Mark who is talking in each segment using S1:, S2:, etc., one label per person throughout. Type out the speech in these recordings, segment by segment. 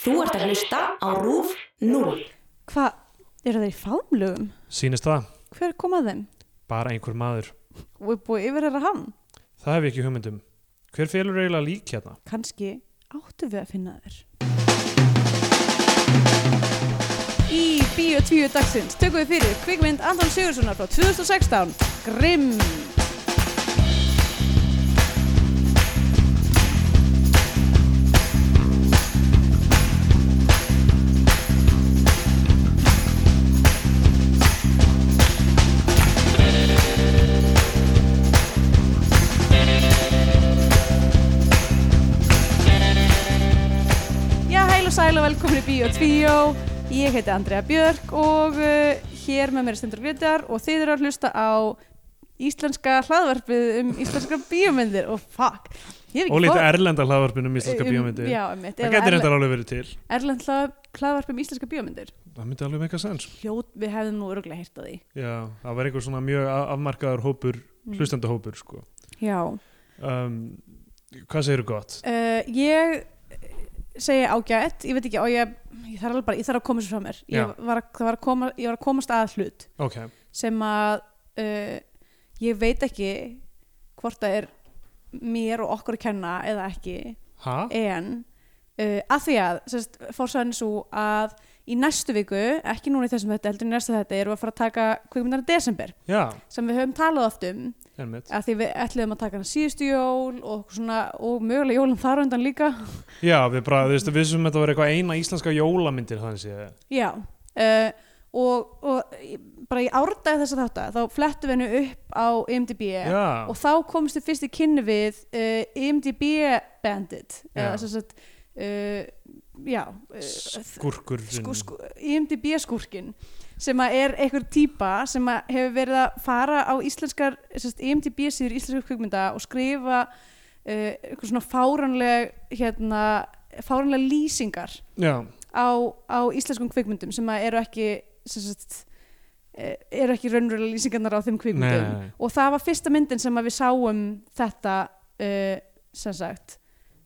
S1: Þú ert að hlusta á RÚF 0.
S2: Hvað, eru þeir í faðmlögum?
S3: Sýnist það,
S2: Hver kom að þeim?
S3: bara einhver maður.
S2: Og er búið yfir þeirra hann?
S3: Það hef ég ekki hugmyndum. Hver félur eiginlega lík hérna?
S2: Kanski áttu við að finna þeir. Í Bíó 10 dagsins tökum við fyrir kvikmynd Anton Sigurðssonar frá 2016, Grimm. Já, heil og sæl og velkomin í Bíó 10. Ég heiti Andrea Björk og uh, hér með mér er Stendur Grétar og þið eru að hlusta á íslenska hlaðvarpið um íslenska bíómyndir og fuck, ég hef ekki
S3: Og lítið
S2: fór-
S3: erlenda hlaðvarpinum íslenska
S2: um,
S3: bíómyndi.
S2: Já, einmitt,
S3: það
S2: eða
S3: getur
S2: erlend,
S3: reyndar alveg verið til.
S2: erlend hlað, hlaðvarp um íslenska bíómyndir
S3: Það myndi alveg meika sens.
S2: Hljót, við hefðum nú öruglega hýrt að því
S3: Já, það var einhver svona mjög a- afmarkaður hópur,
S2: Mm.
S3: hlustendahópur, sko.
S2: Já
S3: Um, hvað segirðu gott?
S2: uh, Ég segi ágætt, ég veit ekki á ég, ég þarf alveg bara, ég þarf að koma þessu frá mér
S3: Já.
S2: ég var, að- það var, að koma, ég var að komast að hlut
S3: Ok,
S2: sem að uh, ég veit ekki hvort það er mér og okkur að kenna eða ekki
S3: ha?
S2: en uh, að því að sérst, fórsaðan er svo að í næstu viku, ekki núna í þessum þetta heldur í næstu þetta, erum við að fara að taka kvikmyndana desember
S3: Já,
S2: sem við höfum talað oft um
S3: ennmitt.
S2: að því við ætluðum að taka hana síðustu jól og, svona, og mögulega jólum þar á undan líka
S3: Já, við bara, þú veist, við sem þetta var eitthvað eina íslenska jólamyndin, þannig séð.
S2: já uh, og, og í- bara í árdagi þess að þátt þá flettum við hennu upp á IMDb
S3: Já,
S2: Eh, og þá komstu fyrst í kynni við uh, IMDb bandit
S3: Já.
S2: eða Eh, sem sagt uh, já uh,
S3: skurkur.
S2: sku, sku, IMDb skúrkin sem að er einhver típa sem að hefur verið að fara á íslenskar sérst, IMDb síður íslenskar kvikmynda og skrifa uh, einhver svona fáranleg hérna, fáranlega lýsingar
S3: Já,
S2: á, á íslenskum kvikmyndum sem að eru ekki sérst, eru ekki raunverulega lýsingarnar á þeim kvikmyndum
S3: Nei.
S2: og það var fyrsta myndin sem að við sáum þetta uh, sem sagt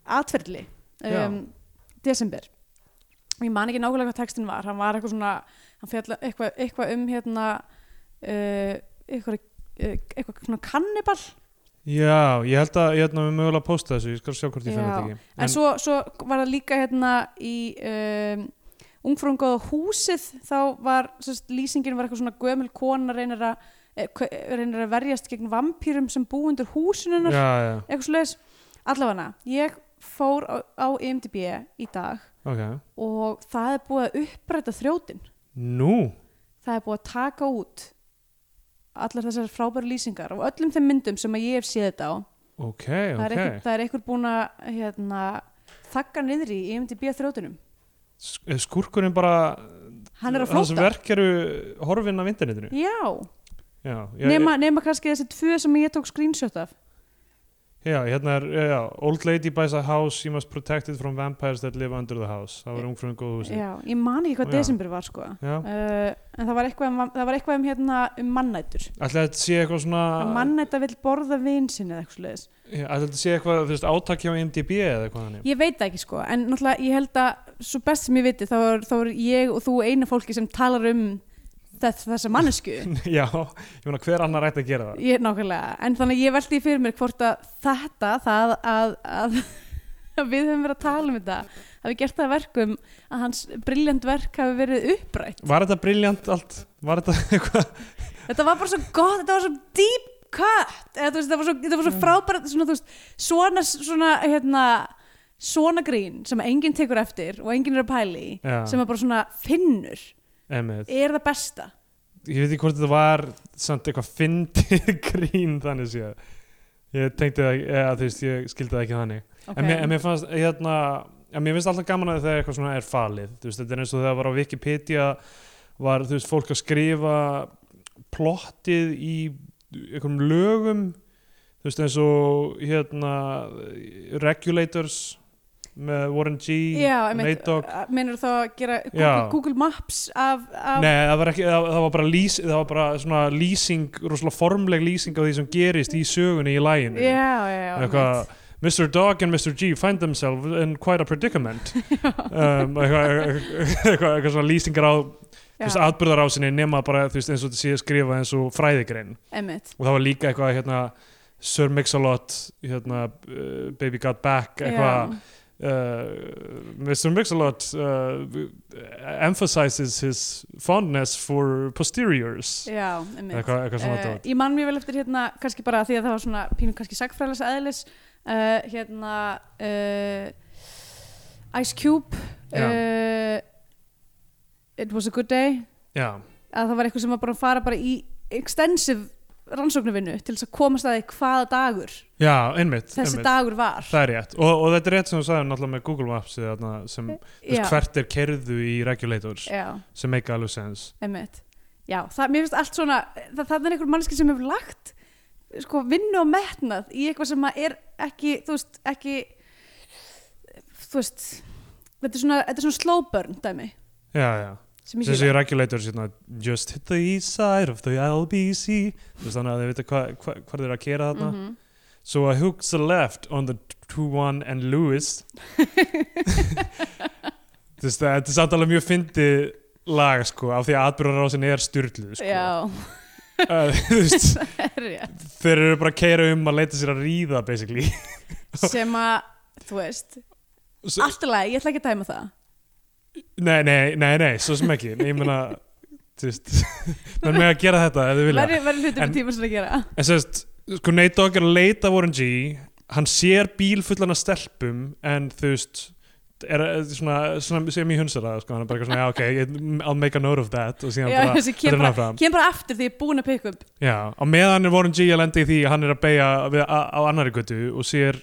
S2: atferðli um, desember ég man ekki nákvæmlega hvað textin var hann var eitthvað svona hann fjalla eitthvað, eitthvað um hérna uh, eitthvað, uh, eitthvað svona kannibal
S3: Já, ég held að ég held að við mögulega posta þessu, ég skal sjá hvort ég finn
S2: Já,
S3: þetta ekki.
S2: en, svo, svo var það líka hérna í um, ungfrungaða húsið þá var sérst, lýsingin var eitthvað svona gömul kona reynir að, eh, kau- reynir að verjast gegn vampýrum sem búundur húsinunar
S3: Já, já,
S2: eitthvað svoleiðis allafana, ég fór á, á IMDb í dag
S3: ok.
S2: og það er búið að uppræta þrjótin
S3: Nú,
S2: það er búið að taka út allar þessar frábæru lýsingar og öllum þeim myndum sem að ég hef séð þetta á
S3: ok,
S2: það er
S3: ok.
S2: einhver, það er einhver búin að hérna, þakka niðri í IMDb þrjótunum
S3: Sk- er Skurkurinn bara,
S2: hann er að
S3: hans
S2: flóta
S3: verk eru horfin af internetinu.
S2: já,
S3: Já, ég,
S2: nema, nema kannski þessi tvö sem ég tók screenshot af
S3: já, hérna er, já, já, Old Lady buys a house, she must protect it from vampires that live under the house. Það var ungfröðum góðu húsi.
S2: já, ég man ekki hvað
S3: Já.
S2: desember var sko.
S3: Já,
S2: uh, en það var eitthvað um, það var eitthvað um, hérna, um mannætur
S3: ætli að þetta sé eitthvað svona,
S2: að mannæta vill borða vin sinni eða eitthvað svoleiðis.
S3: Ah. já, ætli að þetta sé eitthvað, þú veist, átak hjá MDB eða eitthvað þannig.
S2: ég veit það ekki sko en náttúrulega ég held að svo best sem ég viti þá er, þá er ég og þú eina fólki sem talar um þess, þessa mannesku
S3: já, ég meina, hver annar ætti að gera það?
S2: Ég, nákvæmlega, en þannig að ég veldi fyrir mér hvort að þetta, það að, að, að við höfum verið að tala um þetta hafi gert það að verkum að hans briljant verk hafi verið upprætt
S3: Var þetta briljant allt? Var þetta eitthvað?
S2: þetta var bara svo gott, þetta var svo deep cut Eða, þú veist, þetta var svo, þetta var
S3: Mm.
S2: svo frábært svona, þú veist, svona, svona, hérna, svona grín sem enginn tekur eftir og enginn er að pæla í
S3: Já,
S2: sem að bara svona finnur
S3: emið.
S2: er það besta
S3: ég veit ekki hvort þetta var samt eitthvað fyndið grín þannig séð ég tenkti það, eða, þú veist, ég skildi það ekki þannig en, mér, en mér fannst, hérna en mér finnst alltaf gaman að þegar eitthvað svona er falið þú veist, þetta er eins og þegar var á Wikipedia var, þú veist, fólk að skrifa plottið í einhverjum lögum þú veist, eins og hérna Regulators með Warren G
S2: Já, einmitt,
S3: Nate Dogg
S2: meinur þá að gera Google,
S3: Já.
S2: Google Maps af, af
S3: Nei, það var, ekki, það, það var bara, lýs, það var bara svona lýsing, rosalega formleg lýsing á því sem gerist í sögunni í læginu.
S2: já, já, já,
S3: Eitthvað, Mr. Dog and Mr. G find themselves in quite a predicament um, eitthvað eitthva, eitthva svona lýsingar á þú veist,
S2: Já,
S3: atbyrðarásinni nema bara þú veist, eins og þetta sé skrifa eins og fræðigrein
S2: emmitt
S3: og það var líka eitthvað hérna, Sir Mix-a-Lot hérna, uh, Baby Got Back eitthvað uh, Mr. Mix-a-Lot uh, emphasizes his fondness for posteriors
S2: Já, emmitt
S3: eitthvað, eitthvað svona
S2: uh,
S3: dót.
S2: Ég man mjög vel eftir hérna kannski bara því að það var svona pínu kannski sagfræðilegs eðlis uh, hérna uh, Ice Cube
S3: Já.
S2: uh, It was a good day
S3: já,
S2: að það var eitthvað sem var bara að fara bara í extensive rannsóknarvinnu til þess að komast að því hvaða dagur
S3: já, einmitt,
S2: þessi
S3: einmitt.
S2: dagur var
S3: það er rétt og, og þetta er rétt sem þú sagði náttúrulega með Google Maps þarna, sem, þú
S2: Eh, Já,
S3: veist, hvert er kerðu í regulators
S2: já,
S3: sem make alveg sense
S2: emmitt Já, það, mér finnst allt svona, það, það er einhver mannski sem hefur lagt sko vinnu og metnað í eitthvað sem að er ekki, þú veist, ekki þú veist þetta er svona, þetta er svona slow burn dæmi
S3: já, já
S2: sem ég
S3: þessi
S2: sé
S3: regulators hérna, just hit the east side of the LBC Þú veist, þannig að þau vita hvað hva, hva þeir eru að kera þarna
S2: Mhm.
S3: so I hooked the left on the 2-1 and Lewis Þú veist, það- þetta er samt alveg mjög fyndi lag sko, af því að atbyrðarásin er styrluð sko.
S2: Já,
S3: uh, þú veist,
S2: það er rétt
S3: þeir eru bara að keira um að leita sér að ríða basically
S2: sem að, þú veist,
S3: so,
S2: allt í lagi, ég ætla ekki að dæma það
S3: Nei, nei, nei, nei, svo sem ekki Nei, Ég meina, þú veist menn með að gera þetta ef þið vilja
S2: verður verður hlutum
S3: En-
S2: í tíma sem að gera
S3: En sem sagt, sko Nate Dogg er að leita að Warren G hann sér bíl fullan af stelpum en þú veist er er svona, svona sem ég hunsa það sko, hann er bara eitthvað svona, já ok, ég- I'll make a note of that og síðan
S2: Já,
S3: bara,
S2: þessi
S3: þetta
S2: kem
S3: er
S2: bara,
S3: náfram
S2: kem bara aftur því ég er búin að pikka upp
S3: Já, á meðan er Warren G að lendi í því að hann er að beigja við, á, á annari götu og sér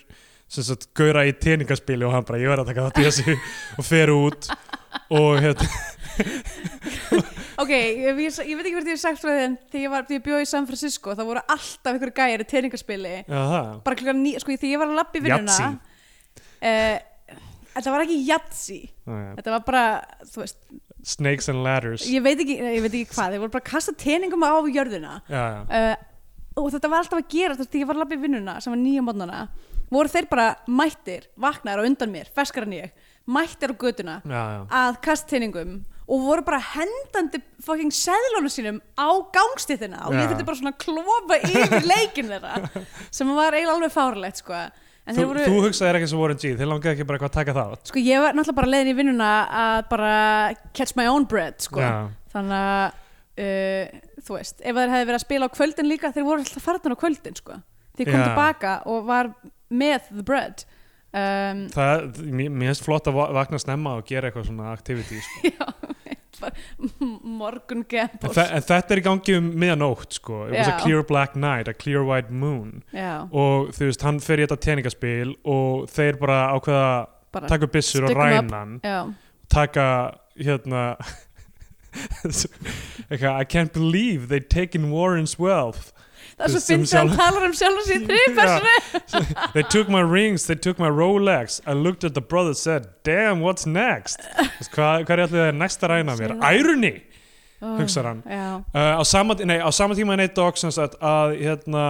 S3: sem sagt, gauðra í teningaspili og hann bara, ég verð að taka þátt í þessu og fer út og hérna,
S2: Ok, ég, ég, ég veit ekki hvert ég hef sagt frá þeim þegar ég, var- þegar ég bjóð í San Francisco þá voru alltaf einhverju gæjar í teiningaspili
S3: já það
S2: bara klukkan ný, sko þegar ég var að labba í vinnuna uh,
S3: Yahtzee.
S2: Þetta var ekki jatsi
S3: Já, já.
S2: Þetta var bara, þú veist,
S3: Snakes and ladders
S2: ég veit ekki, ég veit ekki hvað þeir voru bara að kasta teiningum á jörðina
S3: Já, já,
S2: uh, og þetta var alltaf að gera þú veist, þegar ég var að labba í vinnuna sem var nýja mótnana voru þeir bara mættir, vaknaðar á undan mér, feskar en ég mættir á götuna
S3: já, já.
S2: að kastteiningum og voru bara hendandi fucking seðlónu sínum á gangstíðina og
S3: Já.
S2: ég þurfti bara svona að klofa yfir leikin þeirra sem var eiginlega alveg fárlegt sko. en
S3: Þú,
S2: þeir voru,
S3: þú hugsaðir ekki sem Warren G, þeir langaði ekki bara eitthvað að taka þátt
S2: sko ég var náttúrulega bara leiðin í vinnuna að bara catch my own bread sko.
S3: Já.
S2: þannig að uh, þú veist, ef þeir hefði verið að spila á kvöldin líka þeir voru alltaf farðan á kvöldin sko. þeir kom
S3: Já.
S2: tilbaka og var með the bread um,
S3: Það, mér mér finnst flott að va- vakna snemma og gera eitthvað svona activity sko.
S2: morgun
S3: en,
S2: gambos
S3: þe en þetta er í gangi um miðanótt sko. It was a
S2: Já.
S3: clear black night, a clear white moon
S2: Já,
S3: og þú veist, hann fer í þetta teningaspil og þeir bara ákveða
S2: bara,
S3: taka upp byssur og
S2: Stick 'em up.
S3: ræna hann
S2: já
S3: taka hérna eitthvað, I can't believe they've taken Warren's wealth
S2: Það er svo
S3: Sem
S2: fyndið að hann
S3: sjálf-
S2: talar um sjálf og sér þriðpersonu.
S3: Yeah. they took my rings, they took my Rolex I looked at the brother and said damn what's next Þess, hvað, hvað er allir það næsta ræna mér?
S2: Segðu það.
S3: Irony, hugsar hann
S2: Já,
S3: uh, á, sama, nei, á sama tíma en eitt dog sem sagt að hérna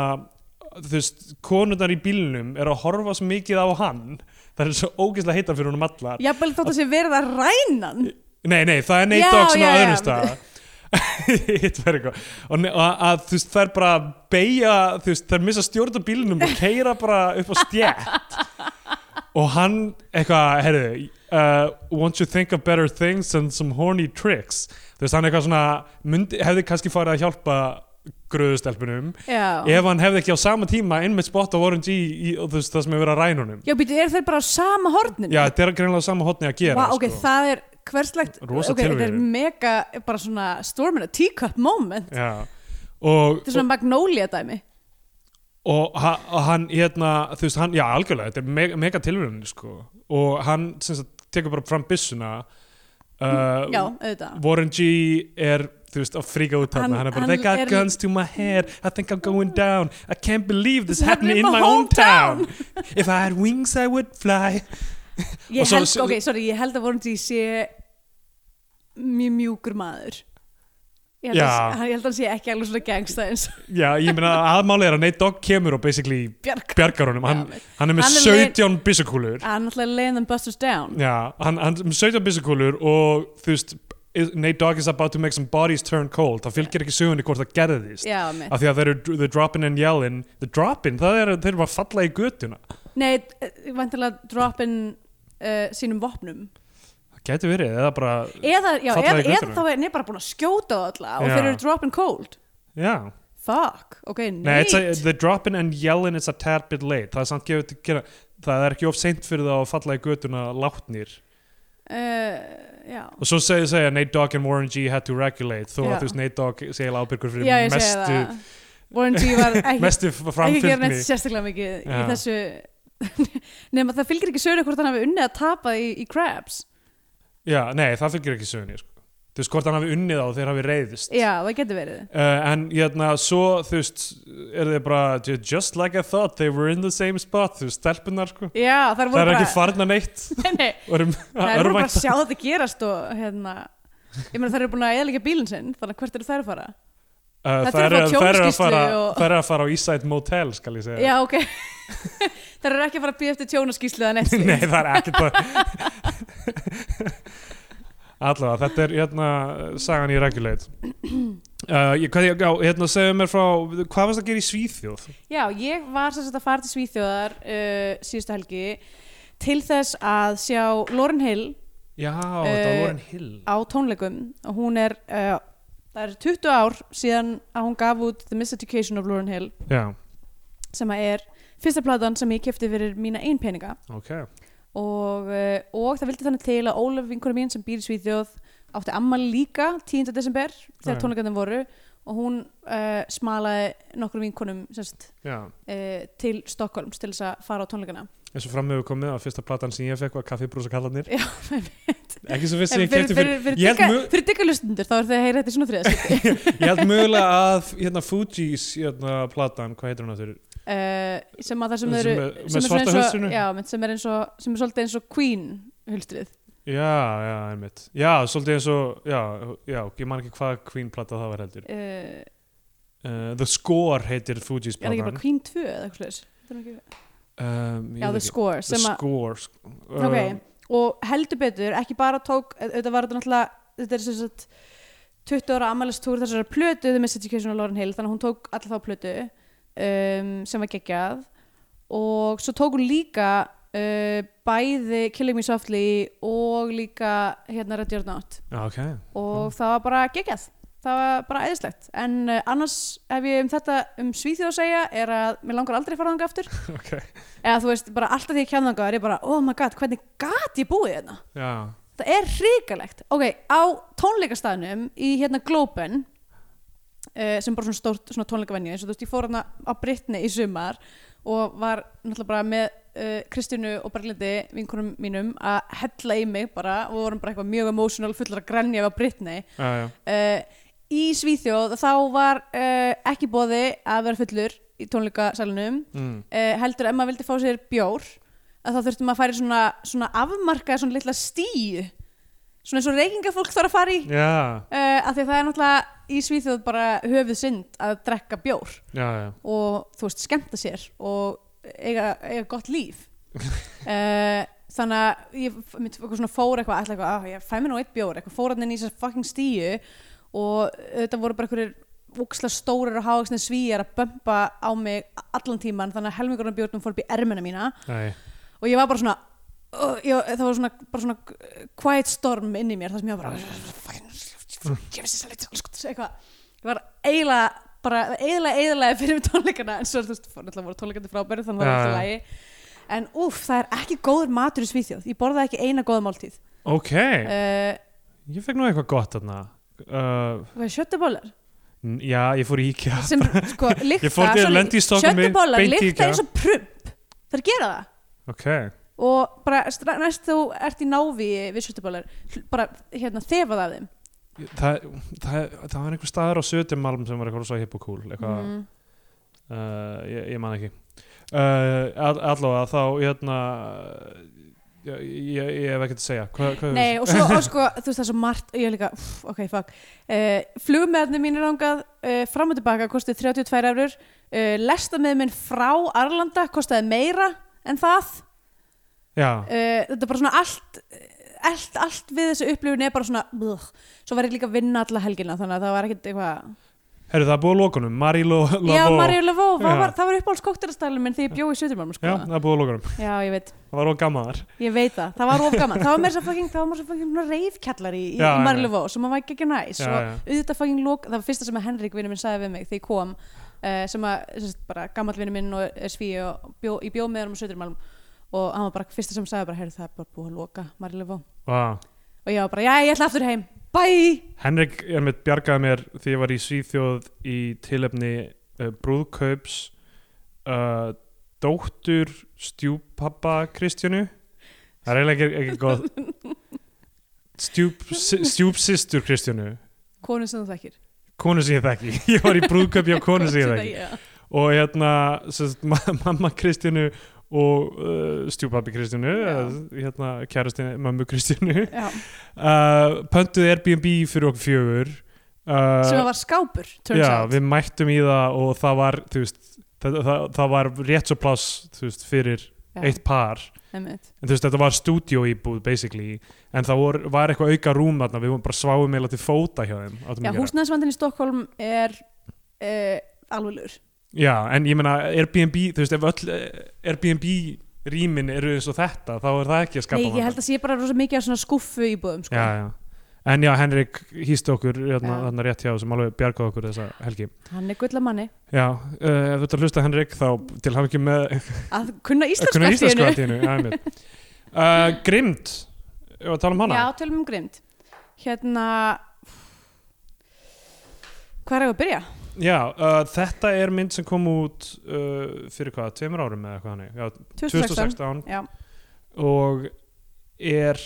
S3: þú veist, konurnar í bílnum er að horfa svo mikið á hann það er svo ógeðslega heitar fyrir honum allar
S2: jafnvel þótt að sé verið að ræna hann.
S3: nei, nei, það er neitt
S2: Já,
S3: dog sem
S2: já,
S3: á
S2: já.
S3: öðrum stað hitt verður eitthvað og, ne- og að, að þú veist, þær bara beigja þú veist, þær missa stjórn á bílnum og keira bara upp á stjætt og hann eitthvað, herðu uh, won't you think of better things than some horny tricks þú veist, hann eitthvað svona myndi, hefði kannski farið að hjálpa gröðustelpunum
S2: Já.
S3: ef hann hefði ekki á sama tíma einmitt spott á Warren G í, og þú veist, það sem hefur verið að ræna honum
S2: Já, býtu, eru þeir bara á sama horninu?
S3: já, þetta er greinlega á sama hotni að gera sko.
S2: Vá, ok, það er hverslegt,
S3: Rosa
S2: ok, þetta er
S3: tilviljun.
S2: mega, bara svona stormin a teacup moment.
S3: Já. Og,
S2: Þetta er svona Magnolia dæmi.
S3: og, ha- og hann hérna, þú veist, hann, já algjörlega þetta er mega, mega tilvíðan sko. og hann sem sagt, tekur bara fram byssuna uh,
S2: Já, auðvitað.
S3: Warren G er þú veist, að fríka út
S2: Hann-
S3: þarna hann er bara,
S2: hann
S3: they got
S2: er-
S3: guns to my head I think I'm going down, I can't believe this
S2: This
S3: happened in my own town if I had wings I would fly
S2: Ég
S3: og svo-
S2: held, ok, sorry, ég held að vorum því sé mjög mjúkur maður. ég held,
S3: Já.
S2: að, hann- ég held að hann sé ekki alveg svona gangsta eins og
S3: Já, ég meina aðmáli er að Nate Dogg kemur og basically
S2: Bjarg
S3: bjargar honum, hann,
S2: Já,
S3: hann er með
S2: Hann er með-
S3: 17 byssukúlur
S2: hann náttúrulega leiðin þeim busters down
S3: Já, hann, hann er með 17 byssukúlur og þú veist, is- Nate Dogg is about to make some bodies turn cold, það fylgir ekki sögunni hvort það gerðist,
S2: já, mitt
S3: af því að þeir eru the dropping and yelling, the dropping, það er þeir eru bara að falla í götuna,
S2: nei, eh, vantilega drop in uh, sínum vopnum
S3: það getur verið eða bara,
S2: eða, já,
S3: Falla
S2: eða,
S3: í götuna.
S2: eða þá er ney bara búin að skjóta á alla og
S3: Já.
S2: þeir eru drop in cold
S3: já
S2: fuck, ok,
S3: Nei,
S2: neitt
S3: it's a, the dropping and yelling is a tad bit late það er samt gefið til gera það er ekki of seint fyrir það að falla í götuna látnir
S2: uh, já
S3: og svo segja, segja Nate Dogg and Warren G had to regulate þó
S2: Já.
S3: að þú veist Nate Dogg segja ábyrgur fyrir
S2: já, ég segi
S3: mestu,
S2: það Warren G var ekki
S3: mestu
S2: ekki gera
S3: framfylgni
S2: neitt sérstaklega mikið í
S3: Já.
S2: þessu nema það fylgir ekki sögur hvort hann hafi unnið að tapa í, í Krabs
S3: já, nei, það fylgir ekki sögunni sko. þú veist hvort hann hafi unnið á þegar hafi reyðist
S2: já, það getur verið
S3: Uh, en hérna, svo, þú veist, er þið bara, "Ju- just like I thought, they were in the same spot, þú veist, stelpunar, sko.
S2: já, það
S3: Það
S2: voru
S3: er
S2: bara
S3: ekki farnar neitt.
S2: nei, nei, það
S3: Það
S2: eru bara að sjá þetta gerast og hérna ég meina það eru búin að eðalega bílinn sinn þannig að hvert eru þær að fara
S3: Uh,
S2: Þetta
S3: það
S2: er
S3: eru
S2: að
S3: að,
S2: fá
S3: þær eru að
S2: tjónaskýrslu
S3: fara
S2: og-
S3: það eru að fara á Eastside Motel skal ég segja
S2: já, ok það eru ekki að fara að býja eftir tjónaskíslu eða neitt slíkt.
S3: Nei, það er ekkert bara Allavega, þetta er hérna sagan í Regulate uh, ég, hvað, ég, já, hérna segðu mér frá hvað varst að gera í Svíþjóð
S2: já, ég var sem sagt að fara til Svíþjóðar uh, síðustu helgi til þess að sjá Lauren Hill
S3: Já, þetta var
S2: Eh,
S3: Lauren Hill
S2: á tónleikum og hún er uh, það er 20 ár síðan að hún gaf út The Miseducation of Lauren Hill
S3: Já,
S2: sem að er fyrsta platan sem ég kefti fyrir mína ein peninga
S3: ok
S2: og, uh, og það vildi þannig til að Ólaf vinkunum mín sem býr í Svíþjóð átti amma líka 10. desember þegar
S3: Já.
S2: tónleikarnir voru og hún uh, smalaði nokkrum vinkunum sérst,
S3: Já,
S2: uh, til Stokkólms til þess að fara á tónleikana
S3: eins og fram hefur komið á fyrsta platan sem ég fekk var kaffibrúsakallarnir
S2: Já,
S3: Ekki svo fyrst sem
S2: En
S3: ég kefti fyrir,
S2: Eh, fyrir,
S3: ég held
S2: digga-
S3: mjög
S2: fyrir diggalustundur þá er það að heyra þetta í svona þriðast
S3: Ég held mögulega að hérna, Fuji's hérna, platan, hvað heitir hún aftur?
S2: uh, sem að það sem
S3: Sem
S2: eru
S3: er- með
S2: sem er svona
S3: svarta
S2: eins og-
S3: hulstrinu?
S2: já, mynd sem er eins og sem er svolítið eins og Queen hulstrið
S3: Já, já, einmitt. Já, svolítið eins og, já, já, ég man ekki hvað Queen-plata það var heldur.
S2: uh, er
S3: Uh, The Score heitir Fuji's
S2: það ekki
S3: platan.
S2: bara Queen 2 eða eitthvað slags já,
S3: Um, ég veit
S2: The
S3: ekki.
S2: Score
S3: The
S2: sem að
S3: Score. sk- Uh,
S2: ok, og heldur betur ekki bara tók, þetta var þetta náttúrulega þetta er sem sagt 20 ára ammælistúr þessari plötu The Miseducation of Lauren Hill þannig að hún tók alla þá plötu um, sem var geggjað og svo tók hún líka uh, bæði Killing Me Softly og líka hérna Red Your Not
S3: Já, ok.
S2: og það var bara geggjað það var bara æðislegt en uh, annars ef ég um þetta um Svíþjóð að segja er að mér langar aldrei að fara þangað aftur
S3: ok.
S2: eða þú veist, bara alltaf því ég kemur þangað er ég bara, oh my god, hvernig gat ég búið hérna
S3: Já.
S2: það er hrikalegt ok, á tónleikastæðnum í hérna Globen uh, sem er bara svona stórt svona tónleikavenju eins og þú veist, ég fór hérna á Britni í sumar og var náttúrulega bara með uh, Kristínu og Berglindi vinkunum mínum að hella í mig bara og við vorum bara eitthvað mjög emotional fullar að grenja við að Britni
S3: Já, já.
S2: uh, í Svíþjóð þá var uh, ekki bóði að vera fullur í tónleikasalunum
S3: Mm.
S2: uh, heldur ef maður vildi fá sér bjór að þá þurftum maður að fara í svona, svona afmarkað svona litla stíu svona eins og reykingafólk þarf að fara í uh,
S3: Já,
S2: af því að það er náttúrulega í Svíþjóð bara höfuð synd að drekka bjór
S3: já, já.
S2: og þú veist skemmta sér og eiga, eiga gott líf uh, þannig að ég f- mitt, eitthvað svona fór eitthvað alltaf eitthvað, "Ah, ég fæ mér nú eitt bjór, eitthvað fór hann inn í þessar fucking stíu og þetta voru bara einhverjir úksla stórir og hávaksnir svíjar að bömpa á mig allan tíman þannig að helmingurinn af bjórnum fór upp í ermina mína
S3: Nei.
S2: og ég var bara svona uh, ég, það var svona, bara svona quiet storm inn í mér þar sem ég var bara
S3: Mm.
S2: gefur sér sælit eitthvað ég var eiginlega bara eiginlega eiginlega fyrir tónleikana en svo þú veist, fór- náttúrulega voru tónleikandi frábæri þannig var
S3: Já,
S2: alltaf
S3: já.
S2: lægi en úff, það er ekki góður matur í Svíþjóð ég borðaði ekki eina góða máltíð
S3: Ok,
S2: uh,
S3: ég fekk nú eitthvað gott þarna. Uh,
S2: hvað er sjöttubólar?
S3: n- já, ég fór í IKEA.
S2: sem sko lykta
S3: Ég fór til-
S2: sorry,
S3: lendi í Stokkhólmi,
S2: sjöttubólar
S3: beint í
S2: lykta
S3: IKEA.
S2: eins og prump það er að gera það
S3: Ok.
S2: og bara stra- næst þú ert í návi við sjöttubólar bara hérna þefað af þeim
S3: Það, það, það var einhver staður á Sötumalm sem var eitthvað svo hipp og cool. Eitthvað.
S2: Mhm.
S3: uh, ég, ég man ekki uh, all, allavega þá hérna ég, ég, ég hef ekkert að segja hva, hva,
S2: Nei, og svo, og sko, þú veist það er svo margt ég er líka, uff, ok, fuck uh, flugmeðarnir mínir ángað uh, fram og tilbaka kostið 32 eurur uh, lestameð minn frá Arlanda kostaði meira en það uh,
S3: já,
S2: þetta er bara svona allt allt, allt við þessu upplifun er bara svona blh. svo var ég líka að vinna alla helgina þannig að það var ekkert eitthvað
S3: herru það er búið að lókunum Marílo
S2: já, Mario Lavó, það
S3: Já.
S2: var, það var uppáhalds kóktelastælum minn þegar ég bjóði í Söðurmálum
S3: já,
S2: sko.
S3: það er búið að lókunum,
S2: já, ég veit
S3: það var of gaman þar
S2: Ég veit það, það var of gaman Það var meira svo fucking, það var meira svo fucking reyðkjallar í, í,
S3: Já,
S2: í
S3: já,
S2: Mariluvó sem að var ekki ekki næs
S3: Já,
S2: og
S3: já.
S2: auðvitað fucking lók, það var fyrsta sem að Henrik vinnur minn sagði við mig þegar ég kom uh, sem að, sem sagt, bara gammal vinnur minn og er sví og bjó, í bjó með honum og söturmálum og hann var bara fyrsta sem sagði bara, heyrðu það er bara búið að loka Mariluvó
S3: wow.
S2: og ég var bara, já, ég ætla aftur heim Bye!
S3: Henrik er mitt bjargaði mér því ég var í Svíþjóð í tilefni uh, brúðkaups uh, dóttur stjúpappa Kristjánu það er eiginlega ekki, ekki góð stjúp, stjúpsistur Kristjánu
S2: Konu sem þú þekkir
S3: konu sem ég þekki, ég var í brúðkaup hjá konu sem ég þekki
S2: ekki
S3: og hérna sem sagt, ma mamma Kristjánu og uh, stjúpappi Kristjánu
S2: Já.
S3: eða, hérna kærastin mammu Kristjánu
S2: Já,
S3: uh, pöntuð Airbnb fyrir okkur fjögur uh,
S2: sem að var skápur, turns
S3: já,
S2: out
S3: við mættum í það og það var þú veist, það, það, það var rétt svo pláss þú veist, fyrir
S2: Já,
S3: eitt par
S2: einmitt.
S3: en þú veist, þetta var stúdíó íbúð basically, en það vor, var eitthvað auka rúm þarna, við vorum bara sváum meila til fóta hjá þeim áttum
S2: Já,
S3: að gera.
S2: húsnæðisvandinn í Stokkólm er uh, alveglegur
S3: já, en ég meina Airbnb, þú veist, ef öll eh, Airbnb rýmin eru eins og þetta þá er það ekki að skapa
S2: Nei, ég held að sé bara rosa mikið af svona skuffu íbúðum sko.
S3: já, já. En já, Henrik hýsti okkur hérna,
S2: Já.
S3: þarna rétt hjá sem alveg bjargaði okkur þessa helgi.
S2: Hann er gull að manni
S3: Já, uh, ef þú ert að hlusta Henrik þá til hafa ekki með
S2: Að kunna
S3: að
S2: íslensku
S3: kunna
S2: allt í
S3: íslensku
S2: einu.
S3: allt í einu. Já, einmitt. uh, Grimmt, ef að tala um hana.
S2: Já, tölum um grind Hérna Hvað er að byrja?
S3: Já, uh, þetta er mynd sem kom út uh, fyrir hvað, tveimur árum eða eitthvað hannig. Já,
S2: 2016
S3: 2016
S2: Já,
S3: og er,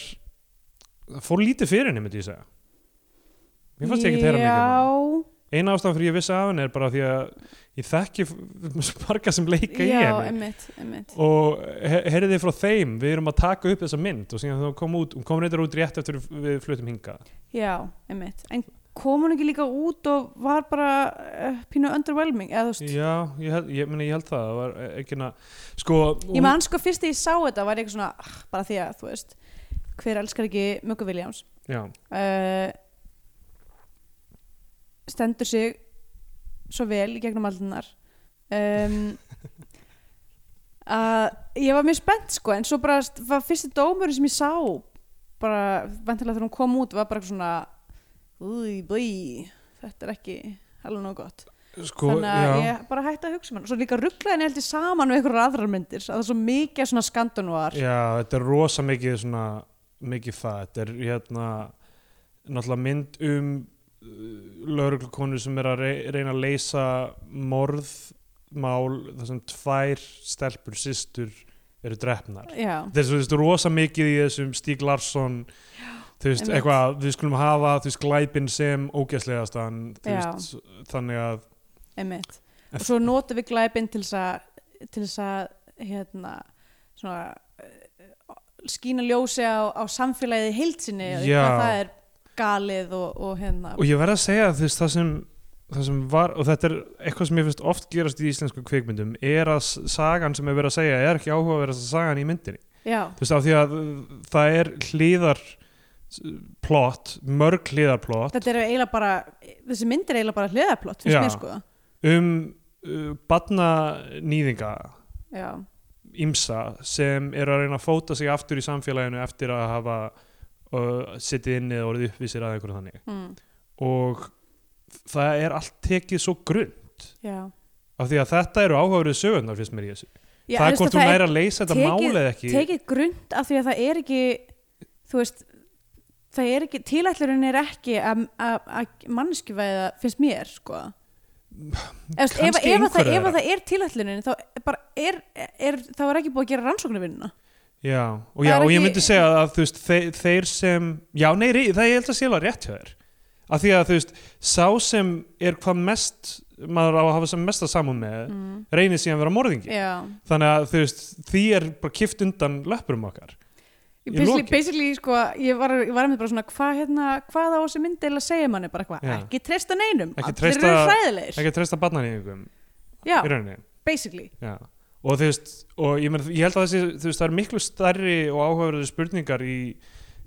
S3: það fór lítið fyrir henni, myndi ég segja. Mér fannst ég ekki þeirra mikið. um hana.
S2: Já,
S3: Eina ástæðan fyrir ég vissi af henni er bara því að ég þekki svo marga sem leika í
S2: já,
S3: henni.
S2: einmitt, einmitt.
S3: og he- heyrið þið frá þeim við erum að taka upp þessa mynd og síðan þá kom út hún kom reyndar út rétt eftir við flutum hinga
S2: já, einmitt En kom hún ekki líka út og var bara uh, pínu underwhelming eða þú veist
S3: já, ég held, ég, meni, ég held það, það var eh, ekki na, sko,
S2: Ég man sko fyrst þegar ég sá þetta var ég eitthvað svona ah, bara því að þú veist hver elskar ekki Möggu Williams
S3: já,
S2: uh, stendur sig svo vel í gegnum allinnar um, að ég var mjög spennt sko en svo bara st- var fyrsti dómurinn sem ég sá bara vantilega þegar hún kom út var bara eitthvað svona úi, búi, þetta er ekki alveg nóg gott
S3: sko
S2: þannig að
S3: já,
S2: ég bara hætti að hugsa um hann og svo líka rugglaði henni heldur saman við einhverjar aðrar myndir að það er svo mikið af svona skandun var
S3: já, þetta er rosa mikið svona, mikið það þetta er hérna náttúrulega mynd um lauruglukonu sem er að rey- reyna að leysa morðmál þar sem tvær stelpur systur eru drefnar
S2: já,
S3: þeir svo, þú veist, rosa mikið í þessum Stíg Larsson þú veist,
S2: einmitt.
S3: eitthvað, við skulum hafa þú veist, glæpin sem ógæslegastan þú
S2: Já.
S3: veist, þannig að
S2: einmitt
S3: En-
S2: og svo notum við glæpin til þess að til þess að hérna svona eh, skína ljósi á, á samfélagið í heild sinni og
S3: Já.
S2: hvað það er galið og, og hérna
S3: og ég verð að segja þú veist, það sem það sem var, og þetta er eitthvað sem ég finnst oft gerast í íslensku kvikmyndum, er að s- sagan sem er verið að segja er ekki áhugaverðast sagan í myndinni,
S2: já,
S3: þú veist, af því að uh, það er hliðar s- plott, mörg hliðar plott
S2: þetta er eiginlega bara þessi mynd er eiginlega bara hliðarplott finnst
S3: Já.
S2: mér sko
S3: um uh, badnanýðinga
S2: já,
S3: ímsa sem eru að reyna að fóta sig aftur í samfélaginu eftir að hafa uh, sittið inni eða orðið uppvísir að einhverju þannig
S2: mm,
S3: og það er allt tekið svo grunn
S2: já.
S3: af því að þetta eru áhagurðu sögundar finnst mér í þessu
S2: já þú
S3: það er
S2: veist
S3: hvort
S2: að
S3: hún
S2: það
S3: næri að leysa þetta
S2: tekið-
S3: málið ekki
S2: tekið grund af því að það er ekki þú veist það er ekki, tilætlurinn er ekki að- að að manneskjuvæða finnst mér sko Efst, ef,
S3: Kannski
S2: ef, að það,
S3: einhverra
S2: ef að
S3: þeirra.
S2: það er tilætlunin þá bara er, er, þá er ekki búið að gera rannsóknarvinnuna
S3: já, og,
S2: Það
S3: já,
S2: er
S3: og ég
S2: ekki-
S3: myndi segja að þú veist, þeir, þeir sem já, nei, rí- það ég held að sé alveg rétt hjá þér af því að þú veist, sá sem er hvað mest maður á að hafa sem mesta samum með
S2: mm.
S3: reynir síðan að vera morðingi
S2: já,
S3: þannig að þú veist, því er bara kift undan löppurum okkar Í
S2: basically,
S3: lokin.
S2: basically sko, ég var, ég var með bara svona hva, hérna, hvað á þessi mynd eða segja manni bara hvað,
S3: Já.
S2: ekki treysta neinum
S3: Ekki
S2: allir
S3: treysta-
S2: eru hræðilegir
S3: ekki að treysta barnaníðingum
S2: já,
S3: í rauninni
S2: basically
S3: Já. og þú veist og ég, men, ég held að þessi, þú veist, það er miklu stærri og áhugaverðu spurningar í,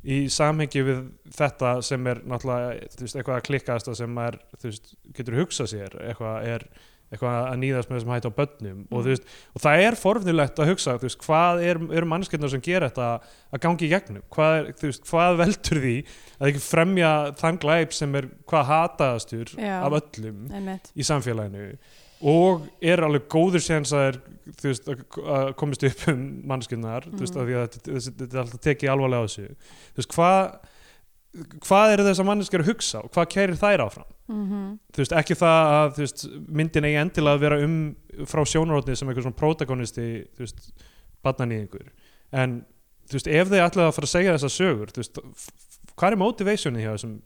S3: í samhengi við þetta sem er náttúrulega, þú veist, eitthvað að klikkaðast sem er, þú veist, getur hugsað sér eitthvað er eitthvað að nýðast með þessum hætt á börnum og, þú veist, og það er forfnilegt að hugsa þú veist, hvað er, eru mannskjarnar sem gera þetta að gangi í gegnum, hvað, er, þú veist, hvað veldur því að ekki fremja þann glæp sem er hvað hataðastur
S2: Já.
S3: af öllum
S2: einmitt,
S3: í samfélaginu og er alveg góður séns að er, þú veist, að- að komist upp um mannskinnar, þú veist,
S2: Mhm.
S3: af því að þetta- þessi- þetta er alltaf tekið alvarlega á þessu þú veist, hvað hvað eru þessar mannskjör að hugsa og hvað kærir þær áfram
S2: mm
S3: þú veist, ekki það að þú veist, myndin eigi endilega að vera um frá sjónarotni sem einhver svona protagonisti þú veist, barnanýðingur en þú veist, ef þeir allir að fara að segja þessar sögur, þú veist f- hvað er motivationi hjá þessum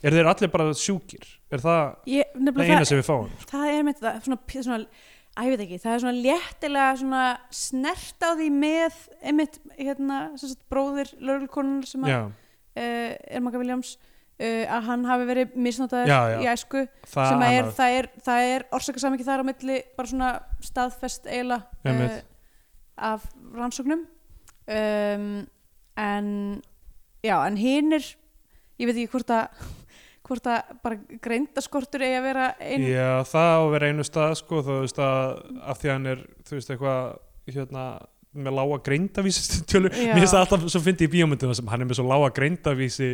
S3: er þeir allir bara sjúkir, er það
S2: ég,
S3: það
S2: nefnilega
S3: eina
S2: það,
S3: sem við fáum
S2: það er einmitt það, svona, p- svona, að ég veit ekki það er svona léttilega svona snert á því með einmitt, hérna, sem sagt, bróðir lögulkonunar sem að, uh,
S3: já,
S2: er Maka Williams uh, að hann hafi verið misnotaður
S3: Já, já.
S2: í æsku
S3: það
S2: sem að er,
S3: annað.
S2: það er, það er orsakasamiki þar á milli bara svona staðfest eiginlega uh,
S3: Einmitt.
S2: af rannsóknum um, en já, en hinn er ég veit ekki hvort að hvort að bara greindaskortur eigi að vera einn
S3: Já, það á að vera einu stað sko, þú veist að af því að hann er þú veist eitthvað hérna með lága greindavísi tölur,
S2: Já.
S3: mér finnst það alltaf svo fyndi í bíómyndina sem hann er með svo lága greindavísi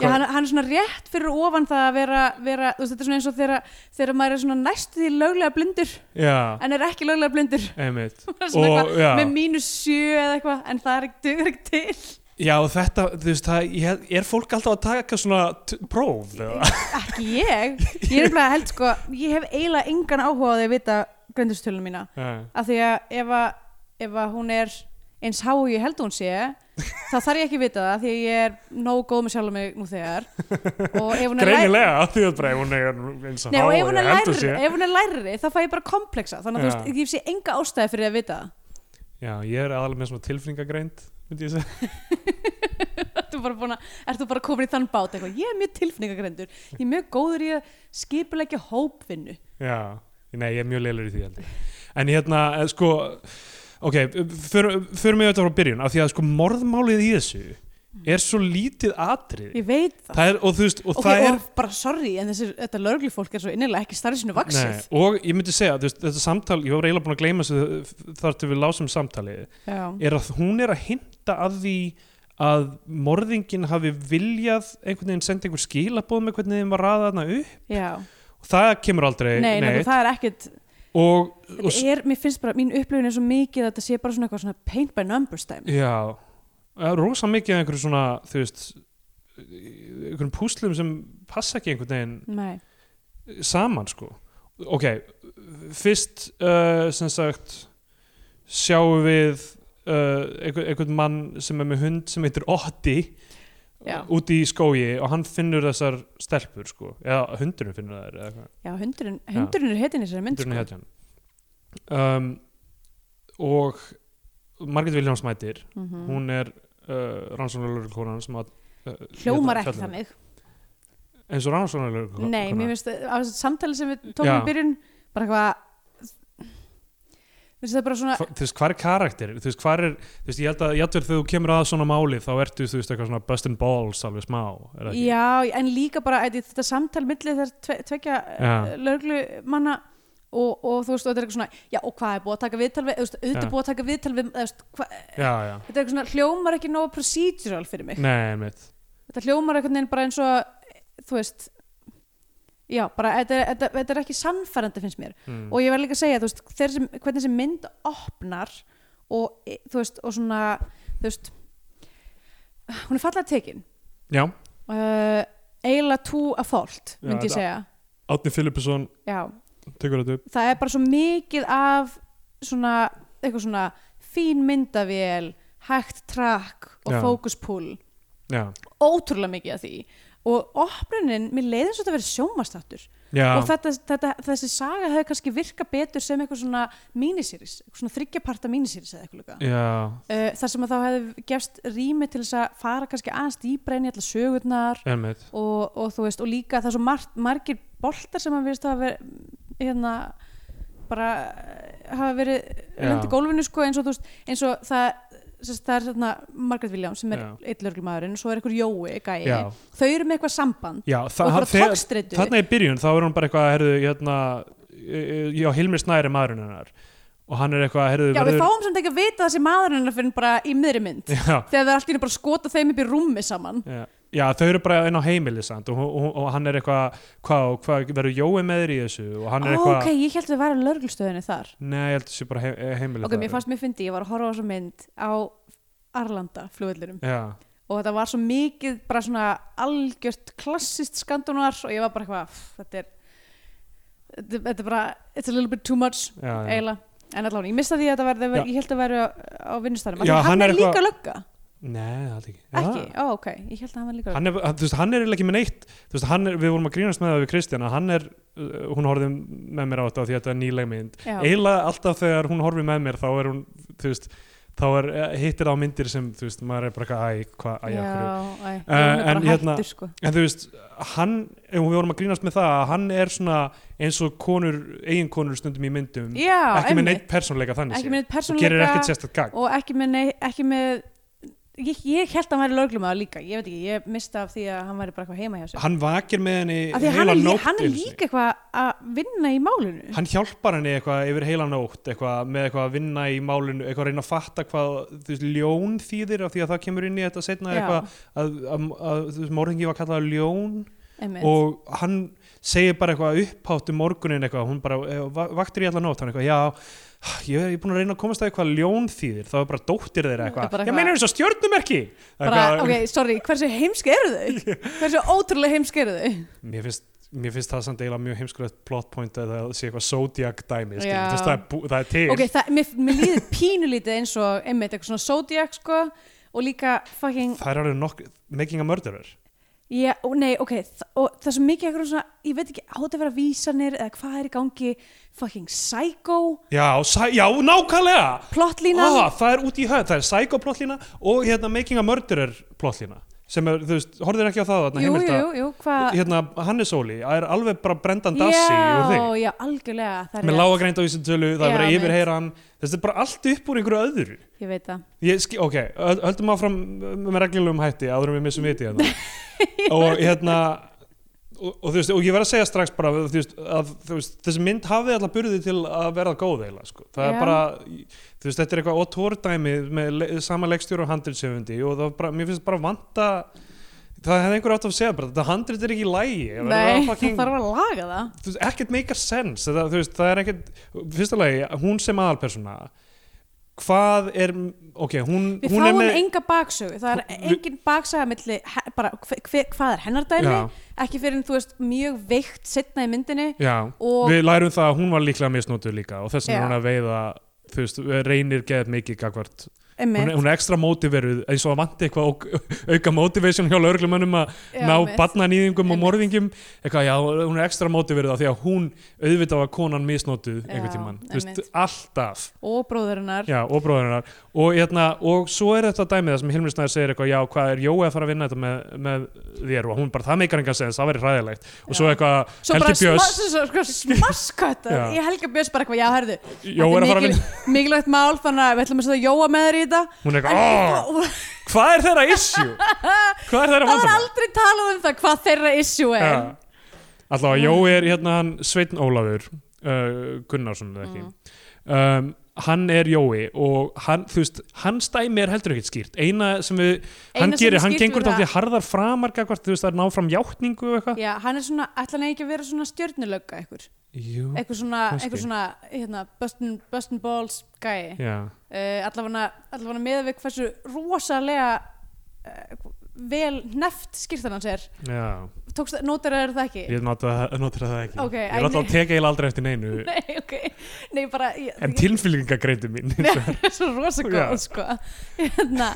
S2: Já, hann, hann er svona rétt fyrir ofan það að vera, vera þú veist, þetta er svona eins og þegar, þegar maður er svona næst því löglega blindur
S3: Já,
S2: en er ekki löglega blindur
S3: einmitt
S2: Svona
S3: og, já,
S2: með mínus sjö eða eitthvað en það er ekki, dugur ekki til
S3: já, og þetta, þú veist það, ég held- er fólk alltaf að taka svona t- próf eða?
S2: ekki ég ég er nefnilega held sko ég hef eiginlega engan áhuga á því að vita gröndustölunum mína
S3: Já,
S2: af því að ef, að, ef að hún er eins há og ég held að hún sé þá þarf ég ekki að vita það af því að ég er nógu góð með sjálf mig nú þegar og ef hún er læ-
S3: Greinilega, af því að bara ef hún er eins og
S2: Nei, og
S3: há
S2: ef hún, er
S3: ég held að
S2: lærri,
S3: sé.
S2: ef hún er lærri þá fæ ég bara komplexa þannig að þú
S3: Já.
S2: veist, ég sé enga ástæði fyrir að vita það
S3: Já, ég er aðalega með svona tilfinningagreind myndi ég segja
S2: ertu bara, búin að, ertu bara komin í þann bát eitthvað. ég er mjög tilfinningagrendur ég er mjög góður í að skipulegja hópvinnu
S3: Já, nei, ég er mjög leilur í því held ég. En hérna, eh, sko ok, förum för við þetta frá byrjun af því að sko morðmálið í þessu er svo lítið atrið
S2: ég veit það
S3: það er, og þú veist, og
S2: Ok,
S3: það er
S2: og bara sorry, en þessi, þetta lörglifólk er svo innilega ekki starri sinu vaksið.
S3: Nei, og ég myndi segja, þú veist, þetta samtal ég var eiginlega búin að gleyma þessu eh, þar til við lásum samtalið,
S2: Já.
S3: er að hún er að hinta að því að morðingin hafi viljað einhvern veginn senda einhver skilaboð með hvernig þeim var raða þarna upp
S2: Já.
S3: og það kemur aldrei
S2: Nei, nei,
S3: neitt
S2: það er ekkit,
S3: og, og
S2: þetta er, mér finnst bara, mín upplifun er svo mikið að þetta sé bara svona eitthvað svona paint by numbers dæmi.
S3: Já, það er rosa mikið af einhverju svona, þú veist einhverjum púslum sem passa ekki einhvern veginn
S2: Nei.
S3: saman sko ok, fyrst uh, sem sagt sjáum við uh, einhver, einhvern mann sem er með hund sem heitir Otti
S2: Já.
S3: úti í skógi og hann finnur þessar stelpur sko, eða hundurinn finnur þær eða eitthvað
S2: Já, hundurinn, hundurinn er hetinn í þessari mynd,
S3: Hundurinn
S2: sko.
S3: er hetjan um, og Margrét Viljáns mætir
S2: Mhm.
S3: hún er uh, rannsóknarlögurkonan sem að uh,
S2: Hljómar
S3: hérna,
S2: ekki
S3: fjalla-
S2: þannig.
S3: eins og rannsóknarlögurkonan
S2: Nei, mér finnst, það- á þessu samtali sem við tókum
S3: Já.
S2: í byrjun, bara eitthvað, finnst það bara svona,
S3: þú veist, hvað er karakter þú veist, hvað er, þú veist, ég held að játtur þegar þú kemur að svona máli þá ertu, þú veist, eitthvað svona bust and balls alveg smá, er það ekki?
S2: Já, en líka bara ætli, þetta samtal milli þegar tve, tvekja
S3: Já.
S2: löglu manna og, og þú veist, og þetta er eitthvað svona já, og hvað er búið að taka viðtal við, þú veist, auðvitað
S3: Já.
S2: er búið að taka viðtal við, þú veist, hva,
S3: Já, já,
S2: þetta er eitthvað svona hljómar ekki nógu procedural fyrir mig
S3: nei, mitt
S2: þetta hljómar eitthvað neginn bara eins og þú veist já, bara, þetta, er- þetta, þetta er ekki sannfærandi finnst mér,
S3: mm.
S2: og ég var líka að segja þú veist, þeir sem, hvernig þessi mynd opnar og, e, þú veist, og svona þú veist hún er fallega tekin
S3: Já,
S2: uh, eiginlega tú að fólt
S3: Já,
S2: myndi ég
S3: þetta-
S2: segja
S3: Átni Filipusson
S2: já,
S3: tekur þetta upp
S2: það er bara svo mikið af svona, eitthvað svona fín myndavél, hægt trakk og
S3: Já.
S2: fókuspúl
S3: Já,
S2: ótrúlega mikið af því og opnunin, mér leiði eins og þetta verið sjómastáttur
S3: já,
S2: og þetta, þetta, þessi saga hefði kannski virkað betur sem eitthvað svona miniseries, eitthvað svona þryggjaparta miniseries eða eitthvað líka
S3: já,
S2: uh, þar sem að þá hefði gefst rými til þess að fara kannski aðeins dýbra inn í allar sögurnar
S3: einmitt
S2: og, og þú veist, og líka það er svo margt, margir boltar sem að verðist að vera hérna bara eh, hafa verið
S3: Já.
S2: lendi gólfinu sko eins og þú veist eins og það, sérst, það er svona Margaret Williams sem er
S3: Já.
S2: eitt lögreglumæðurinn og svo er einhver Jói gæi,
S3: Já.
S2: þau eru með eitthvað samband
S3: já, þa-
S2: og bara
S3: þe-
S2: tókstreitu
S3: þarna í byrjun þá er hún bara eitthvað herðu, hérna, e- e- já, Hilmir Snæri maðurinn hennar og hann er eitthvað, herðu,
S2: Já, við fáum samt ekki að vita þessi maðurinn hennar fyrir bara í miðri mynd
S3: já,
S2: þegar það er allt í henni bara að skota þeim upp í rúmi saman
S3: já, já, þau eru bara inn á heimili samt og, og, og hann er eitthvað hvað, og hvað verður Jói með þér í þessu og hann
S2: Ó,
S3: er eitthvað,
S2: ok, ég held að við varum lögreglustöðinni þar
S3: nei, ég held að þessu bara he heimili
S2: Ok, mér fannst mér fyndi, ég var að horfa á þessa mynd á Arlanda flugvellinum
S3: já,
S2: og þetta var svo mikið bara svona algjört klassist skandunar og ég var bara eitthvað, "Pff, þetta er þetta er- þetta er bara, it's a little bit too much
S3: já, já,
S2: eiginlega, en allavega, ég mista því að þetta verði
S3: Já.
S2: ég held að verði á, á vinnustæðanum
S3: Já,
S2: hann,
S3: hann
S2: hann
S3: er
S2: er líka lögga,
S3: nei, það er ekki Já.
S2: ekki ó, ok, ég held að hann var líka lögga
S3: hann er, hann, þú veist, hann er eiginlega ekki með neitt þú veist, hann er, við vorum að grínast með það við Kristjana hann er, uh, hún horfði með mér á þetta af því að þetta er nýleg mynd
S2: Já.
S3: eiginlega alltaf þegar hún horfi með mér þá er hún, þú veist, þá er eh, hittir á myndir sem, þú veist, maður er bara eitthvað, æ, hvað, æ,
S2: já,
S3: af hverju?"
S2: æ,
S3: Eh,
S2: hann er
S3: en
S2: bara
S3: hérna-
S2: hættur sko
S3: en þú veist, hann ef við vorum að grínast með það, að hann er svona eins og konur, eiginkonur stundum í myndum,
S2: já,
S3: ekki með
S2: einmitt,
S3: neitt persónleika þannig
S2: ekki
S3: séð.
S2: með neitt
S3: og gerir
S2: persónuleika
S3: ekkert sérstætt gag
S2: og ekki með, nei, ekki með ég, ég held að hann væri löglumaður líka ég veit ekki, ég mista af því að hann væri bara eitthvað heima hjá sér
S3: hann vakir með henni
S2: af því að hann
S3: heila
S2: er, lí-
S3: nótt
S2: hann er
S3: einu sinni.
S2: líka eitthvað að vinna í málinu
S3: hann hjálpar henni eitthvað yfir heila nótt eitthvað með eitthvað að vinna í málinu eitthvað að reyna að fatta hvað þú veist, ljón þýðir af því að það kemur inn í þetta setna
S2: Já.
S3: eitthvað að, að, að þú veist, morðingi var kallað ljón
S2: Einmitt.
S3: og hann segir bara eitthvað upphátt um morgunin eitthvað hún bara eh, va- vaktir í allan nótt hann eitthvað já ah, ég ég er búin að reyna að komast að eitthvað ljón þýðir þá er bara dóttir
S2: Bara
S3: þeirra eitthvað
S2: eitthvað-
S3: ég meina eins og stjörnumerki
S2: bara,
S3: Eitthvað-
S2: ok, sorry, hversu heimsk eru þau? hversu ótrúlega heimsk eru þau?
S3: mér finnst Mér finnst það samt eiginlega mjög heimskulegt plot point að það sé eitthvað zodiac dæmi, skilur,
S2: Já.
S3: þú veist, það, er bú- það er til.
S2: ok, það, mér, mér líður pínulítið eins og einmitt eitthvað svona Zodiac sko og líka fucking
S3: það er alveg nokk making a murderer
S2: Já, og nei, ok, þ- og það er svo mikið eitthvað svona, ég veit ekki, átt að vera vísanir eða hvað er í gangi, fucking psycho,
S3: já, sæ, já nákvæmlega
S2: plottlína,
S3: ah, það er út í höfð, það er psycho plottlína og hérna making a murderer plottlína sem er, þú veist, horfðir ekki á það þarna
S2: jú, jú,
S3: heimilda,
S2: jú, jú, hvað,
S3: hérna Hannes Óli er alveg bara brendan dassi og
S2: já,
S3: þig
S2: já, algjörlega, það er
S3: með
S2: rétt.
S3: lágagreind á þessu tölu, það er
S2: Já,
S3: verið að
S2: mitt.
S3: yfirheyra hann þetta er bara allt upp úr einhverju öðru
S2: ég veit það,
S3: Ég, ski- ok, ö- höldum áfram með reglulegum hætti áður en við missum viti hérna. og hérna og, og, þú veist, og ég verð að segja strax bara þú veist, að, þú veist, þessi mynd hafði alltaf burði til að verða góð eiginlega sko. það
S2: Já.
S3: er bara, þú veist, þetta er eitthvað ótórdæmi með le, sama leikstjóru og handritsöfundi og það var bara, mér finnst bara vanta það hefði einhver átt að segja bara þetta handrit er ekki í lægi
S2: nei, það þarf að laga það,
S3: þú veist, ekkert make a sense það, þú veist, það er ekkert, fyrsta lagi hún sem aðalpersona hvað er, ok, hún,
S2: við
S3: hún er
S2: fáum
S3: með
S2: enga baksögu, það er
S3: Hún-
S2: engin baksaga milli, he- bara, hve, hve, hvað er hennar dæmi,
S3: Já.
S2: ekki fyrir en þú veist, mjög veikt setna í myndinni
S3: já,
S2: og,
S3: við lærum það að hún var líklega misnótuð líka og þess
S2: Já.
S3: vegna er hún að veiða þú veist, reynir geðið mikið gagvart
S2: einmitt,
S3: hún, er- hún er ekstra mótiveruð eins og að vanti eitthvað og, auka motivation hjá lögreglumönnum að
S2: Já,
S3: ná
S2: einmitt.
S3: barnanýðingum og
S2: Einmitt.
S3: morðingum eitthvað, já, hún er ekstra mótiveruð af því að hún auðvitað var konan misnótuð
S2: Já,
S3: einhvern tímann, þú veist,
S2: einmitt.
S3: alltaf
S2: og bróðurinnar,
S3: Já, og bróðurinnar og, hérna, og svo er þetta dæmið það sem Hilmir Snæður segir eitthvað, já, hvað er Jói að fara að vinna þetta með, með þér og hún bara, það meikar engan sens, það verður hræðilegt og svo
S2: Já.
S3: eitthvað,
S2: svo bara
S3: Helgi Björns
S2: sma, smaskvættar
S3: Já.
S2: í Helga Björns bara eitthvað, já, herðu
S3: Jói er að fara að vinna,
S2: mikilvægt mál, þannig að við ætlum að setja Jóa með þér í þetta
S3: hún er
S2: en
S3: eitthvað,
S2: oh.
S3: oh, hvað er þeirra issue? Hvað er þeirra
S2: það var
S3: vandamál?
S2: aldrei talað um það hvað þeirra issue er
S3: Já. Alltaf að
S2: Ah.
S3: Jói er hérna hann Sveitn Ólafur uh, Gunnarsson eða ekki
S2: Ah.
S3: um, hann er Jói og hann, þú veist, hans dæmi er heldur ekkert skýrt eina sem við, hann
S2: Eina sem
S3: gerir,
S2: er
S3: hann
S2: skýrt
S3: gengur
S2: við
S3: þátti harðar framar gagvart, þú veist, það er ná fram játningu og eitthvað
S2: Já, hann er svona, ætla hann ekki að vera svona stjörnulögga eitthvað,
S3: Jú,
S2: eitthvað svona,
S3: kannski.
S2: eitthvað svona hérna, Bustin, Bustin Balls gæi uh,
S3: já
S2: allavega, allavega með við hversu rosalega uh, vel neft skýrtan hans er
S3: já,
S2: tókst, notar það ekki
S3: ég notar notar það ekki
S2: Ok, æ,
S3: ég notar
S2: nei.
S3: að teka eiginlega aldrei eftir neinu
S2: nei, ok, nei bara ég,
S3: en tilfylgingagreindi mín eins og-
S2: er svo rosa
S3: Já.
S2: góð sko. hérna,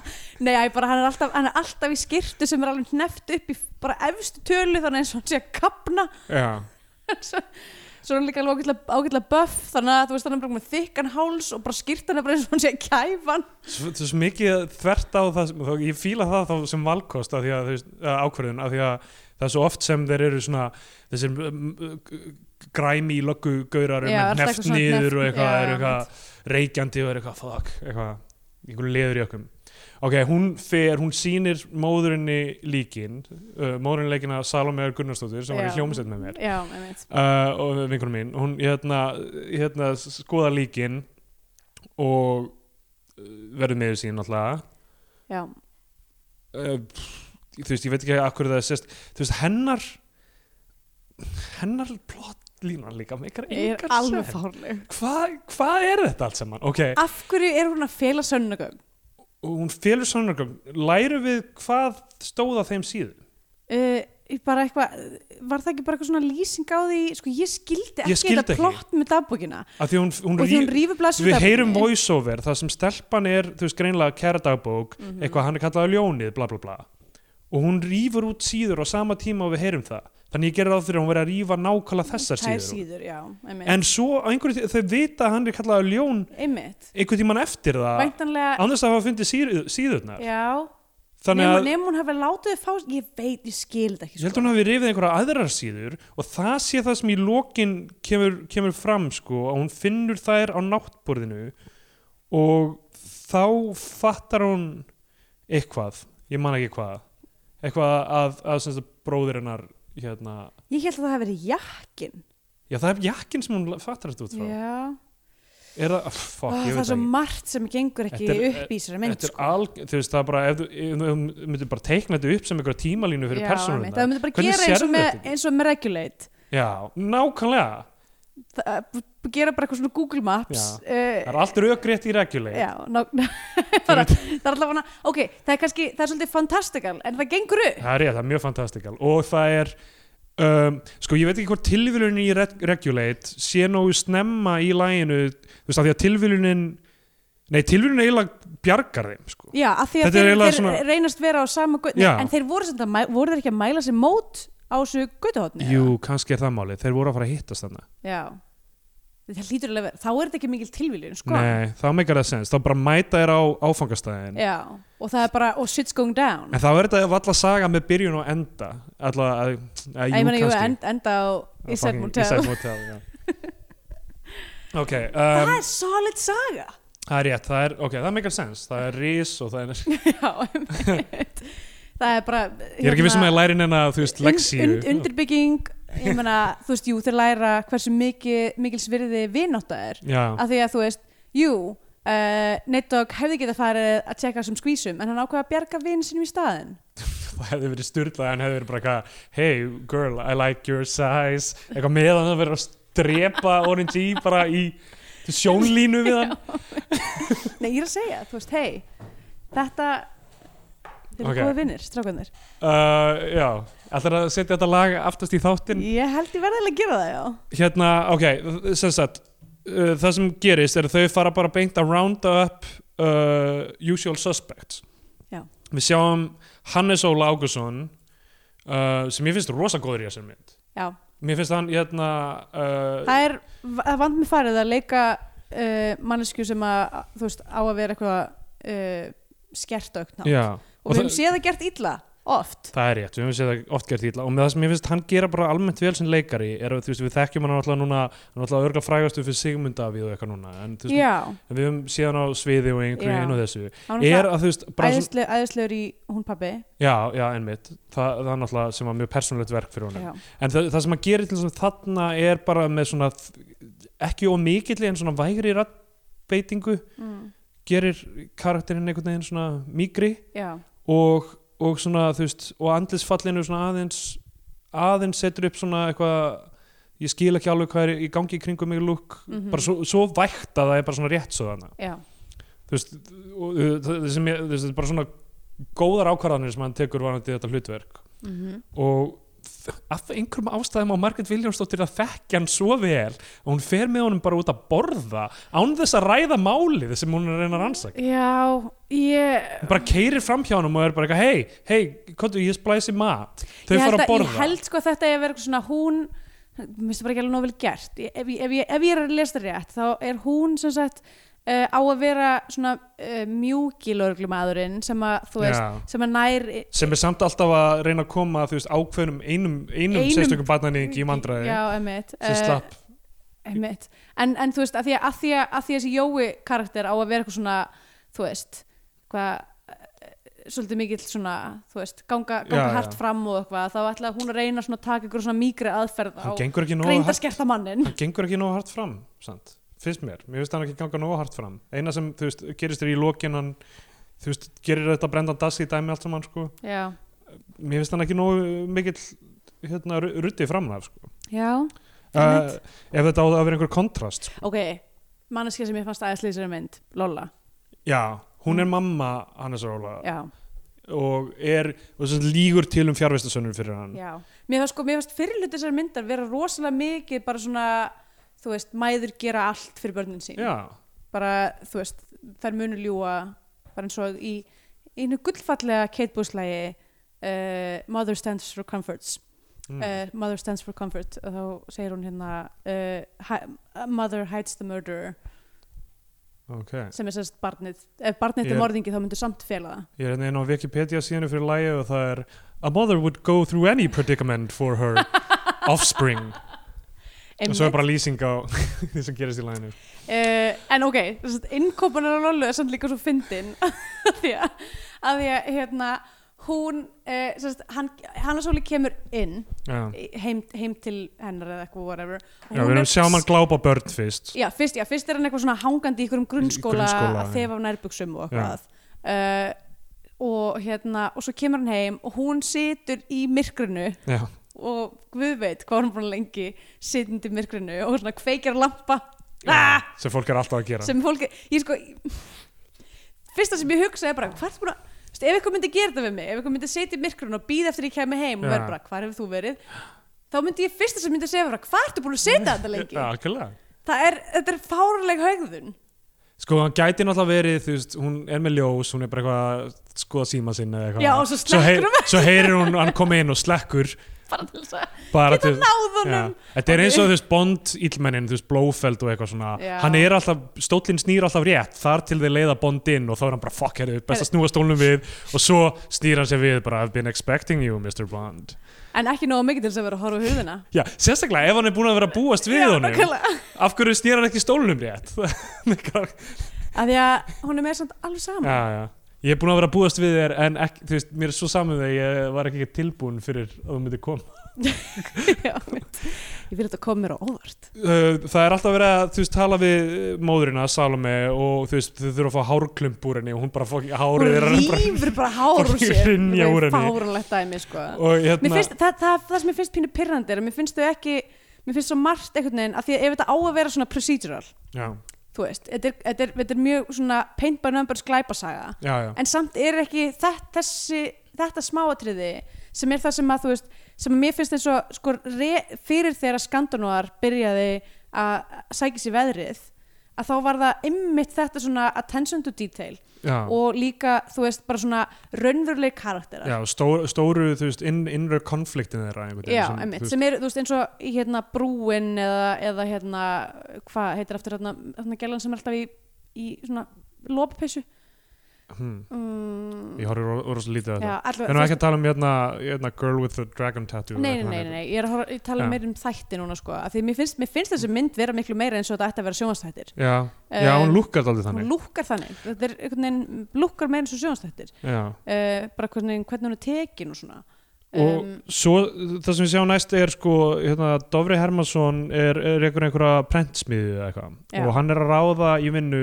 S2: nei, æ, bara, hann, er alltaf, hann er alltaf í skýrtu sem er alveg neft upp í bara efstu tölu þannig eins og hann sé að kapna
S3: já,
S2: svo svo er hann líka alveg ágætlega, ágætlega buff þannig að þú veist hann er bara með þykkan háls og bara skýrtan er bara eins og hann sé að kæfa hann
S3: svo, svo sem mikið þvert á það sem, þá, ég fíla það þá sem valkost af því að, þú veist, að ákvörðun af því að það er svo oft sem þeir eru svona þessir um, græmi löggugaurar
S2: Já,
S3: með
S2: alltaf
S3: neft
S2: eitthvað svona
S3: niður og
S2: hneft-
S3: eitthvað,
S2: já,
S3: eru eitthvað reykjandi og eru eitthvað fuck, eitthvað, einhverju leður í okkum ok, hún fer, hún sýnir móðurinni líkin uh, móðurinni leikina Salome Gunnarsdóttir sem var í
S2: Já.
S3: hljómsveit með mér
S2: já, með mitt
S3: uh, og vinkunum mín hún hérna, hérna skoða líkin og uh, verður meður sín náttúrulega
S2: já,
S3: uh, pff, þú veist, ég veit ekki af hverju það er sérst þú veist, hennar hennar plottlínan líka meikar
S2: ég er
S3: engar
S2: alveg
S3: sem
S2: fárleg
S3: hvað hva er þetta allt saman? ok,
S2: af hverju er hún að fela sönnugum
S3: og hún félur sannarkum læru við hvað stóða þeim síðan
S2: uh, ég bara eitthvað var það ekki bara eitthvað svona lýsing á því sko ég skildi ekki
S3: Ég skildi
S2: þetta
S3: ekki.
S2: plott með dagbókina
S3: af því hún, hún,
S2: og því hún
S3: rí-
S2: rífur blæsum
S3: við heyrum voiceover þar sem stelpan er, þú veist, greinlega kæradagbók,
S2: Mhm.
S3: eitthvað hann er kallað ljónið, bla bla bla og hún rýfur út síður á sama tíma og við heyrum það þannig ég gerir það fyrir að hún verið að rýfa nákvæmlega þessar síður, síður.
S2: síður já, einmitt.
S3: en svo á einhverju tí- þau vita að hann er kallað ljón
S2: einmitt.
S3: einhvern tíman eftir það
S2: væntanlega
S3: annars að hafa fundið síður, síðurnar
S2: já,
S3: þannig
S2: nema,
S3: að
S2: nema hún hefði látið þið fá ég veit, ég skil þetta ekki
S3: ég
S2: sko.
S3: held hún hafi rifið einhverja aðrar síður og það sé það sem í lokin kemur, kemur fram sko að hún finnur þær á náttborðinu og þá fattar hún eitthvað, ég man ekki hvað eitthvað að, að, að bróðir hennar hérna,
S2: ég held að það hefði verið jakkin
S3: já það er jakkin sem hún fattar þetta út frá
S2: já,
S3: er það, oh,
S2: Ó,
S3: fuck, ég
S2: það er
S3: veit
S2: svo
S3: ekki
S2: margt sem gengur ekki
S3: Þetta er-
S2: upp í sér mynd
S3: Þetta er
S2: sko.
S3: alg, þú veist það er bara ef þú- ef þú ef þú myndir bara teikna þetta upp sem einhverja tímalínu fyrir
S2: Já, einmitt.
S3: persónuna
S2: það myndi bara
S3: Hvernig
S2: gera eins og,
S3: sérðu
S2: með,
S3: þetta ekki?
S2: eins og með regulate
S3: Já, nákvæmlega
S2: það, eh, gera bara eitthvað svona Google Maps
S3: Já.
S2: uh,
S3: Það er allt rökrétt í regjuleg
S2: Já, ná, bara, það er alltaf hana, ok, það er kannski, það er svolítið fantastikal, en það gengur upp.
S3: Það er rétt, það er mjög fantastikal og það er um, sko ég veit ekki hvort tilvilunin í Reg- Regulate sé nógu snemma í læginu þú veist að því að tilvilunin nei tilvilunin eiginlega bjargar þeim sko.
S2: Já, af því að
S3: Þetta er
S2: þeir,
S3: eiginlega
S2: þeir
S3: svona-
S2: reynast vera á sama götu,
S3: Já.
S2: en þeir voru, samt að mæ- voru þeir ekki að mæla sér mót á þessu götuhotni?
S3: Jú, kannski er það málið, þeir voru að fara að hittast þarna
S2: Já, það hlýtur alveg, verið. þá er þetta ekki mikil tilviljun, sko.
S3: Nei, þá meikar það sens, þá bara mæta þér á áfangastæðin
S2: Já, og það er bara, og shit's going down.
S3: En þá er þetta valla saga með byrjun og enda Alla, að, að,
S2: Æ, Ég
S3: jú,
S2: meina, jú,
S3: kannski
S2: end, enda á Isaac
S3: Fucking
S2: Motel.
S3: Inside Motel já. Ok,
S2: Það
S3: um,
S2: er solid saga.
S3: það er rétt, það er, ok, það meikar sens Það er ris og það er
S2: Já, einmitt. það er bara... hérna,
S3: Ég er ekki vissum að ég læri neina, þú veist, leksíu.
S2: und, und, undirbygging ég meina, þú veist, jú, þeir læra hversu mikið, mikils virði vinátta er
S3: Já,
S2: af því að þú veist, jú uh, Neddog hefði getað farið að tjekka sem skvísum, en hann ákvað að bjarga vinn sinum í staðin
S3: það hefði verið styrlað, hann hefði verið bara eitthvað, hey girl, I like your size, eitthvað meðan það verið að strepa Orange E bara í til sjónlínu við hann.
S2: Nei, ég er að segja, þú veist, hei þetta, þeir eru
S3: Ok.
S2: okay. góða vinnir strákanir,
S3: Uh, já, ætlar að setja þetta lag aftast í þáttinn.
S2: ég held ég verðilega að gera það, já
S3: Hérna, ok, sem sagt, uh, það sem gerist er að þau fara bara beint að rounda upp uh, usual suspects.
S2: Já.
S3: Við sjáum Hannes Óla Ágússon, uh, sem ég finnst rosa góður í þessum mynd.
S2: já,
S3: Mér finnst hann hérna uh,
S2: það er það vand með farið að leika uh, mannesku sem að, þú veist, á að vera eitthvað uh, skertögt nátt
S3: já,
S2: og
S3: Og
S2: við höfum
S3: það-
S2: séð það gert illa oft
S3: það er rétt, við höfum séð það oft gert ítla og með það sem ég finnst hann gera bara almennt vel sem leikari er að þú veist við þekkjum hann alltaf núna hann er alltaf örgla frægastu fyrir Sigmund Davíð og eitthvað núna en þú veist,
S2: já,
S3: en við höfum séð hann á sviði og einhverju
S2: Já.
S3: einu og þessu
S2: hann
S3: er
S2: var
S3: að þú veist bara svona,
S2: æðislegur, æðislegur í hún pabbi
S3: já, já, einmitt það, það er náttúrulega sem var mjög persónlegt verk fyrir honum
S2: já,
S3: en það, það sem hann gerir til þess að þarna er bara með svona ekki of mikilli en svona vægri rattbeitingu
S2: mm,
S3: gerir karakterinn einhvern veginn svona mýgri
S2: já,
S3: og, og svona þú veist og andlisfallinu svona aðeins aðeins setur upp svona eitthvað ég skil ekki alveg hvað er í gangi í kringum mig lúk,
S2: Mhm.
S3: bara svo, svo vægt að það er bara svona rétt svo þannig
S2: já,
S3: þú veist, og, uh, það það sem ég, þú veist, þetta er bara svona góðar ákvarðanir sem hann tekur varandi þetta hlutverk
S2: mm
S3: og þ- af einhverjum ástæðum á Margaret Williamsdóttir að þekkja hann svo vel og hún fer með honum bara út að borða án þess að ræða málið sem hún er að reyna að rannsaka
S2: Já, ég
S3: Hún bara keirir fram hjá honum og er bara eitthvað hei, hei, kontu, ég splæsi mat þau
S2: ég held
S3: fara að borða
S2: Ég held sko að þetta eigi að vera eitthvað svona hún mér finnst það bara ekki alveg nóvel gert ég, ef, ég- ef, ég, ef ég er að lesa það rétt þá er hún sem sagt uh, á að vera svona uh, mjúkilörglumadurinn sem að þú veist
S3: Já.
S2: sem að nær
S3: sem er samt alltaf að reyna að koma þú veist, ákveðnum einum, einum,
S2: Einum-
S3: einum sérstökum barnaník í mandraði
S2: Já, eh, emitt
S3: sem slapp
S2: Einmitt. En, en þú veist, að því að, að, því að, að því að þessi Jói karakter á að vera eitthvað svona, þú veist, hvað, eh, svolítið mikill svona, þú veist, ganga, ganga
S3: Já, já.
S2: hart fram og eitthvað, þá ætla hún að reyna svona að taka ykkur svona mýgri aðferð á
S3: hann gengur ekki nógu hart,
S2: reyndarskerta mannin.
S3: hann gengur ekki nógu hart fram sant? finnst mér, mér finnst hann ekki ganga nógu hart fram eina sem þú veist, gerist er í lokin hann þú veist, gerir þetta brendan dassi í dæmi allt saman sko,
S2: Já,
S3: mér finnst hann ekki nógu mikill hérna, ru- ruddi framnar sko.
S2: já,
S3: uh,
S2: Einmitt.
S3: ef þetta á það að vera einhver kontrast sko.
S2: ok, manneskja sem ég fannst aðeins lýsir mynd, Lolla,
S3: já, hún er mamma Hannes Róla
S2: já,
S3: og er og sem sagt lígur til um fjárvestasönnur fyrir hann
S2: já. Mér fannst sko, mér fannst fyrirlut þessar myndar vera rosalega mikið bara svona, þú veist, mæður gera allt fyrir börnin sín.
S3: já,
S2: bara, þú veist, þær munu ljúa bara eins og í í einu gullfallega Kate Bush lagi uh, Mother Stands for Comforts
S3: mm.
S2: uh, Mother Stands for Comfort og þá segir hún hérna uh, hi, Mother Hides the Murderer
S3: Mm, ok
S2: sem er sérst barnið ef barnið
S3: Ég-
S2: er morðingi þá myndu samt fela það
S3: Ég er hérna inn á Wikipedia síðan fyrir lægi og það er A mother would go through any predicament for her offspring og svo er bara lýsing á því sem gerist í læginu
S2: uh, en ok, innkópanar á Lollu er samt líka svo fyndin að því að, að, því að hérna, hún uh, sérst, hann, hann að svolítið kemur inn
S3: Já,
S2: heim, heim til hennar eða eitthvað whatever Og
S3: já
S2: hún
S3: við
S2: er-
S3: erum sjáum hann glápa börn fyrst
S2: já fyrst, já, fyrst er hann eitthvað svona hangandi í einhverjum grunnskóla, að
S3: grunnskóla, já.
S2: þefa af nærbuksum og eitthvað uh, og hérna og svo kemur hann heim og hún situr í myrkrinu
S3: Já,
S2: og guð veit hvað hún er búin lengi sitjandi í myrkrinu og svona kveikir lampa
S3: já,
S2: ah,
S3: sem fólk er alltaf að gera
S2: sem fólk, ég sko fyrsta sem ég hugsa er bara hvað er búin að þú veist, ef eitthvað myndi gera þetta við mig, ef eitthvað myndi setja í myrkrun og býða eftir ég kemur heim og
S3: Já.
S2: verður bara, hvar hefur þú verið þá myndi ég fyrsta sem myndi segja bara, hvað ertu búin að setja þetta lengi
S3: Já, algjörlega
S2: það er, þetta er fáraleg haugðun
S3: Sko, hann gæti náttúrulega verið, þú veist, hún er með ljós, hún er bara eitthvað að skoða síma sinna eða eitthvað
S2: Já, og svo slekkur
S3: hei- Svo heyrir hún, hann kom inn og slekkur
S2: bara til þess að
S3: bara
S2: geta náð
S3: Já,
S2: honum
S3: þetta er
S2: Ok.
S3: eins og þú veist Bond íllmennin, þú veist Blófeld og eitthvað svona
S2: Já.
S3: hann er alltaf, stólinn snýr alltaf rétt þar til þeir leiða Bond inn og þá er hann bara fuck herri, best að snúa stólnum við og svo snýr hann sér við bara I've been expecting you Mr. Bond
S2: en ekki nógu mikið til þess að vera að horfa á hurðina
S3: Já, sérstaklega ef hann er búin að vera að búast við honum
S2: nákvæmlega.
S3: af hverju snýr hann ekki stólnum rétt Já,
S2: af því að hún er með samt alveg saman
S3: já Ég er búin að vera að búast við þér en ekki, þú veist, mér er svo saman þegar ég var ekki tilbúin fyrir að þú myndir koma
S2: Já, mitt. ég vil þetta koma mér á óvart
S3: Uh, það er alltaf verið að þú veist tala við uh, móðurina Salome og þú veist þau þurfa að fá hárklump úr henni og hún bara fokk
S2: hún
S3: hárið er bara
S2: rýfur bara hár úr sér
S3: Hrynja úr henni.
S2: fáranlegt dæmi sko
S3: og
S2: Mér
S3: hérna
S2: finnst, það, það, það sem mér finnst pínu pirrandi er að mér finnst þau ekki mér finnst svo margt einhvern veginn að því að ef þetta á að vera svona procedural
S3: já,
S2: þú veist, þetta er, þetta er, þetta er mjög svona paint by numbers glæpasaga
S3: já, já,
S2: en samt er ekki þetta, þessi, þetta smáatriði sem er það sem að þú veist sem að mér finnst eins og sko re, fyrir þegar skandunóar byrjaði að sækja sér veðrið að þá var það ymmit þetta svona attention to detail
S3: já,
S2: og líka þú veist bara svona raunveruleg karakterar
S3: já stóru, stóru þú veist inn, innra konfliktin þeirra einhvern veginn
S2: Já,
S3: sem,
S2: einmitt,
S3: þú veist,
S2: sem eru, þú veist, eins og í, hérna brúin eða, eða hérna, hvað heitir aftur hérna, hérna gælan sem er alltaf í, í svona lóppissu
S3: hmm,
S2: mm,
S3: ég horfði orðs lítið að
S2: Já,
S3: þetta
S2: allavega
S3: en
S2: þú
S3: ekki að tala um hérna, hérna Girl with the Dragon Tattoo
S2: Nei,
S3: eða
S2: nei,
S3: hvað
S2: nei,
S3: hann
S2: nei, nei, ég er að horfa- ég tala
S3: Já.
S2: meira um þætti núna sko, af því mér finnst, mér finnst þessi mynd vera miklu meira eins og þetta ætti að vera sjónvastættir
S3: heitir. já, já,
S2: Eh,
S3: hún lukkar aldrei
S2: Hún
S3: þannig
S2: lúkkar þannig, þetta er einhvern veginn lúkkar meira eins og sjónvastættir
S3: já
S2: uh, bara hvernig, hvernig hún er tekin og svona
S3: og
S2: um,
S3: svo það sem við sjáum næst er sko hérna, Dofri Hermansson er, er einhver einhverja prentsmiðið eða
S2: Já.
S3: eitthvað og hann er að ráða í vinnu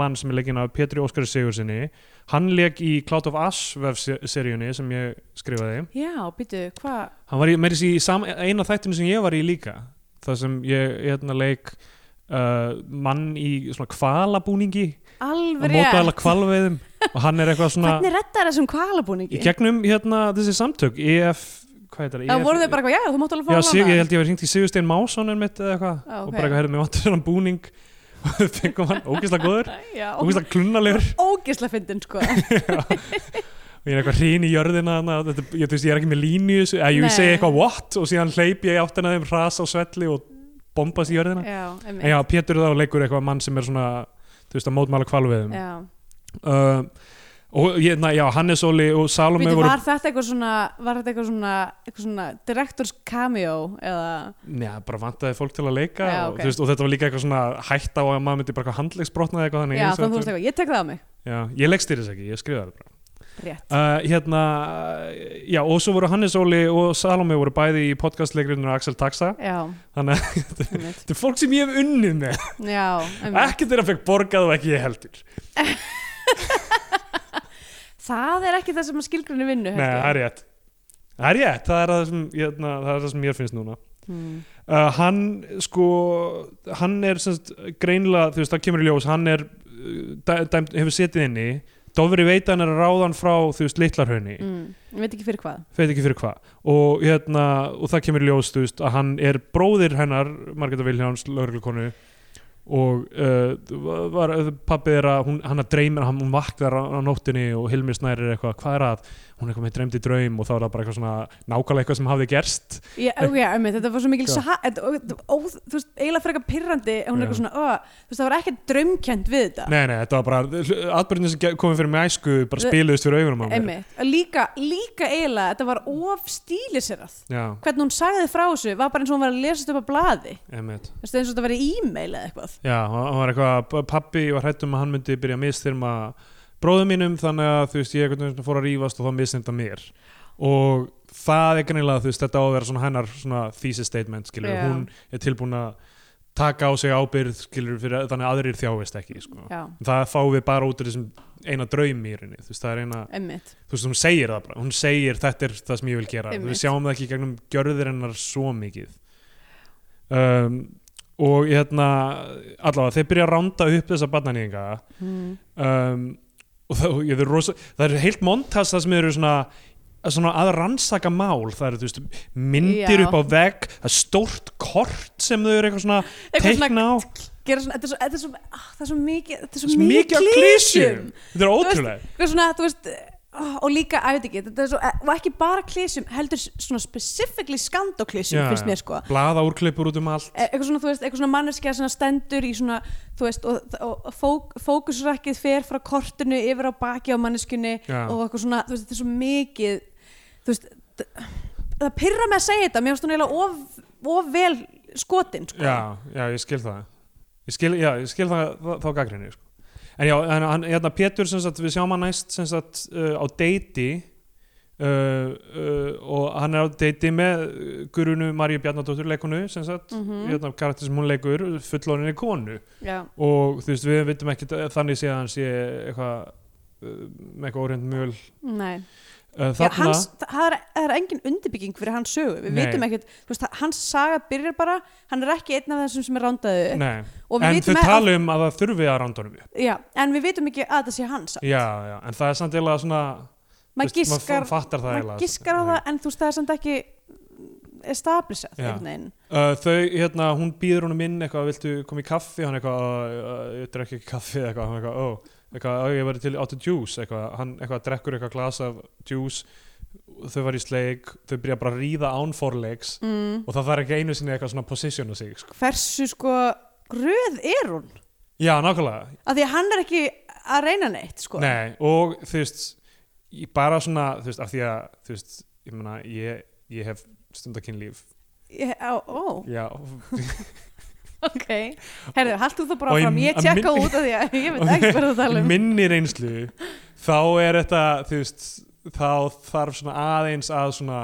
S3: mann sem er leikinn af Pétri Óskari Sigursinni hann leik í Cloud of Ash vefseríunni sem ég skrifaði
S2: Já, býtu, hvað
S3: hann var í, meiri í sam, eina þættinu sem ég var í líka það sem ég hérna leik uh, mann í svona kvalabúningi
S2: Alveg
S3: að móta
S2: rétt,
S3: alveg kvalveiðum og hann er eitthvað svona
S2: hvernig reddar þessum
S3: í
S2: kvalabúningi?
S3: gegnum hérna þessi samtök EF, hvað heitir það? E
S2: Það
S3: EF
S2: voru þau bara eitthvað, já, þú mátt alveg fá
S3: Já,
S2: að
S3: sig,
S2: lána.
S3: ég held ég að hringt í Sigurstein Másson er mitt eða eitthvað
S2: Já, Ah, ok.
S3: og bara hérna, mér vantur svona búning og við fengum hann, ógislega góður
S2: Já,
S3: ógislega klunnalegur
S2: ógislega fyndin, sko.
S3: og ég er eitthvað hrín í jörðina hana, þetta, ég, þú veist, ég er ekki með línu eða jú,
S2: Nei.
S3: ég segi eitthvað what og síðan hleyp ég átt hennar þeim ras á svelli og bombast í jörðina
S2: já,
S3: en já, Pétur þá leikur eitthvað mann sem er svona þú veist, að mótmála kvalveðum
S2: já.
S3: uh, og ég, na, já, Hannes Óli og Salome
S2: Býtu,
S3: voru
S2: var þetta eitthvað svona, var þetta eitthvað svona, eitthvað svona directors cameo eða,
S3: já, bara vantaði fólk til að leika
S2: Já,
S3: og,
S2: ok.
S3: þú veist, og þetta var líka eitthvað svona hætta á að maður myndi bara handlegsbrotna eitthvað þannig
S2: já,
S3: ég-
S2: þannig þú veist eitthvað, ég tek það á mig,
S3: já, ég leggstýri þess ekki, ég skrifa það bara
S2: rétt.
S3: Uh, hérna, uh, já, og svo voru Hannes Óli og Salome voru bæði í podcastleikrinu Axel Taxa,
S2: Já,
S3: þannig að
S2: einmitt.
S3: þetta er fólk sem ég hef unnið með,
S2: já, einmitt.
S3: ekki þeirra fekk borgað og ekki ég heldur.
S2: Það er ekki það sem að skilgrunni vinnu,
S3: Nei, það er rétt. Það er rétt, það er það sem, hérna, það er það sem mér finnst núna.
S2: Hmm.
S3: Uh, hann, sko, hann er semst, greinilega, þú veist, það kemur í ljós, hann er, uh, dæ, dæmt, hefur setið inni, Dofri veit að hann er að ráða hann frá, þú veist, litlarhaunni.
S2: Mm. Ég veit ekki fyrir hvað.
S3: veit ekki fyrir hvað og, hérna, og það kemur í ljós þú veist, að hann er bróðir hennar Margreta Vilhjáns, lögreglukonu og uh, var, pappi er að hún, hann að dreymir hann, hún vaknar á, á nóttinni og Hilmi snærir eitthvað hvað er að, hún er eitthvað með dreymdi draum og þá er það bara eitthvað svona nákvæmlega eitthvað sem hafði gerst
S2: Já, já, einmitt, þetta var svo mikil
S3: Já.
S2: sa- þetta- og- og- ó, þú veist, eiginlega frekar pyrrandi hún er
S3: Já.
S2: eitthvað svona, ó, þú veist, það var ekkert draumkend við þetta
S3: nei, nei, þetta var bara, atbyrðin sem komið fyrir mig í æsku bara
S2: Þe-
S3: spiluðist fyrir augunum á mér
S2: einmitt, Og líka, líka eiginlega þetta var of stíliserað
S3: já,
S2: hvernig hún sagði frá þessu var bara eins og hún var að lesast upp á blaði
S3: einmitt
S2: Þú veist, eins og þetta var í e-mail eða eitthvað
S3: Já, hann var eitthvað, pappi var hrættum að hann myndi byrja að mistyrma bróðum mínum þannig að þú veist, ég einhvern veginn fór að rífast og þá mistyrmda mér og það er greinilega, þú veist, þetta á að vera svona hennar svona thesis statement, skilur,
S2: Já.
S3: hún er tilbúin að taka á sig ábyrð, skilur, fyrir, þannig að aðrir þjáist ekki, sko.
S2: já,
S3: Það fáum við bara út úr þessum eina draumi í rauninni, þú veist, það er eina,
S2: einmitt,
S3: þú veist, hún segir það bara, hún segir þetta er það sem ég vil gera,
S2: Einmitt.
S3: við sjáum það ekki í gegnum gjörðir hennar svo mikið um, og hérna allavega, þeir byrja að ránda upp þessa barnanýðinga
S2: mm.
S3: um, og það, ég, það, er rosa, það er heilt montas það sem eru svona svona að rannsaka mál, það eru þú veist, myndir
S2: Já.
S3: upp á vegg, það er stórt kort sem þau eru eitthvað svona
S2: Eitthvað svona-
S3: teikna á,
S2: gera svona, þetta er svo, þetta er svo, ah, það er svo mikið þetta er svo
S3: það er mikið af klísjum þetta er
S2: veist,
S3: ótrúlega
S2: Eitthvað svona, þú veist, ó, og líka, að veit ekki þetta er svo, eh, og ekki bara klísjum, heldur svona specifically skandoklísjum,
S3: Já,
S2: finnst
S3: já.
S2: mér sko
S3: blaða úrklippur út um allt
S2: E- eitthvað svona, þú veist, eitthvað svona manneskja sem stendur í svona, þú veist, og, og fók, fókusrakkið fer frá kortinu yfir á baki á manneskjunni
S3: Já.
S2: og eitthvað svona, þú veist, þetta er svo mikið þú veist, þ- það pyrra með að segja þetta, mér finnst hún eiginlega of, of vel skotin, sko
S3: já, já, ég skil það ég skil, já, ég skil það, það þá gaggrinni sko. en já, en hann, hérna Pétur sem sagt, við sjáum hann næst sem sagt, uh, á deiti uh, uh, og hann er á deiti með uh, gurunu Marju Bjarnadóttur leikonu sem sagt,
S2: Mhm.
S3: hérna karakter sem hún leikur fullóninni konu
S2: já,
S3: og þú veist, við vitum ekki þannig séð að hann sé eitthvað uh, með eitthvað óreind mjöl
S2: nei
S3: uh,
S2: já,
S3: þarna,
S2: hans, það, það er, það er engin undirbygging fyrir hans sögu, við
S3: Nei.
S2: vitum ekkert þú veist, hans saga byrjar bara, hann er ekki einn af þessum sem er rándaðu
S3: nei,
S2: og við
S3: en þau
S2: vitum ekki-
S3: tala um að það þurfi að randa honum upp
S2: já, en við vitum ekki að það sé hans
S3: já, já, en það er samt eiginlega svona
S2: maður
S3: Þú veist,
S2: giskar
S3: maður fattar það
S2: maður
S3: eiginlega,
S2: giskar á
S3: sko.
S2: það en þú veist það er samt ekki established
S3: Já.
S2: einhvern veginn
S3: Uh, þau, hérna, hún býður honum inn eitthvað, viltu koma í kaffi, hann eitthvað "Æ, æ, ég drekk ekki kaffi, eitthvað, hann eitthvað, ó eitthvað, "Æ, ég væri til, áttu juice, eitthvað hann eitthvað drekkur eitthvað glas af juice þau var í sleik, þau byrja bara að ríða án forleiks
S2: mm.
S3: og það þarf ekki einu sinni eitthvað svona position á sig, sko.
S2: hversu sko röð er hún
S3: Já, nákvæmlega,
S2: af því að hann er ekki að reyna neitt sko
S3: Nei, og þú veist ég bara svona, þú veist, af því að þú veist, ég meina, ég, ég hef stundakynlíf,
S2: Ég, á, ó,
S3: já
S2: ok herðu, haltu þú bara
S3: Og í-
S2: fram, ég
S3: að
S2: tjekka
S3: minn-
S2: út af því að ég veit ekki hvað þú tala um
S3: minni reynslu þá er þetta þú veist, þá þarf svona aðeins að svona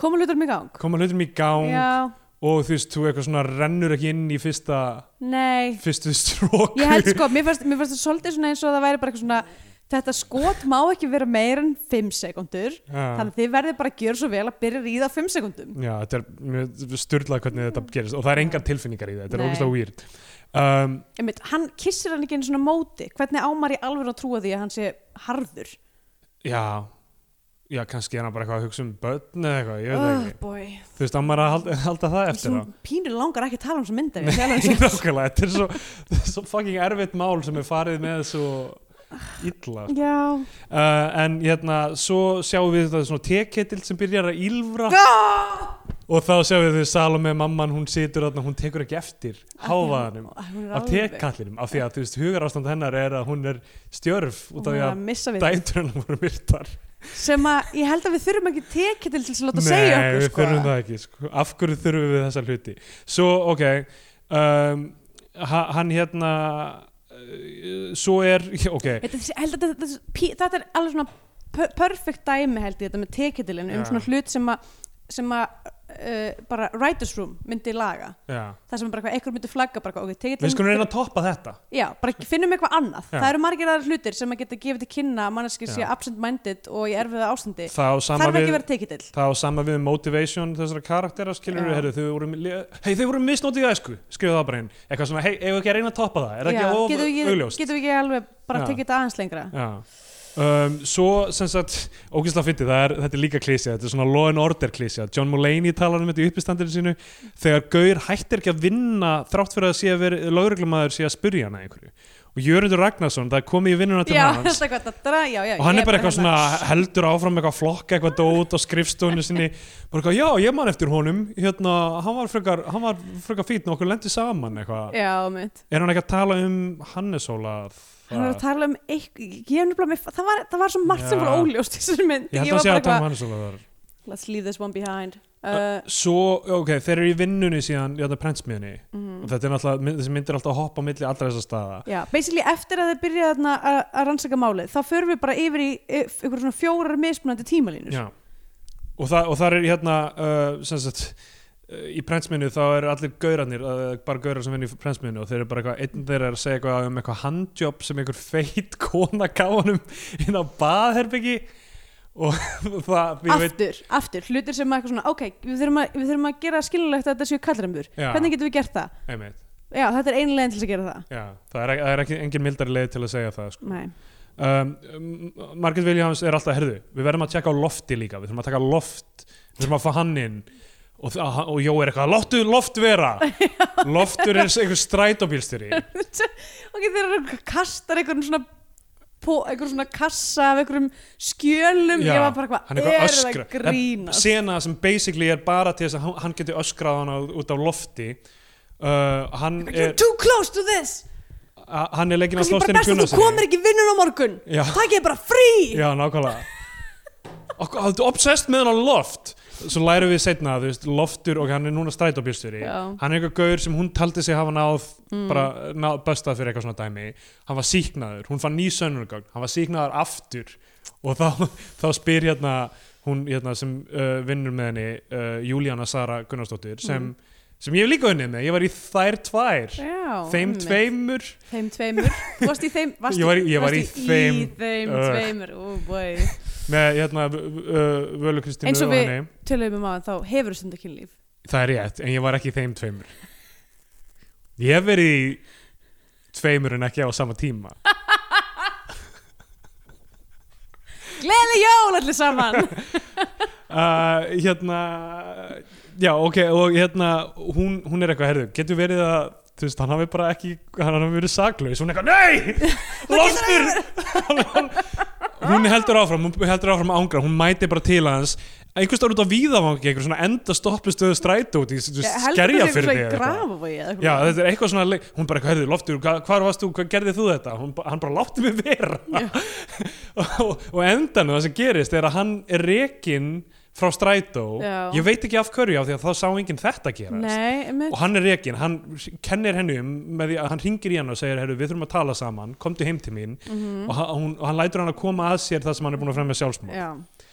S2: koma hlutur mig gang
S3: koma hlutum í gang
S2: já,
S3: og þú veist, þú eitthvað svona rennur ekki inn í fyrsta,
S2: nei
S3: fyrstu stróku
S2: sko- ég held sko, mér fannst mér fannst það svolítið svona eins og það væri bara eitthvað svona þetta skot má ekki vera meira en 5 sekundur
S3: Já,
S2: þannig að þið verðið bara að gjöra svo vel að byrja að ríða 5 sekundum
S3: já þetta er mjög styrlað hvernig þetta gerist og það er engar tilfinningar í það, þetta er
S2: Nei.
S3: ógustlega weird um,
S2: Einmitt, hann kissir hann ekki einu svona móti hvernig ámar í alveg að trúa því að hann sé harður
S3: Já, já, kannski er hann bara eitthvað að hugsa um börn eða eitthvað, ég veit það
S2: oh
S3: ekki
S2: boy
S3: Þú veist, hann maður að halda, halda það eftir
S2: Svo
S3: það
S2: pínur langar ekki að tala um þessa mynd ef ég segja alveg eins og
S3: Nákvæmlega, þetta er svo, þetta er svo fucking erfitt mál sem er farið með svo illa sko.
S2: Já
S3: uh, En hérna, svo sjáum við þetta svona teketill sem byrjar að ýlfra Og þá sjáum við þau Salome, mamman, hún situr þarna, hún tekur ekki eftir hávaðanum af tekallinum Af því að, þú veist, hugarástand hennar er að hún er stjörf út af því að
S2: að
S3: dætur hennar voru myrtar
S2: sem að ég held að við þurfum ekki tekið til þess að láta
S3: Nei,
S2: segja okkur
S3: við
S2: sko.
S3: þurfum það ekki sko. Af hverju þurfum við þessa hluti Svo, ok um, ha- Hann hérna uh, Svo er Ok,
S2: Þetta, er þessi- ég held að þetta, þetta, pí- þetta er alveg svona per- perfect dæmi held ég þetta með tekitilin um
S3: Já.
S2: svona hlut sem að sem að uh, bara writer's room myndi laga
S3: já
S2: það sem bara eitthvað, eitthvað myndi flagga bara eitthvað, ok,
S3: Við skulum
S2: tekitilin,
S3: reyna að toppa þetta
S2: já, bara finnum eitthvað annað
S3: Já.
S2: það eru margir aðra hlutir sem að geta gefið til kynna að manneskir sé
S3: Já.
S2: absent-minded og í erfiða ástandi
S3: Það á sama
S2: þarf ekki að
S3: við
S2: vera tekitil
S3: Það á sama við um motivation þessara karaktera skilur
S2: Já.
S3: við, heyrðu, þau voru, li- hei þau voru misnótið í æsku, skrifu það bara inn eitthvað svona, hei, eigum við ekki að reyna að toppa það er það
S2: Já,
S3: ekki
S2: getum við
S3: of
S2: ekki-
S3: augljóst
S2: getum við ekki alveg bara
S3: Já.
S2: tekið þetta aðeins lengra
S3: Já. Um, svo sem sagt ógæslega fyndið, það er, þetta er líka klísja þetta er svona law and order klísja, John Mulaney talar um þetta í uppistandinu sínu þegar Gaur hættir ekki að vinna þrátt fyrir að sé að vera lögreglumæður sé að spyrja hana að einhverju og Jörundur Ragnarsson, það er komið í vinnuna til
S2: já,
S3: hans
S2: þetta er hvað, þetta, já, já
S3: og hann
S2: ég
S3: er bara eitthvað
S2: hérna-
S3: svona heldur áfram með eitthvað flokk eitthvað dót á skrifstofunni sinni bara eitthvað, já, ég man eftir honum hérna, hann var frekar, hann var frekar fýtn og okkur lendi saman eitthvað
S2: Já, mitt.
S3: er hann ekki að tala um Hannes Ólaf
S2: Hann var að tala um eitthvað, ég hef nefnilega með, það var, það var svo margt sem
S3: Já.
S2: var óljóst í þessari mynd.
S3: ég held að
S2: var
S3: sé
S2: bara
S3: að tala um Hannes Ólaf þar
S2: let's leave this one behind. Uh,
S3: svo, ok, þeir eru í vinnunni síðan í þetta prentsmiðunni og þetta er náttúrulega, mynd- þessi myndir alltaf að hoppa á milli allra þessar staða
S2: já, basically eftir að þið byrjaði þarna að að rannsaka málið, þá förum við bara yfir í y- ykkur svona fjórar mismunandi tímalínur.
S3: já. Og, það, og þar er hérna uh, sem sagt uh, í prentsmiðunni þá eru allir gaurarnir uh, bara gaurar sem vinna í prentsmiðunni og þeir eru bara eitthvað, einn þeir er að segja eitthvað um eitthvað handjob sem einhver feit kona gáðanum inn á baðherbyggi og það, ég veit
S2: Aftur, aftur, hlutir sem eitthvað svona, ok, við þurfum að, við þurfum að gera skilulegt að þetta séu kallrembur.
S3: Já.
S2: Hvernig getum við gert það?
S3: einmitt,
S2: Já, þetta er einlegin til að gera það.
S3: já, það er, það er ekki engin mildari leið til að segja það sko.
S2: Nei.
S3: um, um, Margaret Williams er alltaf herðu, við verðum að tjekka á lofti líka við þurfum að taka loft, við þurfum að fá hann inn og, þa- og Jó er eitthvað, láttu loft vera loftur er einhver strætóbílstjóri
S2: ok, þeir eru að kastar einhvern svona pó, einhvern svona kassa af einhverjum skjölum
S3: Já,
S2: ég var bara eitthvað,
S3: hann er eitthvað
S2: eru það
S3: öskra.
S2: að grínast
S3: sena sem basically er bara til þess að hann- hann geti öskrað hann á- út af lofti uh, hann
S2: you're
S3: er
S2: too close to this
S3: a- hann er leikinn að
S2: kannski bara
S3: Þorsteini
S2: best að þú
S3: Gunnarssyni.
S2: komir ekki í vinnun á morgun
S3: Já.
S2: takk ég bara frí
S3: Já, nákvæmlega Og hvað, Þú obsessed með hann á loft Svo lærum við setna, þú veist, loftur og hann er núna strætóbjörstjóri
S2: Já. Mm.
S3: Hann er eitthvað gaur sem hún taldi sig hafa náð bara náð böstað fyrir eitthvað svona dæmi Hann var síknaður, hún fann ný sönnurgögn Hann var síknaður aftur og þá, þá spyr hérna hún hérna sem uh, vinnur með henni uh, Júlíana Sara Gunnarsdóttir
S2: Mm.
S3: sem, sem ég hef líka unnið með, ég var í þær tvær
S2: Já,
S3: Þeim
S2: einmitt.
S3: tveimur
S2: þeim tveimur, varst í þeim varst
S3: Ég var í- ég var í
S2: varst
S3: þeim,
S2: í þeim
S3: uh,
S2: tveimur oh boy.
S3: með hérna v- v- uh, Völu Kristínu
S2: Eins og
S3: og
S2: við-
S3: henni
S2: tölum um að þá hefur þú stundakinn líf
S3: Það er rétt, en ég var ekki í þeim tveimur Ég hef verið í tveimur en ekki á sama tíma
S2: gleðileg jól allir saman
S3: uh, Hérna Já, ok, og hérna hún, hún er eitthvað, herðu, getur verið að þú veist, hann hafi bara ekki, hann hafi verið saklaus hún er eitthvað, nei, loftur hún heldur áfram, hún heldur áfram að ángra hún mæti bara til hans einhvers staðar út á víðavangi, einhver svona enda stoppustöðu strætó út í skerja fyrir
S2: þig
S3: Já, þetta er eitthvað svona, leik- hún bara, hérðu, loftur, hva, hvar varst þú, hvað gerðið þú þetta? Hún, ba- hann bara látti mig vera. og, og endan það sem gerist er að hann er rekinn frá strætó.
S2: Já.
S3: Ég veit ekki af hverju á því að þá sá enginn þetta gerast.
S2: Nei, einmitt.
S3: Og hann er rekinn, hann kennir henni um með því að hann ringir í hann og segir, herru, við þurfum að tala saman, komdu heim til mín og, hann, hún, og hann lætur hann að koma að sér það sem hann er búin að fremja sjálfsmóð.
S2: Mhm. Já.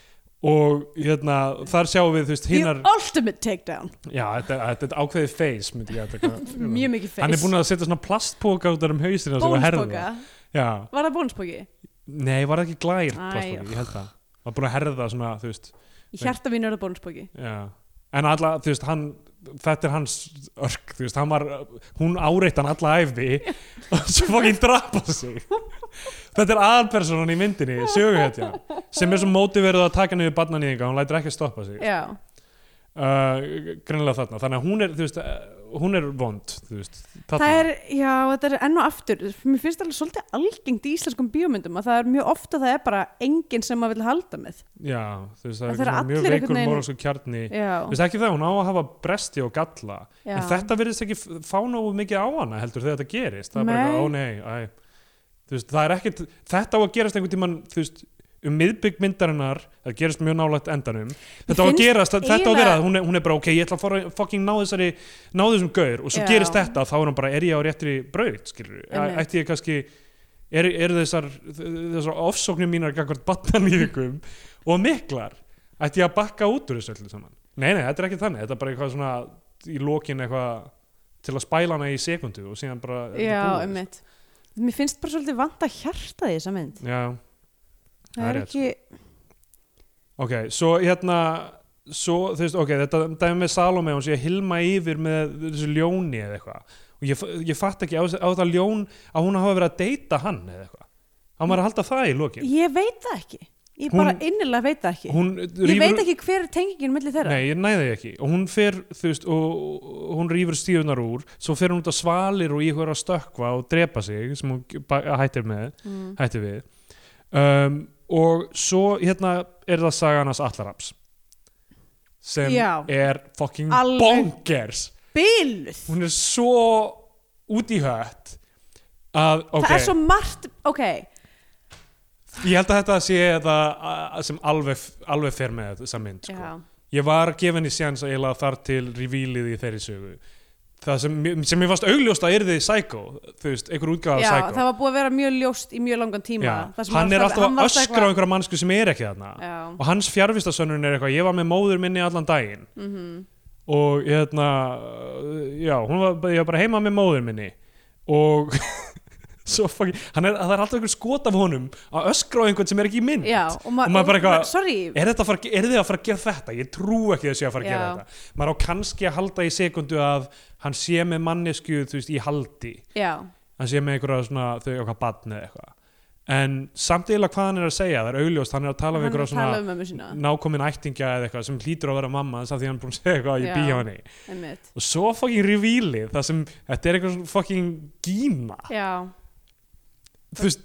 S3: Og hérna, þar sjáum við, þú veist, hinnar,
S2: The ultimate takedown
S3: já, þetta, þetta er ákveðið face, myndi ég að þetta.
S2: Mjög mikið face
S3: Hann er búinn að setja svona plastpóka út þar um hausina sem að herða.
S2: Bónuspoka?
S3: Já,
S2: Var það bónuspoki?
S3: Nei, var það ekki glær
S2: Æ,
S3: plastbóki, ég held það Var búin að herða svona, þú veist
S2: í hjarta mínu er það bónusbóki
S3: já. En alla, þú veist, hann Þetta er hans örk, þú veist, hann var Hún áreitt hann alla æfi Og svo fokkin drapa sig Þetta er aðalpersonan í myndinni Söguhetja, sem er svo móti verið að taka niður barnanýðinga, hún lætur ekki að stoppa sig
S2: já,
S3: uh, Greinilega þarna, þannig að hún er, þú veist uh, Hún er vond, þú veist þarna.
S2: það er, já, þetta er enn og aftur mér finnst það alveg svolítið algengt í íslenskum bíómyndum að það er mjög ofta það er bara enginn sem maður vil halda með
S3: Já, þú veist,
S2: Það
S3: það er
S2: eru
S3: svona mjög
S2: allir
S3: veikur
S2: einhvern veginn-
S3: moralsku kjarni
S2: já,
S3: Þú veist ekki það, hún á að hafa bresti og galla
S2: já.
S3: En þetta verðist ekki f- fá nógu mikið á hana heldur þegar þetta gerist Það er bara
S2: Nei.
S3: eitthvað, ó nei, æ Þú veist, það er ekkit, Þetta á að gerast einhvern tímann þú veist, um miðbygg myndarinnar það gerist mjög nálægt endanum Þetta á að
S2: finnst
S3: gerast, þetta á að vera
S2: eiginlega-
S3: hún er, hún er bara ok, ég ætla að fara, fucking ná þessari ná þessum gaur og svo
S2: Já.
S3: gerist þetta þá er hann bara, er ég á réttri braut skilur,
S2: Einmitt.
S3: ætti ég kannski er, er þessar, þessar ofsóknir mínar gangvart batnanýðingum og miklar, ætti ég að bakka út úr þessu öllu saman nei, nei, þetta er ekki þannig, þetta er bara eitthvað svona í lokin eitthvað til að spæla hana í sekundu og síðan bara er þetta
S2: já,
S3: búið.
S2: einmitt mér finnst bara svolítið vant að hjarta því þessa mynd
S3: já,
S2: það
S3: Það er
S2: er
S3: rétt, sko.
S2: ekki,
S3: ok, svo hérna svo, þú veist, ok, þetta dæmi með Salome hún sé að hilma yfir með þessu ljóni eða eitthvað og ég, f- ég fatt ekki á, á það ljón að hún hafa verið að deyta hann eða eitthvað hann var að halda það í lokin
S2: ég veit það ekki ég
S3: Hún-
S2: bara innilega veit það ekki
S3: hún
S2: ég
S3: rífur-
S2: veit ekki hver er tengingin millir þeirra
S3: Nei, ég næði ekki og hún fer, þú veist, og, og hún rýfur stíðunar úr, svo fer hún út að svalir og íhugur að stökkva og drepa sig sem hún ba- hættir með,
S2: Mm.
S3: hættir við um, og svo hérna er það sagan hans Allaraps sem
S2: Já.
S3: er fucking
S2: Alveg-
S3: bonkers
S2: biluð
S3: hún er svo út í hött að, ok,
S2: það er svo margt, ok
S3: ég held að þetta sé það að- sem alveg, alveg fer með þessa mynd, sko
S2: já,
S3: ég var að gefa henni séns að eiginlega þar til revílið í þeirri sögu það sem, sem ég fannst augljóst að yrði Psycho, þú veist, einhver útgáð
S2: já
S3: af
S2: það
S3: Psycho
S2: var búið að vera mjög ljóst í mjög langan tíma Það sem
S3: hann er alltaf
S2: hann
S3: að
S2: var
S3: öskra
S2: eitthvað-
S3: á einhverja mannsku sem er ekki þarna
S2: Já,
S3: og hans fjárvistasönnurinn er eitthvað, ég var með móður minni allan daginn
S2: Mhm.
S3: og hérna já, hún var, ég var bara heima með móður minni og svo fokki, hann er, það er alltaf einhver skot af honum að öskra á einhvern sem er ekki í mynd
S2: já og, ma
S3: Og maður bara eitthvað-
S2: Sorry,
S3: er, þetta að fara, er þið að fara að gera þetta? Ég trú ekki þessi að fara að gera
S2: Já.
S3: þetta maður á kannski að halda í sekundu að hann sé með mannesku þú veist, í haldi
S2: já,
S3: hann sé með einhverja svona, þau eitthvað badn eða eitthvað en samt eða hvað hann er að segja það er augljóst, hann er að tala
S2: hann er
S3: við einhverja
S2: að tala um
S3: svona
S2: ömmu sína
S3: nákomin ættingja eða eitthvað sem hlýtur að vera mamma þess að því hann er búin að segja eitthvað að ég
S2: Já.
S3: býja henni
S2: einmitt.
S3: og svo fucking revílið það sem, þetta er eitthvað svona fucking gíma
S2: Já,
S3: þú veist,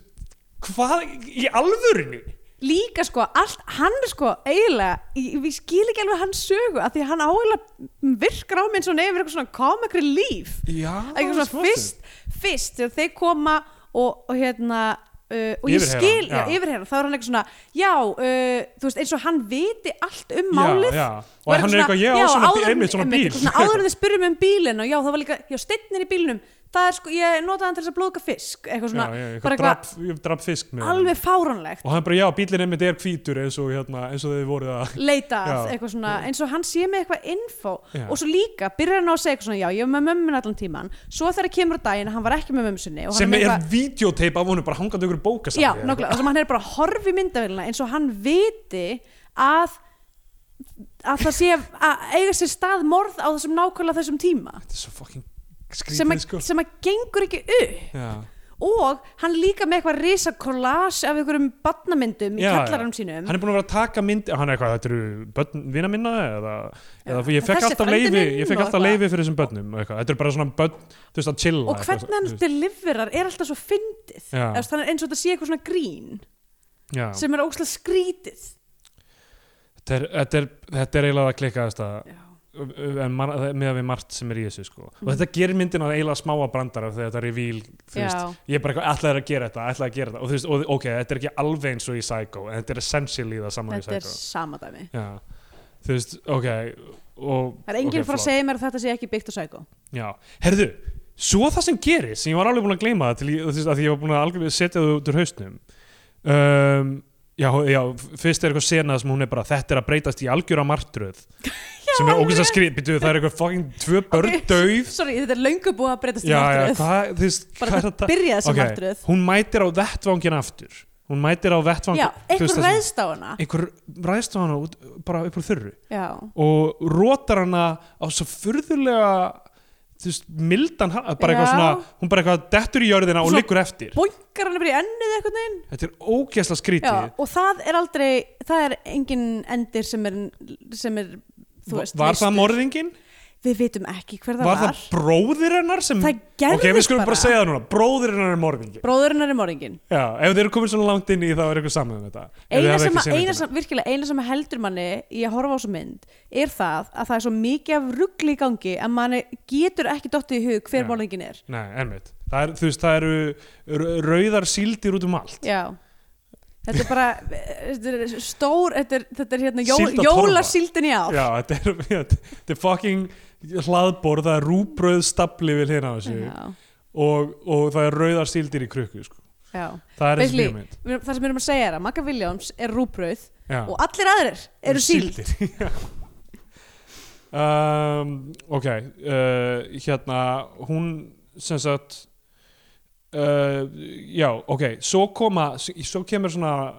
S3: hvað í alvörinu?
S2: líka sko, allt, hann er sko eiginlega, ég, ég skil ekki alveg hans sögu að því að hann áhengilega virkar á minn svona yfir eitthvað svona comic relief
S3: Já,
S2: eitthvað svona
S3: smástund.
S2: fyrst, fyrst þegar þeir koma og, og hérna uh, og ég
S3: Yfirheyra hann,
S2: skil, já,
S3: já.
S2: yfirherra þá er hann eitthvað svona, já uh, þú veist, eins og hann viti allt um
S3: Já,
S2: málið
S3: já. og hann er eitthvað, ég á
S2: já,
S3: svona bíl,
S2: áður-
S3: einmitt svona bíl
S2: eitthvað áður en þið spurum um bílinn og já, það var líka, já, steinnir í bílinnum það er sko, ég notaði hann til þess að blóðka fisk eitthvað svona,
S3: já, já, eitthvað
S2: bara
S3: drap,
S2: eitthvað
S3: ég drap fisk með honum.
S2: alveg fáránlegt,
S3: og hann bara, já, bílinn einmitt er hvítur eins og, hérna, eins og þau voruð að
S2: leitað
S3: Já.
S2: eitthvað svona, eins og hann sé með eitthvað info
S3: Já.
S2: og svo líka, byrjar hann á að segja eitthvað svona já, ég var með mömmun allan tíman, svo þegar kemur á daginn að hann var ekki með mömmu sinni og hann
S3: sem
S2: með
S3: er
S2: eitthvað-
S3: videotape af honum bara hangandi ykkur bókasafni
S2: Já,
S3: eða
S2: nokkulega, þar sem hann er bara að horfi myndavélina eins og hann viti að að það sé að eiga sér stað morð á þessum nákvæmlega þessum tíma
S3: eitthvað. þetta er svo fucking
S2: sem
S3: skrítið
S2: að,
S3: sko
S2: sem að gengur ekki upp
S3: já,
S2: og hann líka með eitthvað risa collage af einhverjum badnamyndum í
S3: Já, já.
S2: kallarum sínum
S3: hann er búin að vera að taka mynd hann er eitthvað, þetta eru börn, vina minna eða, eða
S2: en
S3: ég fekk
S2: þessi
S3: alltaf
S2: frændi
S3: leifi
S2: minn
S3: ég fekk
S2: og
S3: alltaf
S2: eitthvað.
S3: leifi fyrir þessum börnum og eitthvað. þetta eru bara svona börn, þú veist að chilla
S2: og hvernig hann
S3: til
S2: deliverar er alltaf svo fyndið
S3: Já.
S2: Eða, þú veist, hann er eins og þetta sé eitthvað svona grín
S3: þetta,
S2: sem er ókslega skrítið
S3: er- þetta, er- þetta er eiginlega að klikka þetta
S2: Já, Mhm.
S3: en mar- með að við margt sem er í þessu sko. og þetta gerir myndina eiginlega smáa brandara þegar þetta revíl, þú
S2: Já.
S3: veist ég er bara eitthvað, ætlaði að gera þetta, ætlaði að gera þetta og þú veist, og, ok, þetta er ekki alveg eins og í Psycho en þetta er essentially það saman
S2: þetta
S3: í
S2: er
S3: Psycho
S2: sama dæmi
S3: Já. þú veist, ok og,
S2: Það er enginn okay, fara að
S3: ok, flott.
S2: segja mér að þetta sé ekki byggt á sækó
S3: Já, herðu, svo það sem gerist sem ég var alveg búin að gleyma það til ég, þú veist, að því ég var búin að algjörlega setja það út úr hausnum um, já, já, fyrst er eitthvað sena sem hún er bara þetta er að breytast í algjöra martröð sem er ógæst að skrið, býtu, það er eitthvað fucking tvö börn
S2: Ok.
S3: dauð
S2: Sorry, þetta er löngu búið að breytast í
S3: Já, já,
S2: martröð
S3: hvað, þú veist,
S2: bara
S3: hvað er
S2: það
S3: þetta
S2: byrjaði sem
S3: Ok,
S2: okay. martröð
S3: Hún mætir á vettvangin aftur hún mætir á vettvang
S2: já,
S3: þú veist
S2: einhver
S3: það sem-
S2: ræðst á hana
S3: einhver ræðst á hana út, bara upp úr þurru
S2: já,
S3: og rótar hana á svo furðulega þú veist, mildan ha- bara eitthvað
S2: Já.
S3: svona, hún bara eitthvað dettur í jörðina og
S2: Svona-
S3: liggur eftir
S2: boingar hann bara í ennið eitthvað neginn
S3: þetta er ógeðsla skrítið
S2: já, og það er aldrei, það er engin endir sem er, sem er þú
S3: Va-
S2: veist,
S3: var það
S2: leystur.
S3: morðingin?
S2: við vitum ekki hver það
S3: Var
S2: var,
S3: það bróðir hennar sem
S2: Það gerðist
S3: Ok, við skulum bara
S2: bara.
S3: segja það núna, bróðir hennar er morðingin
S2: bróðurinn er morðingin
S3: Já, ef þeir eru komin svona langt inn í þá er eitthvað saman um þetta Ef þið
S2: eina
S3: hafið
S2: sem,
S3: ekki
S2: að,
S3: séð
S2: eina
S3: myndina.
S2: sem, virkilega, eina sem heldur manni í að horfa á þessu mynd er það að það er svo mikið af ruggli í gangi að manni getur ekki dottið í hug hver
S3: Já.
S2: morðingin er
S3: Nei, einmitt það er, Þú veist, það eru r- rauðar síldir út um allt
S2: já Þetta er bara þetta er stór, þetta er, þetta er hérna jól,
S3: Síld og torfa.
S2: jólasíldin í ár.
S3: Já, þetta er, þetta er fucking hlaðborð, það er rúbröð stapli við hérna á þessu
S2: Já,
S3: og, og það er rauðar síldir í krukku sko.
S2: já.
S3: Það er eins og
S2: Basically,
S3: mjög mynd
S2: við- Það sem við erum að segja er að Magga Williams er rúbröð
S3: Já.
S2: og allir aðrir eru síld.
S3: Já. um, ok uh, hérna hún sem sagt uh, já ok svo koma, svo kemur svona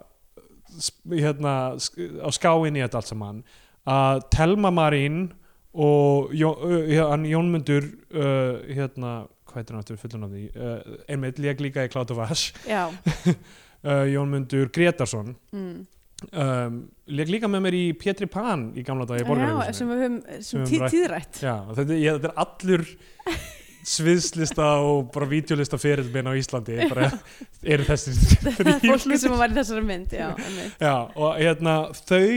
S3: sp- hérna sk- á skáinn í þetta allt saman að Telma Marín og Jón, uh, já, hann Jónmundur uh, hérna, hvað heitir hann aftur fullun af því uh, einmitt lék líka í Cloud of Ash
S2: Já,
S3: uh, Jónmundur Gretarsson
S2: mm.
S3: um, leik líka með mér í Pétri Pan í gamla dag í
S2: já sem
S3: borgarhjóðsinu
S2: við höfum sem
S3: höfum
S2: tí,
S3: rætt.
S2: tíðrætt.
S3: þetta, ég- þetta er allur sviðslista og bara vídeolista fyrir minn á Íslandi bara eru þessir þrír
S2: Fólki sem var í þessari mynd, já. einmitt.
S3: já, og hérna þau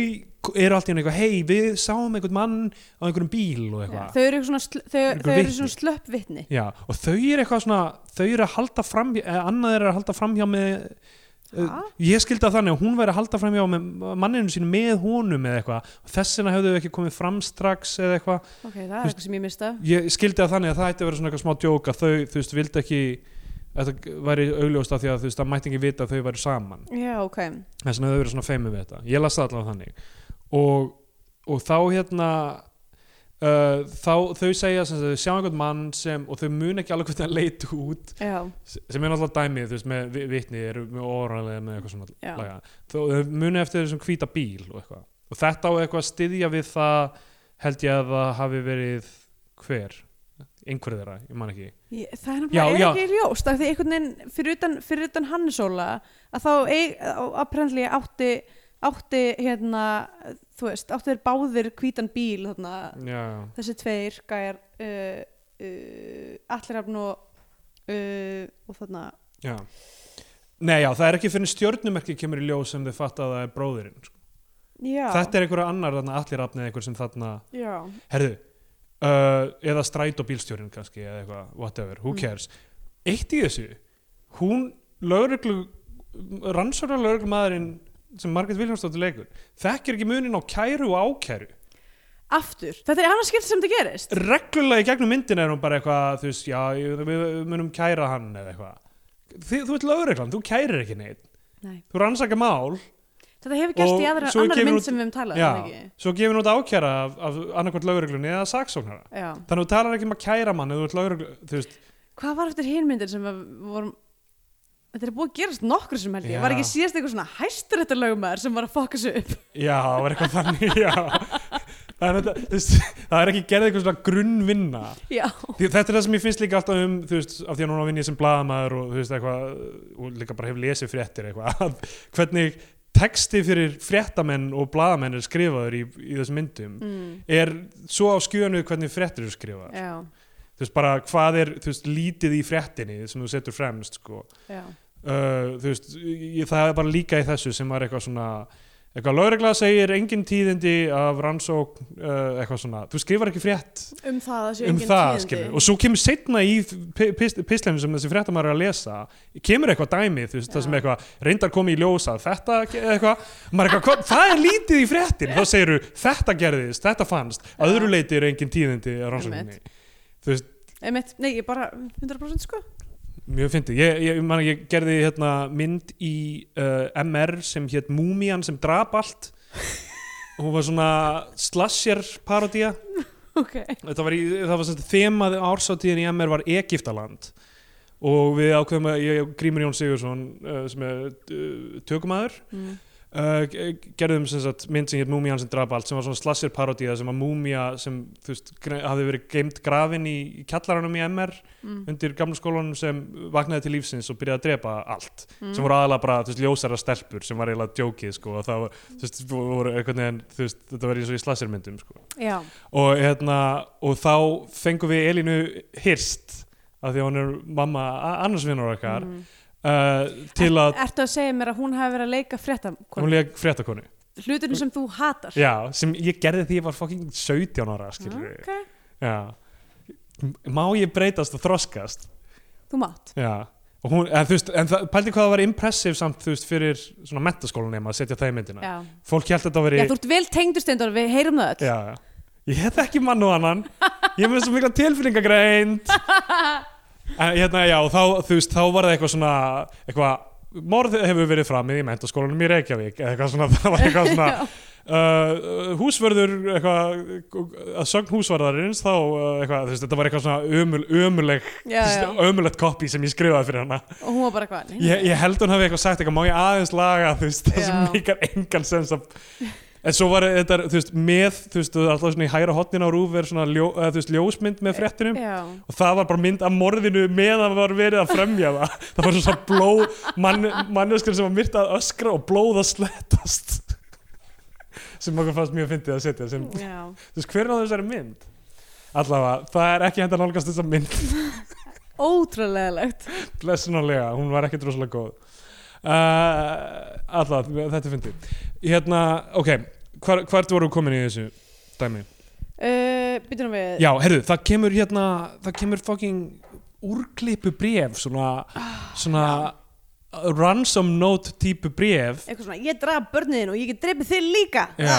S3: eru alltaf eitthvað, hei við sáum einhvern mann á einhverjum bíl og
S2: Já,
S3: eitthvað
S2: Þau eru svona, sl, þau,
S3: Einhver
S2: þau eru
S3: vitni.
S2: svona slöppvitni.
S3: já, og þau eru eitthvað svona þau eru að halda fram, eh, annað er að halda framhjá með eh,
S2: Ha?
S3: ég skildi það þannig að hún væri að halda framhjá með manninu sínu með honum eða eitthvað þess vegna hefðu þau ekki komið fram strax eða eitthvað
S2: Ok, það er eitthvað sem ég mista.
S3: ég skildi það þannig að það ætti að vera svona eitthvað smá djók að þau, þú veist, vildi ekki þetta væri augljósta því að þú veist að mætti ekki vita að þau væri saman
S2: Já, ok.
S3: þess vegna þau verið svona feimur við þetta ég las það allavega þannig og, og þá hérna uh, þá, þau segja sem sagt, þau sjá einhvern mann sem og þau mun ekki alveg hvernig að leita út
S2: Já,
S3: sem er náttúrulega dæmið, þú veist, með vi- vitni eru með óralega með eitthvað svona
S2: Já.
S3: laga. þó þau muni eftir þessum hvíta bíl og eitthvað, og þetta á eitthvað að styðja við það, held ég að það hafi verið hver einhverju þeirra, ég man ekki
S2: ég, það er
S3: Já,
S2: náttúrulega
S3: já.
S2: er ekki ljóst af því einhvern veginn fyrir utan, fyrir utan Hannesóla að þá eig- á- apparently átti, átti hérna, þú veist, átti þeir báðir hvítan bíl þarna,
S3: já, já,
S2: þessi tveir gæjar uh, uh, allirafn og uh, og þarna,
S3: já Nei, já, það er ekki fyrir stjörnumerki kemur í ljós sem þau fatta að það er bróðirinn sko.
S2: já
S3: þetta er einhverja annar, þarna allir afnið einhver sem þarna,
S2: já,
S3: herðu uh, eða stræt og bílstjórinn kannski eða eitthvað, whatever, who cares eitt í þessu, hún lögreglu, rannsóra lögreglumaðurinn sem Margrét Viljámsdóttir leikur þekkir ekki munin á kæru og ákæru
S2: aftur, þetta er annars skipt sem þetta gerist
S3: reglulega í gegnum myndin er hún bara eitthvað þú veist, já, ég- við við munum kæra hann eða eitthvað Þi, þú ert lögreglan, þú kærir ekki neitt
S2: Nei.
S3: þú rannsakar mál
S2: þetta hefur gerst
S3: Og
S2: í aðra,
S3: svo
S2: annari
S3: kemur
S2: mynd
S3: út-
S2: sem við hefum talað
S3: já,
S2: um, ekki?
S3: svo gefur hún út ákæra af, af annarkvært lögreglunni eða saksóknara
S2: já
S3: þannig að þú talar ekki um að kæra mann eða þú ert lögreglu, þú veist
S2: Hvað var eftir hinmyndin sem við vorum Þetta er búið að gerast nokkur sem held ég
S3: Já.
S2: Var ekki síðast eitthvað svona hæsturéttar lögumæður sem var að fokka sig upp
S3: Já, það var eitthvað þannig, já. Það er, þetta, þú veist, það er ekki gerð eitthvað svona grunnvinna.
S2: Já,
S3: Því, þetta er það sem ég finnst líka alltaf um, þú veist, af því að núna vinn ég sem blaðamaður og þú veist eitthvað, og líka bara hef lesið fréttir eitthvað, að hvernig texti fyrir fréttamenn og blaðamenn er skrifaður í, í þessum myndum
S2: mm,
S3: er svo á skjönu hvernig fréttir eru skrifaður.
S2: já,
S3: Þú veist, bara hvað er, þú veist, lítið í fréttinni sem þú setur fremst, sko
S2: já
S3: uh, þú veist, ég, það er bara líka í þessu sem var eitthvað svona eitthvað lögregla segir engin tíðindi af rannsók, uh, eitthvað svona þú skrifar ekki frétt
S2: Um það að séu
S3: um
S2: engin
S3: það,
S2: tíðindi.
S3: skilur og svo kemur setna í pislefinu sem þessi fréttamæður er að lesa kemur eitthvað dæmi, þú veist, það
S2: Já.
S3: sem eitthvað reyndar komið í ljósa, þetta ge- eitthvað, maður eitthvað, hvað, það er lítið í fréttin þá segir þú, þetta gerðist, þetta fannst
S2: Já.
S3: að öðru leiti eru engin tíðindi af rannsókninni, þú veist
S2: Einmitt, Nei, ég bara 100% sko
S3: Mjög fyndið, ég, ég, man, ég gerði hérna mynd í uh, MR sem hétt Múmían sem drap allt hún var svona slasher parodía
S2: Ok,
S3: þetta var, í, það var sem sagt, þemað ársáttíðin í MR var Egiptaland og við ákveðum að ég, Grímur Jón Sigursson uh, sem er uh, tökumæður
S2: mm.
S3: uh, ge- gerðum sem sagt, mynd sem hétt Múmían sem drapa allt sem var svona slasher parodía sem að múmía sem þú veist, gre- hafði verið geimt grafin í í kjallaranum í MR
S2: Mm.
S3: undir gamla skólanum sem vaknaði til lífsins og byrjaði að drepa allt
S2: Mm.
S3: sem voru aðalega bara þú veist, ljósara stelpur sem var eiginlega djókið sko, og það var, þú veist, voru einhvern veginn þú veist, þetta var eins og í slashermyndum sko.
S2: Já,
S3: og, hérna, og þá fengum við Elínu Hirst af því að hún er mamma a- annars vinnur okkar
S2: Mm.
S3: uh, til að
S2: Ertu að segja mér að hún hafi verið að leika
S3: hún
S2: fréttakon
S3: leik fréttakonu
S2: Hluturinn sem þú hatar
S3: já, sem ég gerði því ég var fucking 17 ára skilur
S2: Ok,
S3: já. M- má ég breytast og þroskast
S2: þú mátt
S3: já Og Hún, en, þú veist, en það, pældi hvað það var impressive samt þú veist, fyrir svona mentaskólanema að setja það í myndina
S2: Já,
S3: fólk held að þetta veri
S2: Já þú ert vel tengdur stendur, við heyrum það öll
S3: Já, ég hef ekki mann og annan Ég hef með svo mikla tilfinningagreind En hérna, já, þá, þú veist, þá var það eitthvað svona eitthvað, morð hefur verið framið í mentaskólanum í Reykjavík eða eitthvað svona, það var eitthvað svona Uh, húsvörður eitthvað, að sögn húsvarðarins þá uh, eitthvað, þú veist, þetta var eitthvað svona ömul, ömuleg,
S2: Já, já.
S3: ömulegt copy sem ég skrifaði fyrir hana
S2: Og hún var bara hvað nei,
S3: ég, ég held hún hafi eitthvað sagt eitthvað má ég aðeins laga þú veist það sem
S2: Já.
S3: mikar engan sens að En svo var þetta, þú veist, með, þú veist, þú er alltaf svona í hægra hotnin á rúf er svona, ljó, eða, þú veist, ljósmynd með fréttinum
S2: Já,
S3: og það var bara mynd af morðinu meðan var verið að fremja það. Það var svona blóð, mann, manneskir sem var myrt að öskra og blóð að slettast. sem okkur fannst mjög fyndið að setja, sem,
S2: já
S3: þú veist, hver er á þessari mynd? Allavega, það er ekki hægt að nálgast þessa mynd
S2: Ótrúlega legt
S3: blessunarlega, hún var ekkert rosalega góð uh, alltaf, þetta er fyndið hérna, ok, hvar, hvert voru komin í þessu dæmi?
S2: uh, Býtum við
S3: Já, herðu, það kemur hérna það kemur fucking úrklippu bref, svona, svona ransom note típu bref
S2: Eitthvað svona, ég draf börniðin og ég get dreipið þig líka
S3: já,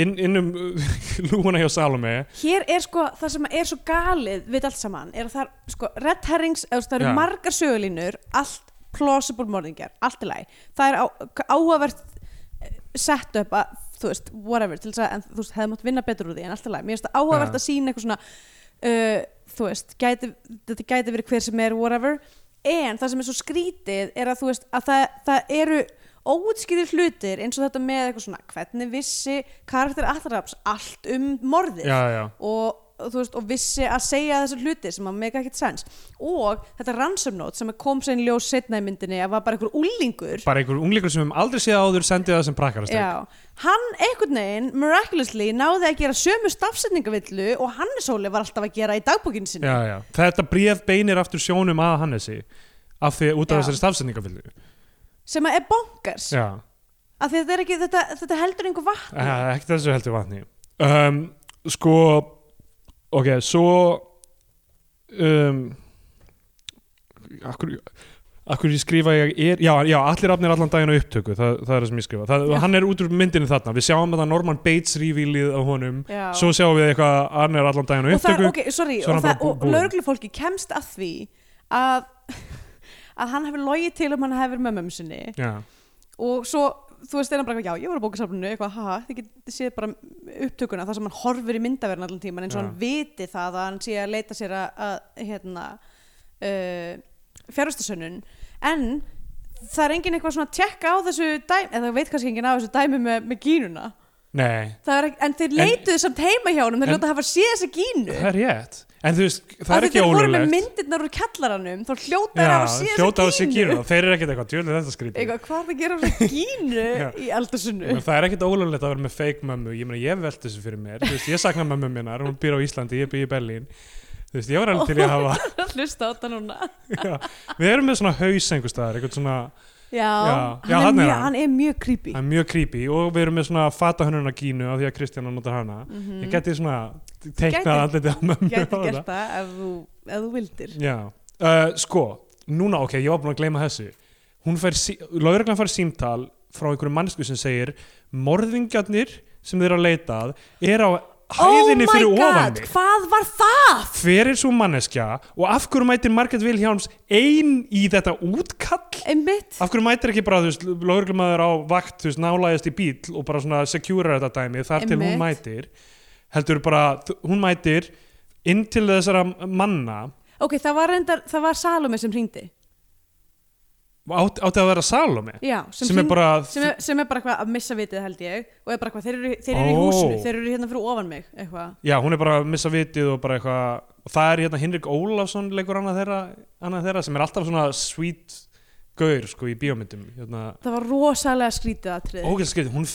S3: inn, inn um lúuna hjá Salome
S2: Hér er sko, það sem er svo galið við allt saman, er að það er sko Red Herrings, eða þú veist, það eru
S3: Já.
S2: margar sögulínur allt plausible morðingjar, allt í lagi það er á, áhugavert eh, set up að, þú veist, whatever til þess að, en, þú veist, hefði mátt vinna betur úr því en allt í lagi, mér finnst það áhugavert
S3: Já.
S2: að sína eitthvað svona uh, þú veist, gæti, þetta gæti verið hver sem er, whatever en það sem er svo skrítið er að þú veist, að það, það eru óutskýðir hlutir eins og þetta með eitthvað svona hvernig vissi karakter Atraps allt um morðið
S3: já, já,
S2: og, og þú veist, og vissi að segja þessar hluti sem að mega ekkert sens og þetta ransom note sem kom sér í ljós setna í myndinni að var bara einhver úlingur
S3: bara einhver ungleikur sem hefum aldrei séð áður sendið það sem prakkarastek
S2: Já, hann einhvern veginn miraculously náði að gera sömu stafsetningavillu og Hannes Óli var alltaf að gera í dagbókinu sinni
S3: já, já. þetta bréf beinir aftur sjónum að Hannesi af því út af
S2: Já.
S3: þessari stafsendingafylgu
S2: sem að er bonkers
S3: já,
S2: af því þetta, er ekki, þetta, þetta heldur einhver vatn
S3: Eh, ekki þessu heldur vatni um, sko ok, svo um akkur akkur ég skrifa ég er, já, já, allir afnir allan daginn á upptöku, það, það er það sem ég skrifa það,
S2: Já.
S3: hann er út úr myndinu þarna, við sjáum þetta Norman Bates revílið á honum
S2: Já.
S3: svo sjáum við eitthvað að hann er allan daginn á
S2: og það,
S3: upptöku
S2: ok, sorry,
S3: svo er
S2: og,
S3: hann
S2: það,
S3: bara bú-
S2: og
S3: búinn.
S2: lögreglufólki kemst að því að að hann hefur logið til um hann hefur með mömmu sinni
S3: já,
S2: og svo þú veist þeirra bara eitthvað, já, ég var á bókasafninu eitthvað, haha, þið getið séð bara upptökuna þar sem hann horfir í myndaverðin allan tíman eins og
S3: Já.
S2: hann viti það að hann sé að leita sér að, að hérna uh, fjárvistasönnun en það er engin eitthvað svona að tjekka á þessu dæmi, eða það veit kannski engin á þessu dæmi með, með gínuna
S3: nei
S2: Það er, ekki- en þeir leituðu samt heima hjá honum þeir
S3: en-
S2: ljóta að hafa séð þessa gínu
S3: það er rétt, en þú veist, það
S2: Af
S3: er
S2: því
S3: ekki
S2: þeir voru með
S3: ólulegt
S2: myndirnar úr kjallaranum þá hljóta þeir að hafa
S3: Já,
S2: séð
S3: hljóta á
S2: þessa
S3: sig
S2: gínu
S3: gínu Þeir eru ekkert eitthvað, djúlega þetta skrítið
S2: eitthvað, hvað er það að gera á þessa gínu
S3: Já.
S2: í eldasunnu
S3: Men Það er ekkert ólöflegt að vera með fake mömmu Ég meina, ég velti þessu fyrir mér Þú veist, Ég sakna mömmu minnar, hún býr á Íslandi, ég býr í Berlín Þú veist, ég var alveg til í að hafa
S2: hlusta á þetta núna
S3: já, Við erum með svona haus einhver staðar Eitthvað svona,
S2: já, hann,
S3: já, þarna er
S2: er mjög,
S3: hann.
S2: hann er mjög creepy
S3: það er mjög creepy Og við erum með svona fatahönnuna gínu Af því að Kristjana notar hana Ég geti svona teiknað
S2: Mhm. Gæti-
S3: andlitið á mömmu
S2: gæti
S3: og
S2: gert það ef þú, ef þú vildir
S3: Já, uh, sko Núna, ok, ég var búin að gleyma þessu Hún fær, sí lögreglan fær símtal Frá einhverju mannsku sem segir Morðingjarnir sem þeir eru að leita að Eru á
S2: Oh
S3: hæðinni fyrir ofan mig
S2: hvað var það?
S3: hver er svo manneskja og af hverju mætir Margaret Williams ein í þetta útkall
S2: einmitt,
S3: af hverju mætir ekki bara, þú veist, lögreglumæður á vakt, þú veist, nálægist í bíl og bara svona secura þetta dæmi þar til hún
S2: Einmitt.
S3: mætir heldur bara, þ- hún mætir inn til þessara manna
S2: ok, það var, reyndar, það var Salome sem hringdi
S3: Átti, átti að vera Salome
S2: já,
S3: sem,
S2: sem, hring-
S3: er bara
S2: sem, er, sem er bara eitthvað að missa vitið held ég og er bara eitthvað, þeir eru, þeir eru í
S3: Ó.
S2: húsinu þeir eru hérna fyrir ofan mig eitthvað.
S3: Já, hún er bara að missa vitið og bara eitthvað og það er hérna Hinrik Ólafsson leikur annað þeirra, annað þeirra sem er alltaf svona sweet gaur sko í bíómyndum hérna,
S2: það var rosalega skrítið atrið
S3: ógæst skrið, hún,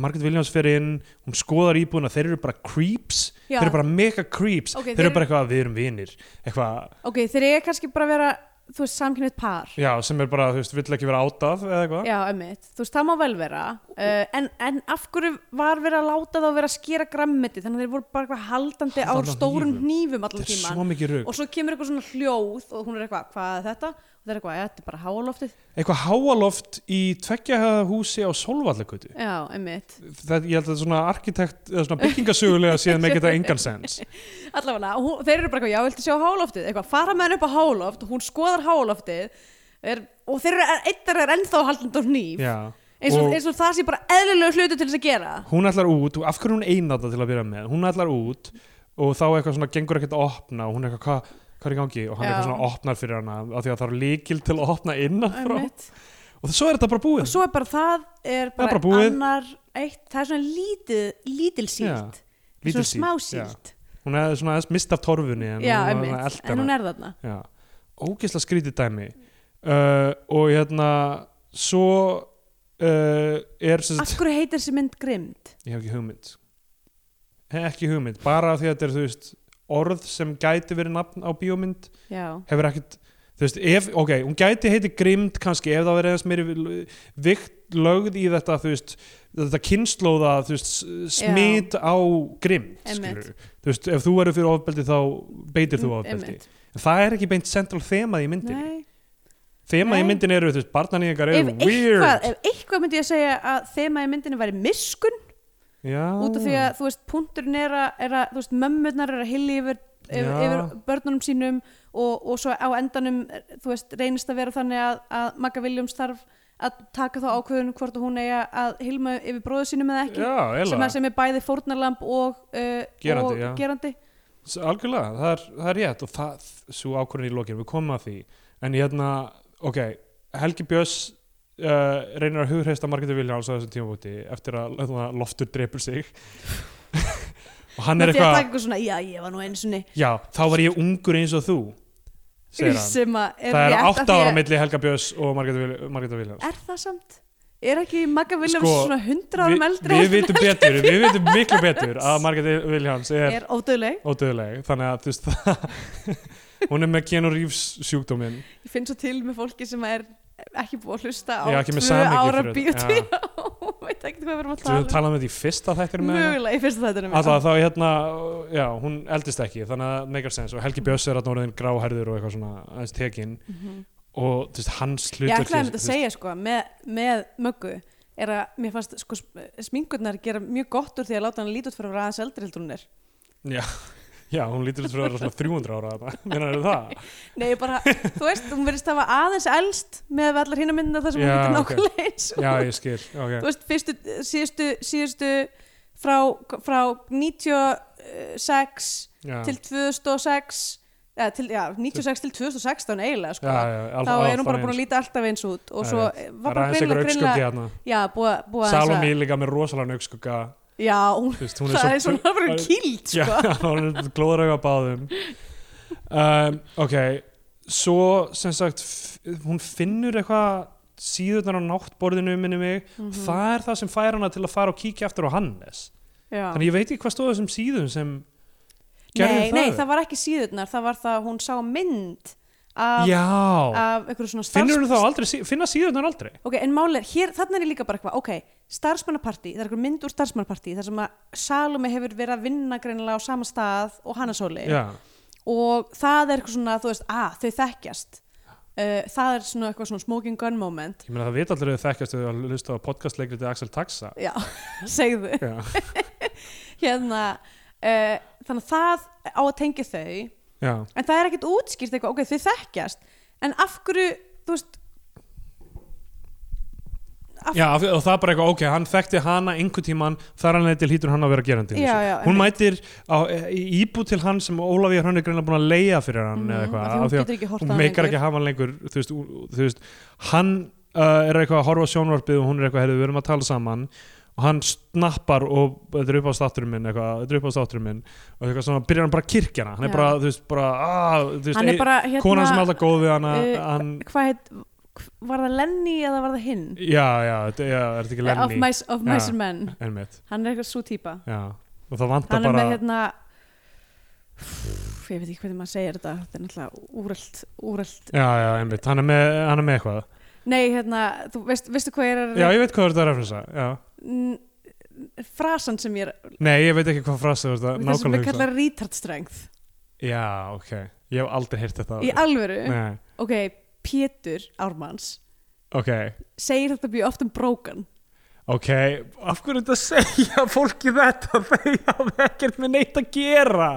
S3: Margaret Williams fer inn hún skoðar íbúðina, þeir eru bara creeps
S2: Já.
S3: þeir eru bara mega creeps
S2: Ok,
S3: þeir
S2: þeir
S3: eru bara eitthvað, við erum vinir eitthvað,
S2: ok, þeir eru kannski bara að vera þú veist, samkynnið par
S3: já, sem er bara, þú veist, vill ekki vera átaf eða eitthvað
S2: Já, emmitt, þú veist, það má vel vera uh, en, en af hverju var verið að láta þá vera að skera grammiti þannig að þeir voru bara eitthvað haldandi á
S3: Haldandi á
S2: stórum
S3: hnífum.
S2: hnífum allan
S3: þetta er
S2: tíman
S3: svo mikið rugg
S2: og svo kemur eitthvað svona hljóð og hún er eitthvað, hvað er þetta? og það er eitthvað, "Ja, þetta er bara háaloftið
S3: eitthvað háaloft í tveggjahæða húsi á Solvallakötu
S2: Já, emmitt,
S3: það, ég held að svona arkitekt eða svona byggingasögulega séð með geta engan sens
S2: allavega hún, þeir eru bara eitthvað, já, viltu sjá háaloftið eitthvað, fara með henni upp á háloft, hún skoðar háaloftið er, og þeir eru, eittar er ennþá haldandi á hníf
S3: já.
S2: eins og,
S3: og-
S2: eins og það sé bara eðlilegu hlutu til þess að gera
S3: hún ætlar út, og af hverju er hún einata til að byrja með hún ætlar út og þá eitthvað svona gengur ekkert að opna og hún er eitthvað hvað hvað er í gangi og hann
S2: Já.
S3: eitthvað svona opnar fyrir hana af því að það er líkil til að opna innan frá
S2: Einmitt.
S3: og svo er þetta bara
S2: og
S3: búið
S2: svo er bara það er
S3: Það er
S2: bara,
S3: bara búið.
S2: annar eitt, það er svona lítið lítil sílt,
S3: Lítil
S2: svona
S3: síld,
S2: smá
S3: já.
S2: sílt
S3: hún er svona aðeins mist af torfunni en
S2: já,
S3: hún, var
S2: einmitt,
S3: að elta
S2: en
S3: hana.
S2: hún er þarna
S3: Já, ógeðslega skrítið dæmi uh, og hérna svo uh, er sem
S2: af
S3: sagt,
S2: hverju heitir þessi mynd grimd?
S3: ég hef ekki hugmynd Hef ekki hugmynd, bara af því að þetta er þú veist orð sem gæti verið nafn á bíómynd
S2: já,
S3: hefur ekkert þú veist, ef, ok, hún gæti heiti grimd kannski ef það verið eins meiri vikt lögð í þetta, þú veist þetta kynnslóða, þú veist s-
S2: Já.
S3: smit á grimd,
S2: Einmitt. Mm,
S3: skilur þú veist, ef þú verður fyrir ofbeldi þá beitir þú ofbeldi,
S2: einmitt.
S3: en það er ekki beint central þemað í myndinni,
S2: Nei.
S3: þemað í
S2: Nei.
S3: myndinni eru, þú veist, barnaníðingar
S2: ef
S3: eru
S2: eitthvað,
S3: weird,
S2: ef eitthvað myndi ég að segja að þema í myndinu væri miskun
S3: já
S2: út af því að þú veist, punkturinn er að, er að þú veist, mömmurnar er að hilja yfir, yfir,
S3: Já.
S2: yfir börnunum sínum og, og svo á endanum eh, þú veist, reynist að vera þannig að, að Magga Williams þarf að taka þá ákveðun hvort að hún eigi að hilma yfir bróðu sínum eða ekki
S3: já,
S2: sem,
S3: eiginlega.
S2: að sem er bæði fórnarlamb og, uh,
S3: Gerandi,
S2: og
S3: já.
S2: gerandi
S3: S- Algjörlega, það er, það er rétt og það, svo ákvörðin í lokin, við komum að því en hérna, ok Helgi Björns uh, reynir að hugreista Margrétu Viljáns á þessum tímabúti eftir að hérna, loftur drepur sig og hann
S2: með
S3: er
S2: því að taka
S3: eitthvað
S2: eitthvað svona, já ég var nú eins og
S3: já, þá var ég ungur eins og þú segir hann
S2: sem að er
S3: það er
S2: rétt af
S3: átta
S2: því að-
S3: ára milli Helga Björns og Margrétu Viljáns
S2: er það samt? er ekki Magga Williams
S3: Sko,
S2: svona 100
S3: Vi,
S2: árum eldri
S3: við vitum betur, við vitum miklu betur að Margrétu Viljáns er,
S2: er ódöðleg,
S3: ódöðleg þannig að þú veist það hún er með Keanu Reeves sjúkdóminn
S2: ég finn svo til með fólki sem er ekki búið að hlusta á
S3: Já, ekki með
S2: tvö
S3: samhengi
S2: ára
S3: fyrir þetta,
S2: bíóti
S3: já.
S2: veit ekki hvað við erum að
S3: Þú
S2: tala um
S3: talaðum með því fyrsta þættir með hana?
S2: mögulega í fyrsta þættunum
S3: Alltaf þá hérna, já, hún eldist ekki þannig að make a sense og Helgi Björns er að orðin gráherður og eitthvað svona aðeins tekin
S2: Mhm.
S3: og þú veist, hans
S2: ég ætlaði
S3: hlutverk
S2: að
S3: þú
S2: þetta
S3: veist,
S2: segja sko með, með möggu er að mér fannst sko sminkurnar gera mjög gott úr því að láta hann líta út fyrir að vera aðeins eldri heldur en hún er
S3: Já, hún lítur út fyrir að vera svona 300 ára þarna, minnar er það
S2: Nei, ég bara, þú veist, hún verðist hafa aðeins elst með við allar hinna myndina þar sem
S3: Já,
S2: hún getur
S3: ok.
S2: nákvæmlega eins og
S3: Já, ég skil, ok
S2: þú veist, fyrstu, síðustu, síðustu frá, frá 96
S3: já,
S2: til 2006 eða, til, já, 96 til 2016 eiginlega, sko
S3: já, já, al-
S2: þá er
S3: alltaf
S2: hún bara búin
S3: eins.
S2: að líta alltaf eins út og
S3: Það
S2: svo
S3: er Það
S2: var
S3: er
S2: bara
S3: aðeins
S2: greinlega,
S3: einhver aukskuggi
S2: greinlega
S3: hérna
S2: já, búið, búið aðeins
S3: Salome líka með rosalega aukskugga
S2: já, hún,
S3: Þú veist, hún
S2: það er
S3: svo-
S2: svona bara kýld,
S3: Já,
S2: sko
S3: hún er glóður auga báðum um, Ok Svo sem sagt f- hún finnur eitthvað síðurnar á náttborðinu um minni mig
S2: Mhm.
S3: það er það sem fær hana til að fara og kíkja aftur á Hannes
S2: já.
S3: þannig ég veit ekki hvað stóð á þessum síðum sem gerði
S2: nei,
S3: það
S2: nei, það var ekki síðurnar það var það, að hún sá mynd af,
S3: Já,
S2: af einhverju svona
S3: finnur
S2: starfs
S3: hún þá aldrei sí- finna síðurnar aldrei
S2: Ok, en málið er, hér, þarna er ég líka bara eitthvað, ok, starfsmannapartí, það er eitthvað mynd úr starfsmannapartí, þar sem að Salome hefur verið að vinna greinilega á sama stað og Hannasóli
S3: Já,
S2: og það er eitthvað svona, þú veist, að þau þekkjast, uh, það er svona eitthvað svona smoking gun moment,
S3: ég meina það veit aldrei að þau þekkjast þau að hlusta á podcastleikriti Axel Taxa
S2: já, segðu,
S3: Já,
S2: hérna, uh, þannig að það á að tengja þau,
S3: já,
S2: en það er ekkert útskýrt eitthvað, ok, þau þekkjast, en af hverju, þú veist, af,
S3: Já, af- og það er bara eitthvað, ok, hann þekkti hana einhvern tíman, þar hann til hlýtur hann að vera gerandi í
S2: Já,
S3: þessu.
S2: já,
S3: hún
S2: einmitt.
S3: mætir á, e, í íbú til hann sem Ólafía hann er greinlega búin að leiða fyrir hann eða
S2: Mhm,
S3: eitthvað,
S2: af því hún
S3: af því að
S2: getur ekki hort
S3: hún meikar ekki að hafa hann lengur þú veist, ú- þú veist hann uh, er eitthvað að horfa á sjónvarpið og hún er eitthvað, heyrðu, við erum að tala saman og hann snappar og þetta er upp á státturinn minn eitthvað, þetta er upp á státturinn minn og eitthvað svona, byrjar hann bara að kirkja hana hann
S2: Já.
S3: er bara, þú veist, bara, að, þú veist
S2: hann er
S3: ein-
S2: bara hérna
S3: konan sem er alltaf góð við hana
S2: uh,
S3: hann,
S2: hvað heit, var það Lenny eða var það hinn
S3: já, já, þetta já, er þetta ekki
S2: of
S3: Lenny,
S2: mice, of mice
S3: Já.
S2: and men
S3: einmitt
S2: hann er eitthvað svo típa
S3: já, og það vantar
S2: hann er
S3: bara
S2: með hérna ég veit ekki hvernig maður segir þetta þetta er náttúrulega úrelt, úrelt.
S3: já, já, einmitt, hann er með, hann er með eitthvað
S2: nei hérna, þú veist, veistu hvað ég er að
S3: já, ég veit hvað þú ert að referensa já.
S2: N- frasan sem ég er
S3: nei, ég veit ekki hvað frasa þú ert að
S2: það sem
S3: nákvæmlega
S2: við
S3: hugsa.
S2: kallar retard strength
S3: já, ok, ég hef aldrei heyrt þetta
S2: í
S3: áður.
S2: alvöru,
S3: Nei,
S2: ok, Pétur Ármanns
S3: ok,
S2: segir þetta mjög oft um brókan
S3: ok af hverju þetta segja fólki þetta þegar hafa ekkert með neitt að gera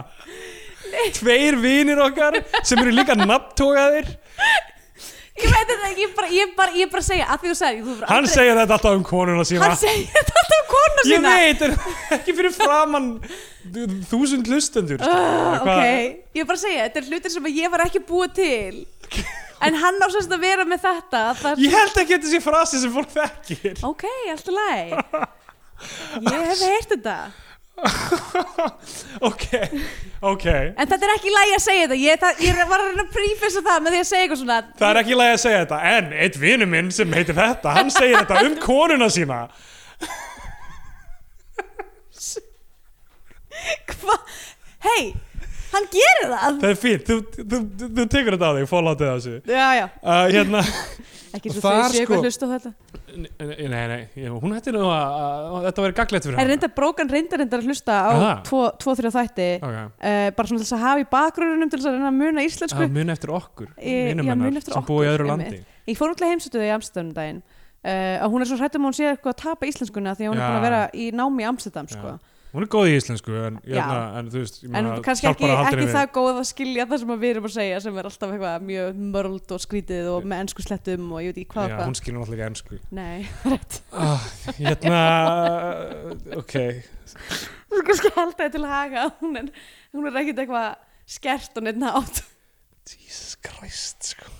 S3: tveir vinir okkar sem eru líka nafntókaðir
S2: ég veit þetta ekki, ég bara, ég bara, ég bara segja að því þú sagði, þú verður
S3: hann segir þetta alltaf um konuna sína
S2: hann segir þetta alltaf um kona
S3: ég
S2: sína
S3: veit, er ekki fyrir framann þúsund hlustendur sko.
S2: Ah,
S3: Hvað-
S2: ok, ég er bara að segja, þetta er hlutir sem að ég var ekki búið til en hann á sérst að vera með þetta það...
S3: ég held ekki að þetta sé frasi sem fólk þekkir
S2: ok, allt í læg ég hef heyrt þetta
S3: ok, ok
S2: en þetta er ekki læg að segja þetta ég, það, ég var að reyna að prífessa það með því að segja eitthvað svona
S3: Það er ekki lægi að segja þetta, en eitt vinu minn sem heitir þetta, hann segir þetta um konuna sína.
S2: hva, hei, hann gerir það
S3: Það er fínt, þú, þú, þú, þú tekur þetta á þig, fólátið þessu.
S2: já, já,
S3: Uh, hérna,
S2: ekki svo
S3: Þar
S2: þau séu
S3: sko-
S2: eitthvað hlust á þetta
S3: Nei, nei, nei, ég- hún hætti nú að, að, að þetta verið gaglegt fyrir
S2: en reynda brókan reyndar reyndar að hlusta á
S3: Aha. Ah.
S2: tvo, tvo, þrjá þætti
S3: Ok,
S2: uh, bara svona til þess að hafa í bakgrunum til þess að reyna að muna íslensku
S3: það muni eftir okkur,
S2: Ég-
S3: vinum
S2: Sko- já,
S3: hennar,
S2: muna eftir
S3: sem búið í
S2: okkur,
S3: öðru
S2: einmitt.
S3: landi.
S2: Ég fór náttúrulega heimsötu þau í Amsterdam um daginn uh, að hún er svo hrættum að hún sé eitthvað að tapa íslenskuna því að hún
S3: Já.
S2: er búin að vera í námi í Amsterdam sko.
S3: Hún er góð í íslensku, en,
S2: Já.
S3: hérna, en þú veist, ég
S2: en
S3: meina,
S2: kannski
S3: hjálpar
S2: ekki,
S3: að halda
S2: ekki
S3: henni við.
S2: það góð að skilja það sem að við erum að segja sem er alltaf eitthvað mjög mörld og skrítið og með ennsku slettum og ég veit ekki hvað
S3: Já,
S2: hvað.
S3: hún skilur náttúrulega ekki ennsku.
S2: Nei, rétt
S3: Ah, hérna, ok,
S2: Þú kannski halda þetta til haga að hún er, hún er ekkit eitthvað skert og neitt nátt
S3: Jesus Christ sko.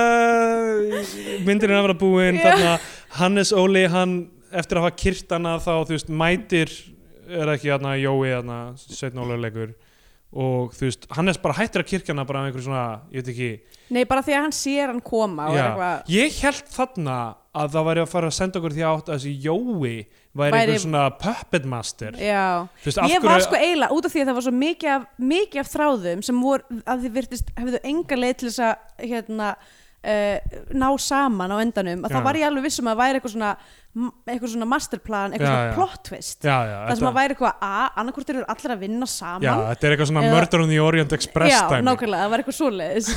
S3: Sorry uh, Myndin er að vera búin
S2: Já.
S3: þarna Hannes Óli hann eftir að hafa kyrt hana þá þú veist mætir er ekki hana Jói hana Sveitn Ólaur leikur og þú veist Hannes bara hættir að kirkja hana bara með einhverju svona ég veit ekki
S2: Nei, bara því að hann sér hann koma og er
S3: Já,
S2: eitthvað
S3: ég held þarna að það væri að fara að senda okkur því átt að þessi Jói væri
S2: Væri-
S3: einhver svona puppet master
S2: Já,
S3: Þú veist, af
S2: ég var
S3: hverju-
S2: sko eiginlega út af því að það var svo mikið af, mikið af þráðum sem voru að þið virtist, hefðu enga leið til þess að hérna, uh, ná saman á endanum að
S3: Já.
S2: þá var ég alveg vissum að það væri eitthvað svona m- eitthvað svona masterplan, eitthvað
S3: Já,
S2: svona
S3: já.
S2: plot twist
S3: Já, já,
S2: það sem að væri eitthvað að annarkvort eru allir að vinna saman
S3: Já, þetta er eitthvað svona
S2: Eða-
S3: Murder on the Orient Express
S2: Já,
S3: dæmi.
S2: nákvæmlega, það var eitthvað svoleiðis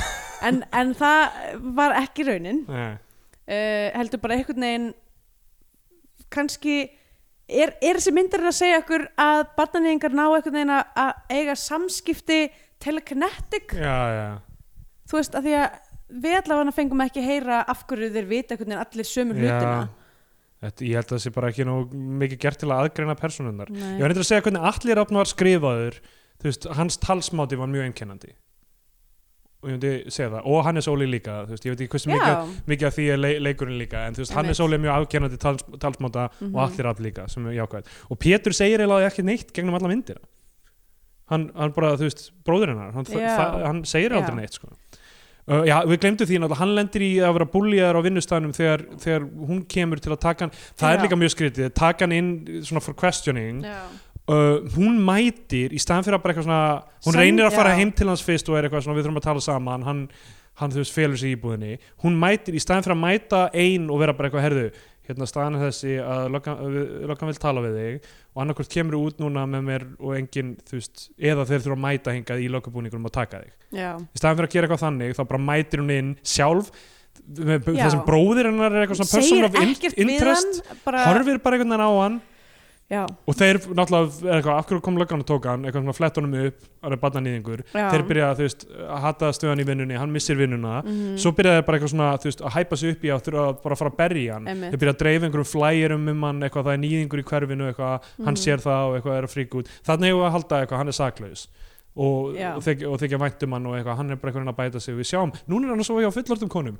S2: en, en það var ekki raunin
S3: Nei.
S2: uh, heldur bara einhvern veginn kannski er, er þessi myndarinn að segja okkur að barnaneðingar ná einhvern veginn að- að eiga samskipti telekinetic
S3: Já, já,
S2: þú veist að því að við allavega fengum ekki að heyra af hverju þeir vita einhvern veginn allir sömu hlutina
S3: já. Þetta, ég held að það sé bara ekki nóg mikið gert til að aðgreina personunnar.
S2: Nei.
S3: Ég var eitthvað að segja hvernig Atli Rafn var skrifaður, þú veist, hans talsmáti var mjög einkennandi. Og ég myndi segja það, og Hannes Óli líka, þú veist, ég veit ekki hversu
S2: Já.
S3: mikið, mikið af því er le leikurinn líka, en þú veist,
S2: Einmitt.
S3: Hannes
S2: Mhm.
S3: Óli er mjög afkennandi tals, talsmáta og Atli Rafn líka, sem er jákvæð. Og Pétur segir eiginlega ekki neitt gegnum alla myndina. Hann, hann bara, þú veist, bróður hennar, hann,
S2: Já.
S3: það- hann segir
S2: Já.
S3: aldrei neitt, sko. Uh, já, við glemdu því náttúrulega, hann lendir í að vera búlíðar á vinnustæðnum þegar, þegar hún kemur til að taka hann, það er
S2: Já.
S3: líka mjög skrítið taka hann inn svona for questioning uh,
S2: Já.
S3: hún mætir í staðan fyrir að bara eitthvað svona, hún
S2: Send-
S3: reynir að fara
S2: já.
S3: heim til hans fyrst og er eitthvað svona, við þurfum að tala saman hann, hann þú veist, felur sig í íbúðinni hún mætir, í staðan fyrir að mæta ein og vera bara eitthvað, herðu, hérna staðan er þessi að lokkan vil tala við þig og annarkvort kemur út núna með mér og engin, þú veist, eða þeir þurfa að mæta hingað í lokkabúningunum og taka þig
S2: Já.
S3: í staðan fyrir að gera eitthvað þannig þá bara mætir hún inn sjálf með
S2: Já.
S3: þessum bróðir hennar er eitthvað svona person
S2: segir
S3: of in-
S2: ekkert við
S3: interest
S2: hann bara,
S3: horfir bara einhvern veginn á hann
S2: já,
S3: og þeir náttúrulega, eða eitthvað, af hverju kom löggan og tók hann eitthvað svona flett honum upp, það er barnanýðingur
S2: já.
S3: þeir byrja að, þú veist, að hata stöðan í vinnunni hann missir vinnuna,
S2: mm
S3: svo byrja þeir bara eitthvað svona, þú veist, að hæpa sig upp í að þurfa að bara að fara að berja hann
S2: Einmitt.
S3: þeir byrja að dreifa einhverjum flæjurum um hann eitthvað, það er nýðingur í hverfinu, eitthvað hann
S2: Mhm.
S3: sér það og eitthvað er að fríka út þannig eigum við að halda eitthvað, hann er saklaus og,
S2: Já.
S3: og, þykja, og þykja vænt um hann og eitthvað hann er bara einhvern veginn að bæta sig og við sjáum, núna er hann að sofa hjá fullortum konum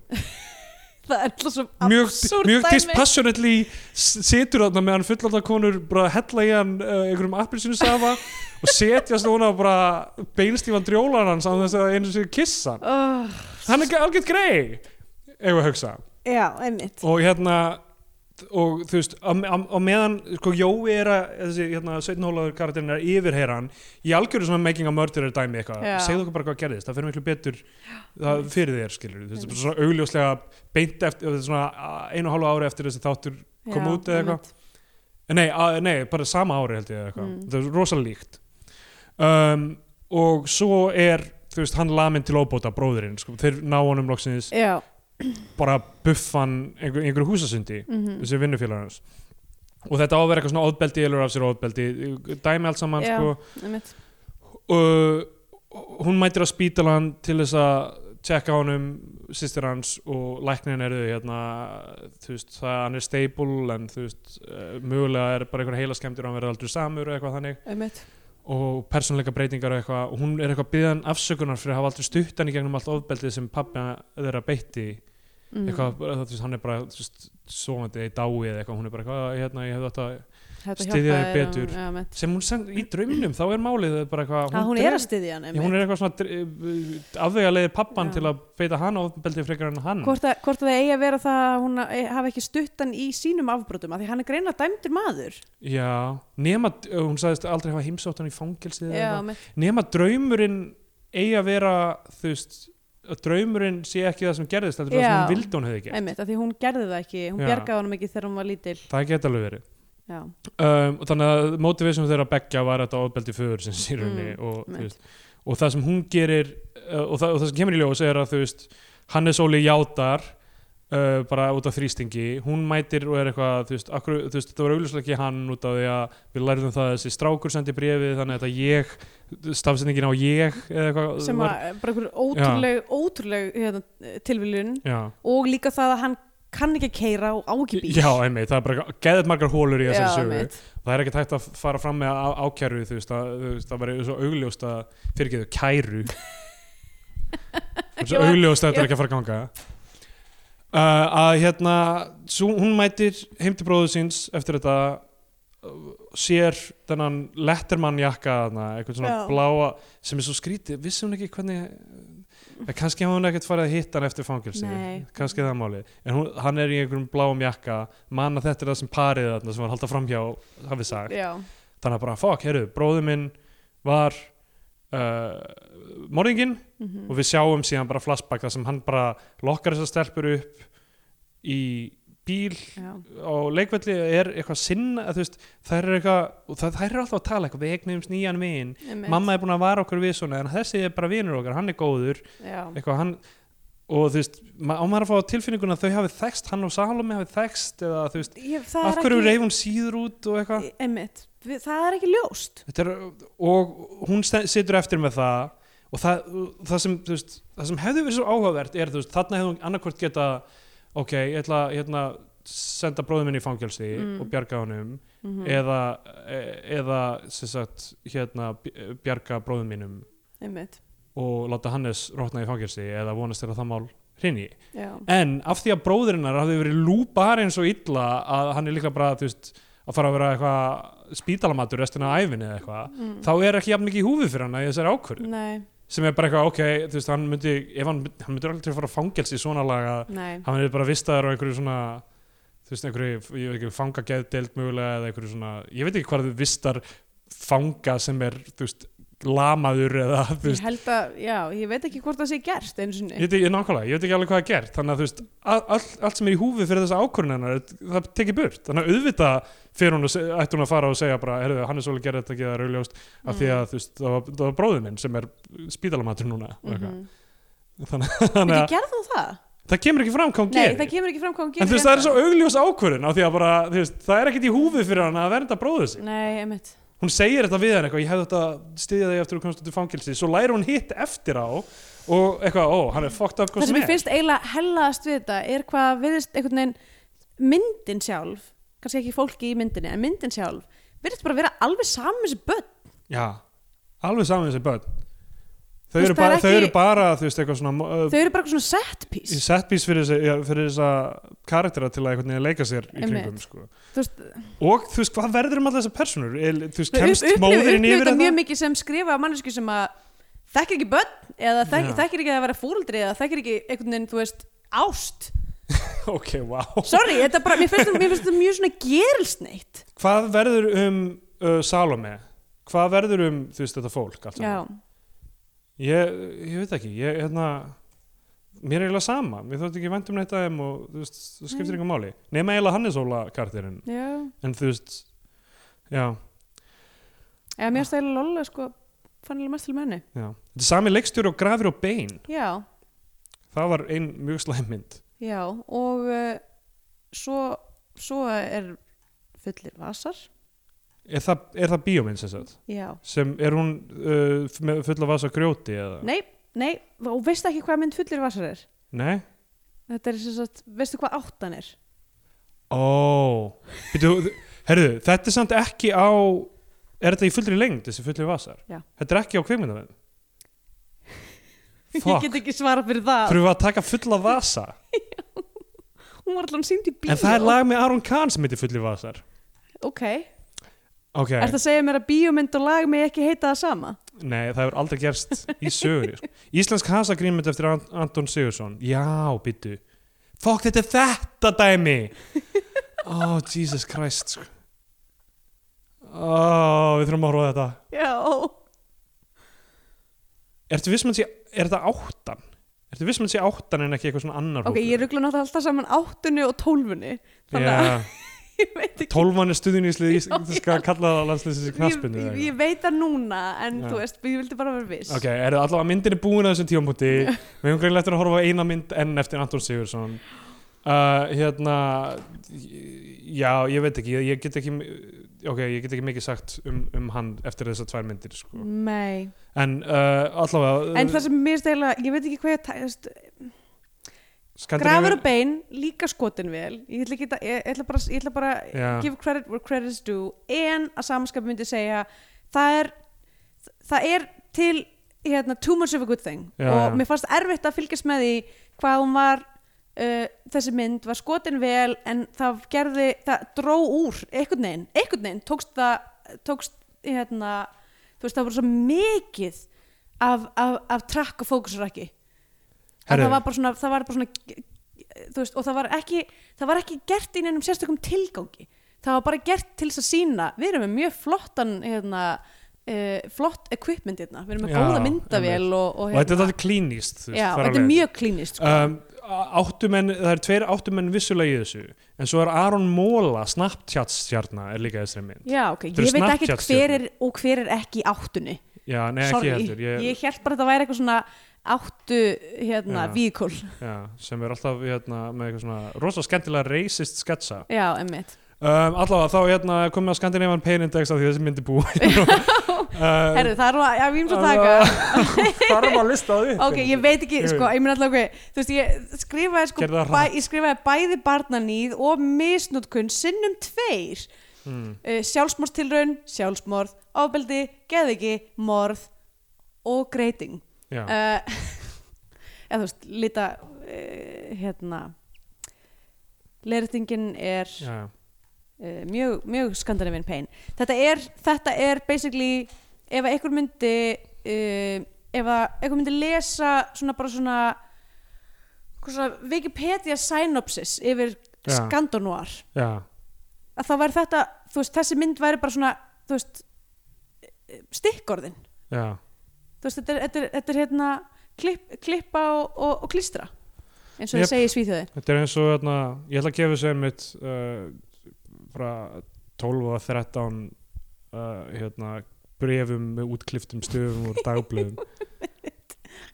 S2: það er alltaf svo
S3: mjög,
S2: absúrt
S3: mjög
S2: dæmi.
S3: dispassionately s- situr þarna meðan fullanda konur bara hella í hann uh, einhverjum appelsinusafa og setjast núna og bara beinstífan drjólar hans á þess að einu sér kissa hann.
S2: Oh,
S3: hann er ekki algjört grei eigum við að hugsa
S2: já, einmitt
S3: og hérna og þú veist, á, á, á meðan sko Jói er að, þessi hérna Sveitinhólaður karakterin er að yfirheyra hann í algjöru svona making a murderer dæmi eitthvað
S2: Já.
S3: segðu okkur bara hvað gerðist, það fyrir miklu betur það, fyrir þér skilur, þú veist, bara svona augljóslega beint eftir, þetta er svona a- einu og hálfu ári eftir þessi þáttur kom
S2: Já,
S3: út eða eitthvað?
S2: einmitt.
S3: nei, að, nei, bara sama ári held ég eða eitthvað,
S2: Mm.
S3: það er rosalega líkt um, og svo er þú veist, hann lamin til óbóta bróðurinn, sko, þeir ná honum loksins
S2: já,
S3: bara buffan einhver, einhver húsasundi
S2: mhm
S3: þessi vinnufélagur hans og þetta á að vera eitthvað svona ofbeldi elur af sér ofbeldi, dæmi allt saman
S2: Já.
S3: sko,
S2: einmitt
S3: og hún mætir að spítala hann til þess að tjekka á honum sýstir hans og læknin eru hérna, þú veist, það hann er stable en þú veist, eh, mögulega er bara einhver heila skemmtir og hann verður aldrei samur og eitthvað þannig
S2: einmitt
S3: og persónleika breytingar og eitthvað og hún er eitthvað byggðan afsökunar fyrir að hafa aldrei stutt hann í gegnum allt ofbeldið sem pappi þeirra beitti
S2: mm.
S3: eitthvað, bara, þú veist, hann er bara þú veist, svoandi í dái eða eitthvað, hún er bara eitthvað, hérna, ég hef þetta,
S2: Þetta
S3: styðja
S2: hjálpaði
S3: þig betur.
S2: honum, já, einmitt.
S3: sem hún sem, í draumnum, þá er málið bara eitthvað,
S2: að hún er að
S3: dreg-
S2: styðja hann
S3: Já, hún
S2: einmitt
S3: er eitthvað svona afvegalegir pappan
S2: Já.
S3: til að beita hann ofbeldið frekar en hann
S2: hvort að, hvort að það eigi að vera það að hún að- hafi ekki stutt hann í sínum afbrotum af því hann er greina dæmdur maður
S3: Já, nema, ö, hún sagðist aldrei hafa heimsótt hann í fangilsið eða
S2: já,
S3: eitthvað.
S2: einmitt.
S3: nema draumurinn eigi að vera, þú veist að draumurinn sé ekki það sem gerðist þetta er bara
S2: Já.
S3: sem hún vildi að hún hefði ekki
S2: einmitt, af því hún gerði það ekki hún
S3: Já.
S2: bjargaði honum ekki þegar hún var lítil
S3: það geta alveg verið
S2: já,
S3: um, og þannig að motivation þeirra beggja var þetta ofbeldi föður sem sér henni
S2: Mm,
S3: og, þú
S2: einmitt.
S3: veist, og það sem hún gerir uh, og, það, og það sem kemur í ljós er að þú veist Hannes Óli játar uh, bara út af þrýstingi, hún mætir og er eitthvað, þú veist, akkur, þú veist þetta var augljóslega ekki hann út af því að við lærðum það að þessi strákur sendi bréfið þannig að þetta ég stafsendingin á ég eða eitthvað
S2: sem
S3: var,
S2: að eh, bara einhver ótrúleg, ótrúleg hérna, tilviljun
S3: já,
S2: og líka það að hann kann ekki að keira og á ekki bíl
S3: já, einmitt, það er bara geðið margar hólur í
S2: Já,
S3: þessari sögu
S2: einmitt.
S3: það er ekkert hægt að fara fram með á- ákæru þú veist, að, þú veist, það verður svo augljóst að fyrir ekki þau kæru það er svo
S2: Ég var-
S3: augljóst að þetta er ekki að fara að ganga uh, að hérna svo, hún mætir heim til bróður síns eftir þetta uh, sér þennan lettermann jakka þarna, eitthvað svona
S2: Já.
S3: bláa sem er svo skrítið, vissi hún ekki hvernig eh, kannski hafa hún ekkert farið að hitta hann eftir fangilsi,
S2: Nei.
S3: kannski er það máli en hún, hann er í einhverjum bláum jakka man að þetta er það sem parið þarna sem var að halda framhjá hafi sagt
S2: já,
S3: þannig að bara fuck, heyrðu, bróður minn var uh, morðingin
S2: mhm.
S3: og við sjáum síðan bara flashback þar sem hann bara lokkar þessar stelpur upp í bíl
S2: já.
S3: á leikvelli er eitthvað sinna, þú veist, þær eru eitthvað og það, þær eru alltaf að tala eitthvað, við eignum nýjan vin
S2: einmitt.
S3: mamma er búin að vara okkur við svona en þessi er bara vinur okkar, hann er góður
S2: já,
S3: eitthvað hann og þú veist, ma á maður að fá á tilfinninguna að þau hafi þekst, hann og Salome hafi þekst eða þú veist,
S2: Ég, það
S3: af
S2: er
S3: hverju
S2: ekki- E-
S3: reif hún síður út og eitthvað
S2: einmitt, Við- það er ekki ljóst
S3: Þetta er, og hún sten- situr eftir með það og það, það, sem, þú veist, það sem hefði verið svo áhugavert er þú veist, þarna hefði hún annarkvort geta ok, ég ætla að hérna, senda bróðum minn í fangelsi
S2: Mm.
S3: og bjarga honum
S2: mm
S3: eða, e- eða sem sagt, hérna, b- bjarga bróðum mínum
S2: einmitt,
S3: og láta Hannes rótna í fangelsi eða vonast til að það mál hrinni
S2: já,
S3: en af því að bróðurinnar hafði verið lúpar eins og illa að hann er líka bara þú veist, að fara að vera eitthvað spítalamatur restina af æfinni eða eitthvað
S2: mm.
S3: þá er ekki jafn mikið í húfi fyrir hann að þessari ákvörðu
S2: nei,
S3: sem er bara eitthvað, ok, þú veist, hann myndi ef hann, hann myndi aldrei fara að fangelsi í svona laga
S2: nei
S3: hann myndi bara vistaður á einhverju svona þú veist, einhverju, ég veit ekki, fangageðdeild mögulega eða einhverju svona, ég veit ekki hvað þú vistar fanga sem er þú veist, lamaður eða þú
S2: ég
S3: veist,
S2: held að, já, ég veit ekki hvort það sé gert einu
S3: ég
S2: sinni
S3: veit ekki, nákvæmlega, ég veit ekki alveg hvað það er gert þannig að þú veist, a- all, allt sem er í húfi fyrir þessa ákvörðun hennar, það tekið burt þannig að auðvitað fyrir hún að, se- ætti hún að fara og segja bara, herðu, hann er svolítið gerði þetta ekki það er augljóst af því að þú veist, það var,
S2: Mhm.
S3: það var bróður minn sem er spítalamatur núna mm
S2: mm -hmm.
S3: þannig, þannig
S2: gerði þú það?
S3: það kemur ekki fram hvað hún
S2: Nei,
S3: gerir
S2: það kemur ekki fram hvað hún gerir
S3: en þú veist það er svo augljós ákvörðun á því að bara, þú veist, það er ekkit í húfið fyrir hann að vernda bróðu sig
S2: hérna. Nei, einmitt
S3: hún segir þetta við hann eitthvað, ég hefði þetta styðja þig eftir að þú komst út í fangilsi svo læri hún hitt eftir á og eitthvað, ó, hann er fucked up
S2: Það
S3: hvað
S2: sem
S3: sem
S2: ég
S3: er
S2: finnst eiginlega hellaðast við þetta er hvað viðist einhvern veginn myndin sjálf, kannski ekki fólki í myndinni en myndin sjálf, virðist bara vera alveg saman sem börn
S3: já, alveg saman þessi börn þau
S2: Þú veist,
S3: eru,
S2: það
S3: bara,
S2: er
S3: þau
S2: ekki-
S3: eru bara, þú veist, eitthvað svona uh,
S2: Þau eru bara eitthvað svona set
S3: í
S2: piece
S3: setbís fyrir, þessi- já, fyrir þessa karaktera til að einhvern veginn leika sér í
S2: Einmitt.
S3: kringum sko.
S2: Þú veist,
S3: og þú veist, hvað verður um allar þessar personur El, þú veist,
S2: Við
S3: kemst
S2: upp- upplifum-
S3: móðurinn
S2: upplifum
S3: yfir
S2: þetta mjög
S3: þetta
S2: mikið sem skrifa mannesku sem að þekkir ekki börn eða þek,
S3: Já.
S2: þekkir ekki að vera fóruldri eða þekkir ekki einhvern veginn, þú veist, ást
S3: ok, wow
S2: Sorry, þetta bara, mér finnst þetta- mér finnst þetta mjög svona gerilsneitt
S3: hvað verður um uh, Salome hvað verður um, þú veist, þetta fólk allt saman?
S2: Já,
S3: ég, ég veit ekki ég, hérna, mér er eiginlega sama mér þótt ekki vænt um neitt aðeim og þú veist, það skiptir
S2: Nei.
S3: einhver máli nema eiginlega Hannes Óla kartirinn
S2: já,
S3: en þú veist, já,
S2: eða mér finnst það eiginlega lolla sko, fannilega mest til menni
S3: já þetta er sami leikstjóri og grafir og bein
S2: Já,
S3: það var ein mjög slæmmynd
S2: Já, og uh, svo, svo er fullir vasar.
S3: er það, er það bíómynd sem sagt
S2: Já.
S3: sem er hún uh, f- með fulla vasa grjóti eða
S2: Nei, nei, og veistu ekki hvað mynd fullir vasar er?
S3: Nei?
S2: Þetta er sem sagt, veistu hvað áttan er?
S3: ó Býtu, herðu, þetta er samt ekki á er þetta í fullri lengd þessi fullri vasar
S2: Já.
S3: þetta er ekki á kveikmyndavenn
S2: Ég get ekki svara fyrir það.
S3: þurfum við að taka fulla vasa
S2: Hún var allan sínd í bíó.
S3: en það er lag með Aron Kahn sem heitir fullir vasar
S2: Ok,
S3: ok,
S2: er það að segja mér að bíómynd og lag með ekki heita það sama?
S3: nei það hefur aldrei gerst í sögur sko. Íslensk hasagrímynd eftir Ant Anton Sigursson já, býtu fokk þetta er þetta dæmi oh, Jesus Christ sko. oh, við þurfum að horfa á þetta
S2: Já.
S3: Ertu viss með að sé, er þetta áttan? Ertu viss með að sé áttan en ekki eitthvað svona annar
S2: Ok, ég ruggla náttúrulega alltaf saman áttunni og tólfunni. Þannig að
S3: yeah.
S2: ég veit ekki.
S3: Tólvan er stuðuníslið
S2: Já,
S3: í skal kalla það landslýsins í knaspinu
S2: Ég, ég veit það núna, en
S3: Já.
S2: þú veist, ég vildi bara vera viss.
S3: Ok, er það allavega myndin er búin að þessum tífampunkti Við höfum greinlega eftir að horfa á eina mynd enn eftir Anton Sigursson uh, Hérna Já, ég veit ekki, ég, ég get ekki Ok, ég get ekki mikið sagt um, um hann eftir þessar tvær myndir sko.
S2: Nei.
S3: En uh, allavega
S2: En það sem mér stæla, ég veit ekki hvað ég að tæst
S3: Skandinavíu-
S2: Grafur og bein, líka skotin vel Ég ætla, ekki, að- ég, ég ætla bara, ég ætla bara
S3: Já.
S2: give credit where credit is due en að samanskapi myndi segja það er, það er til hérna, too much of a good thing
S3: Já,
S2: og
S3: já.
S2: mér fannst erfitt að fylgjast með því hvað hún var uh, þessi mynd var skotin vel en það gerði, það dró úr einhvern veginn, einhvern veginn tókst það tókst hérna þú veist það voru svo mikið af, af, af track og fókusur ekki að
S3: Herðu.
S2: það var bara svona, það var bara svona þú veist, og það var ekki það var ekki gert í neinum sérstökum tilgangi það var bara gert til þess að sína við erum með mjög flottan hérna, uh, flott equipment hérna við erum með
S3: Já,
S2: góða myndavél
S3: einmitt.
S2: og, og,
S3: Og þetta er þetta klínist þú veist,
S2: hérna. já,
S3: þar af
S2: þetta er
S3: leiðandi.
S2: mjög klínist sko.
S3: um, áttumenn, það er tveir áttumenn vissulega í þessu, en svo er Aron Móla, Snapchat stjarnar er líka í þessari mynd
S2: já, ok,
S3: þetta eru
S2: ég veit ekki hver er
S3: Snapchat-stjörnur.
S2: og hver er ekki í áttunni
S3: já, nei,
S2: sorry,
S3: ekki heldur
S2: ég...
S3: ég,
S2: held bara að þetta væri eitthvað svona áttu hérna,
S3: Já.
S2: víkul
S3: já, sem er alltaf hérna, með eitthvað svona rosa skemmtilega racist sketsa
S2: já, emmitt
S3: um, allavega þá hérna, komum við að Scandinavian Pain Index af því þessi mynd er búin uh,
S2: herru, það er að, já, við erum svo að taka
S3: þarf að lista því
S2: ok, ég veit ekki,
S3: Ég
S2: sko,
S3: veit.
S2: ég mun alltaf ok þú veist, ég skrifaði sko
S3: Gerðu það
S2: bæ,
S3: hratt.
S2: ég skrifaði bæði barnaníð og misnótkun sinnum tveir
S3: mm,
S2: uh, sjálfsmórstilraun, sjálfsmórð ábeldi, geðviki, morð og greiting
S3: já,
S2: uh, eða þú veist, lita uh, hérna leirtingin er
S3: já, já,
S2: uh, mjög, mjög skandinavinn pein þetta er, þetta er basically ef að einhver myndi uh, ef að einhver myndi lesa svona bara svona, eitthvað svona Wikipedia synopsis yfir
S3: Já.
S2: skandonuar
S3: já,
S2: að það væri þetta, þú veist, þessi mynd væri bara svona, þú veist eh, stikkorðin,
S3: já.
S2: þú veist, þetta er, þetta er, þetta er hérna klipp, klippa og, og, og klistra eins og yep.
S3: Yep.
S2: það segi í Svíþjóði
S3: Þetta er eins og hérna, ég ætla að gefa þessu einmitt uh, frá 12 og 13 uh, hérna, brefum með útkliftum stöfum úr dagblöðum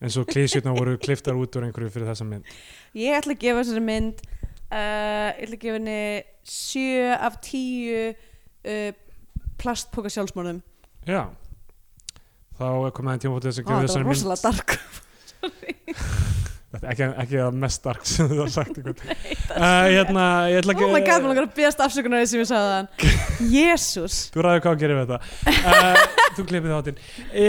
S3: en svo klísjutna voru kliftar út úr einhverju fyrir þessa mynd
S2: Ég ætla að gefa þessari mynd uh, Ég ætla að gefa henni 7 af 10 uh, plastpoka sjálfsmörðum
S3: já þá er komið að tíma fótið sem
S2: Ó,
S3: gefur
S2: Það var
S3: þessari mynd
S2: rosalega dark
S3: Þetta er ekki, ekki að mest dark sem þú har sagt einhvern uh, hérna, ég ætla
S2: Oh
S3: ekki
S2: my god, mér langar að beðast afsökunar sem ég sagði þann Jésús
S3: Þú ræður hvað að gera við þetta uh, Þú klippið þáttinn e,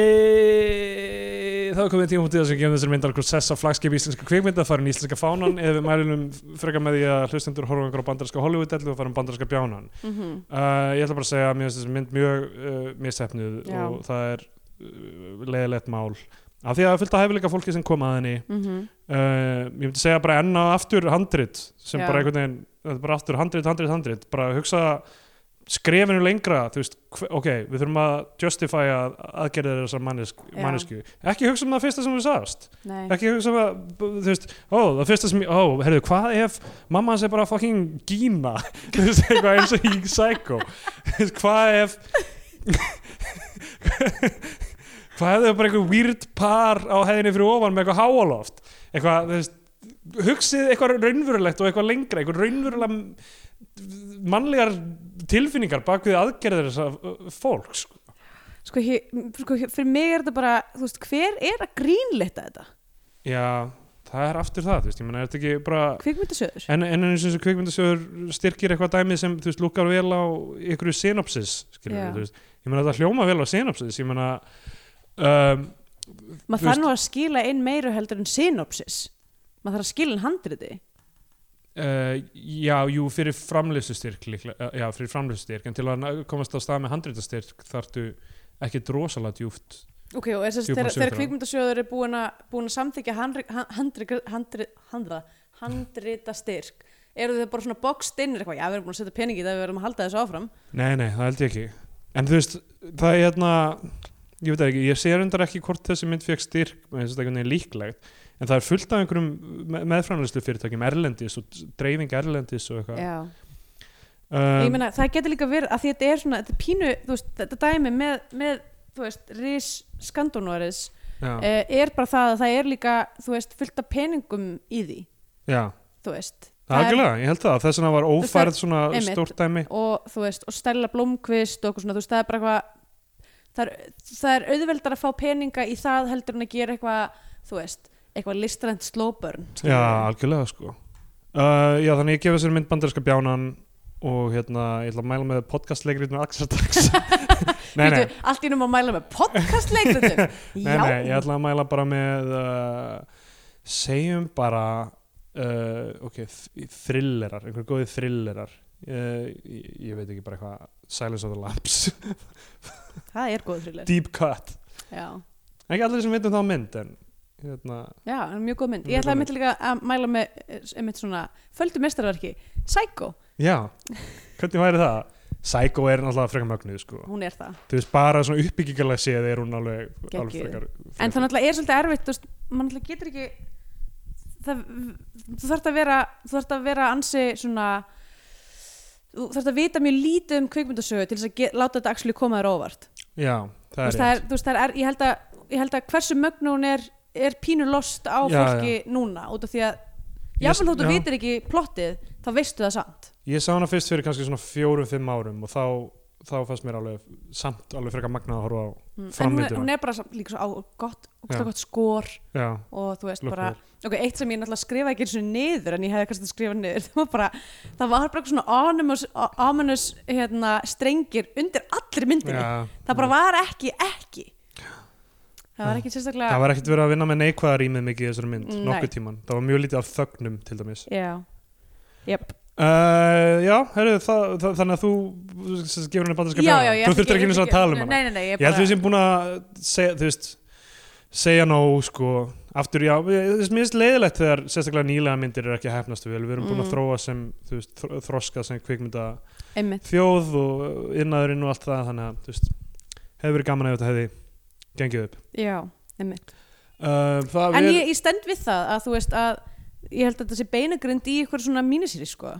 S3: Þá er komið tíma hútið sem gefum þessari myndar okkur sess á flagskipi íslenska kvikmynda farin íslenska fánan eða við mælunum frekar með því að hlustendur horfa okkur á bandarska Hollywood-dellu og farum bandarska bjánan
S2: mm -hmm.
S3: uh, Ég ætla bara að segja að mér finnst þessi mynd mjög uh, missefnuð
S2: Já.
S3: og það er uh, leiðilegt mál af því að það er fullt að hefileika fólki sem kom að henni uh, ég myndi segja bara enn og aftur handrit sem
S2: Já.
S3: bara einhvern veginn þetta er bara aftur handrit, handrit, handrit bara hugsa skrefinu lengra þú veist, hve- ok, við þurfum að justify að aðgerðir þessar mannesk,
S2: Já.
S3: mannesku ekki hugsa um það fyrsta sem við sagast
S2: Nei,
S3: ekki hugsa um að, þú veist, ó, það fyrsta sem ég- ó, herrðu, hvað ef mamma hans er bara fucking gína, þú veist, eitthvað eins og í Psycho, þú veist, hvað ef hvað ef þau bara einhver weird par á hæðinni fyrir ofan með eitthvað háaloft, eitthvað, þú veist hugsið eitthvað raunverulegt og eitthvað lengra eitthvað raunverulega mannlegar tilfinningar bak við aðgerðir þessa fólks sko.
S2: sko, hér, sko hér, fyrir mig er þetta bara þú veist, hver er að grínlita þetta?
S3: já, það er aftur það, þú veist, ég menna, er þetta ekki bara
S2: Kvikmyndasöður?
S3: En, en eins og þessu kvikmyndasjóður styrkir eitthvað dæmi sem þú veist, lukkar vel á ykkur synopsis skilur,
S2: Já.
S3: yeah. veist, ég meina þetta hljóma vel á synopsis ég meina um,
S2: Maður
S3: þú
S2: þarf
S3: veist-
S2: nú að skila inn meiru heldur en synopsis Maður þarf að skila inn handriti
S3: uh, já, jú, fyrir framlýsustyrk líklega, uh, já, fyrir framlýsustyrk en til að ná- komast á stað með handrítastyrk þarftu ekki drosalega djúft
S2: Ok, og þess að
S3: Jú,
S2: þegar,
S3: bara sögur
S2: þegar
S3: frá.
S2: kvikmyndasjóður er búin að, búin að samþykja handri, handri, handri, handra, handrita styrk eru þau bara svona boxed inn er eitthvað, já við erum búin að setja pening í það við verðum að halda þessu áfram
S3: nei, nei, það held ég ekki en þú veist, það er hérna ég veit það ekki, ég sé reyndar ekki hvort þessi mynd fekk styrk, mér finnst þetta einhvern veginn líklegt en það er fullt af einhverjum meðframlæslu fyrirtækjum erlendis og dreifing erlendis og eitthvað
S2: Já,
S3: um,
S2: ég meina það getur líka verið að því þetta er svona, þetta er pínu þú veist, þetta dæmi með, með þú veist, ris skandónoris
S3: já,
S2: eh, er bara það að það er líka þú veist, fullt af peningum í því
S3: já,
S2: þú veist,
S3: algjörlega, ég held það þess vegna
S2: veist,
S3: var
S2: það er-
S3: ófærð svona
S2: einmitt.
S3: stórt dæmi
S2: og þú veist, og Stella Blomqvist og okkur svona, þú veist, það er bara eitthvað það er, það er auðveldar að fá peninga í það heldur en að gera eitthvað þú veist, eitthvað listrænt slóbörn
S3: já, algjörlega sko uh, já, þannig ég gefa sér mynd bandarinska bjánan og hérna, ég ætla að mæla með podcastleikrit með Axel Dax nei, nei,
S2: allt í nú má mæla með podcastleikritum
S3: nei,
S2: já,
S3: nei, ég ætla að mæla bara með uh, segjum bara uh, ok, þ- thrillerar einhver góði thrillerar uh, ég, ég veit ekki bara eitthvað Silence of the Lambs,
S2: það er góð thriller
S3: Deep Cut
S2: já,
S3: ekki allir sem veitum þá mynd en hérna,
S2: já, það er mjög góð mynd
S3: Mjög
S2: ég ætla
S3: góð
S2: að mynda líka að mæla með eh, einmitt svona, földu mestarverki Psycho,
S3: Já, hvernig væri það? Psycho er náttúrulega frekar mögnuð sko.
S2: hún er það
S3: Þú veist, bara svona uppbyggingalega séð er hún alveg, alveg
S2: Geggjuð.
S3: frekar, frekar
S2: en það náttúrulega er svolítið erfitt þú veist, mann náttúrulega getur ekki það, þú þarft að vera þú þarft að vera ansi svona þú þarft að vita mjög lítið um kvikmyndasögu til þess að get, láta þetta axli koma þér á óvart
S3: Já,
S2: þú
S3: það er
S2: veist, það er, þú veist, það er, ég held að, ég held að hversu mögnu hún er, er pínu lost á
S3: Já,
S2: fólki núna út af því að jáfnvel þótt þú
S3: já.
S2: vitir ekki plottið þá veistu það samt
S3: Ég sá hana fyrst fyrir kannski svona fjórum, fimm árum og þá, þá fannst mér alveg samt alveg frekar magnað að horfa á
S2: Mm, en hún er,
S3: Framvinduna.
S2: hún er bara samt líka svo á gott,
S3: Já.
S2: gott, gott skor
S3: Já,
S2: og þú veist
S3: Look
S2: bara ok, eitt sem ég náttúrulega skrifaði ekki eins og niður en ég hefði kannski skrifað niður það var bara, það var bara eitthvað svona ominous, ominous hérna, strengir undir allir myndinni
S3: já
S2: það bara var ekki, ekki það var ekki sérstaklega
S3: Það var ekkert verið að vinna með neikvæða rýmið mikið í þessari mynd,
S2: Nei.
S3: nokkuð tíman Það var mjög lítið af þögnum til dæmis
S2: já, yep.
S3: uh, Já, herru, það, það, þannig að þú þú sem sagt gefur henni bandarska
S2: já, já, ég
S3: Þú
S2: ætla
S3: þurftir
S2: ég
S3: ekki eins
S2: ætla
S3: og að tala um hana
S2: nei, nei, nei, ég
S3: Ég held
S2: bara
S3: við sem búin að segja, þú veist, segja nóg, sko, aftur já, ég- þú veist, mér finnst leiðilegt þegar sérstaklega nýlega myndir er ekki að hefnast vel, við erum búin
S2: Mm.
S3: að þróa sem, þú veist, þro- þroska sem kvikmynda
S2: einmitt,
S3: þjóð og innaðurinn og allt það, þannig að, þú veist, hefur verið gaman að þetta hefði gengið upp.
S2: já, einmitt
S3: Uh, það
S2: en
S3: er,
S2: ég, ég stend við það að þú veist að ég held að þetta sé beinagrind í ykkur svona mínisýri sko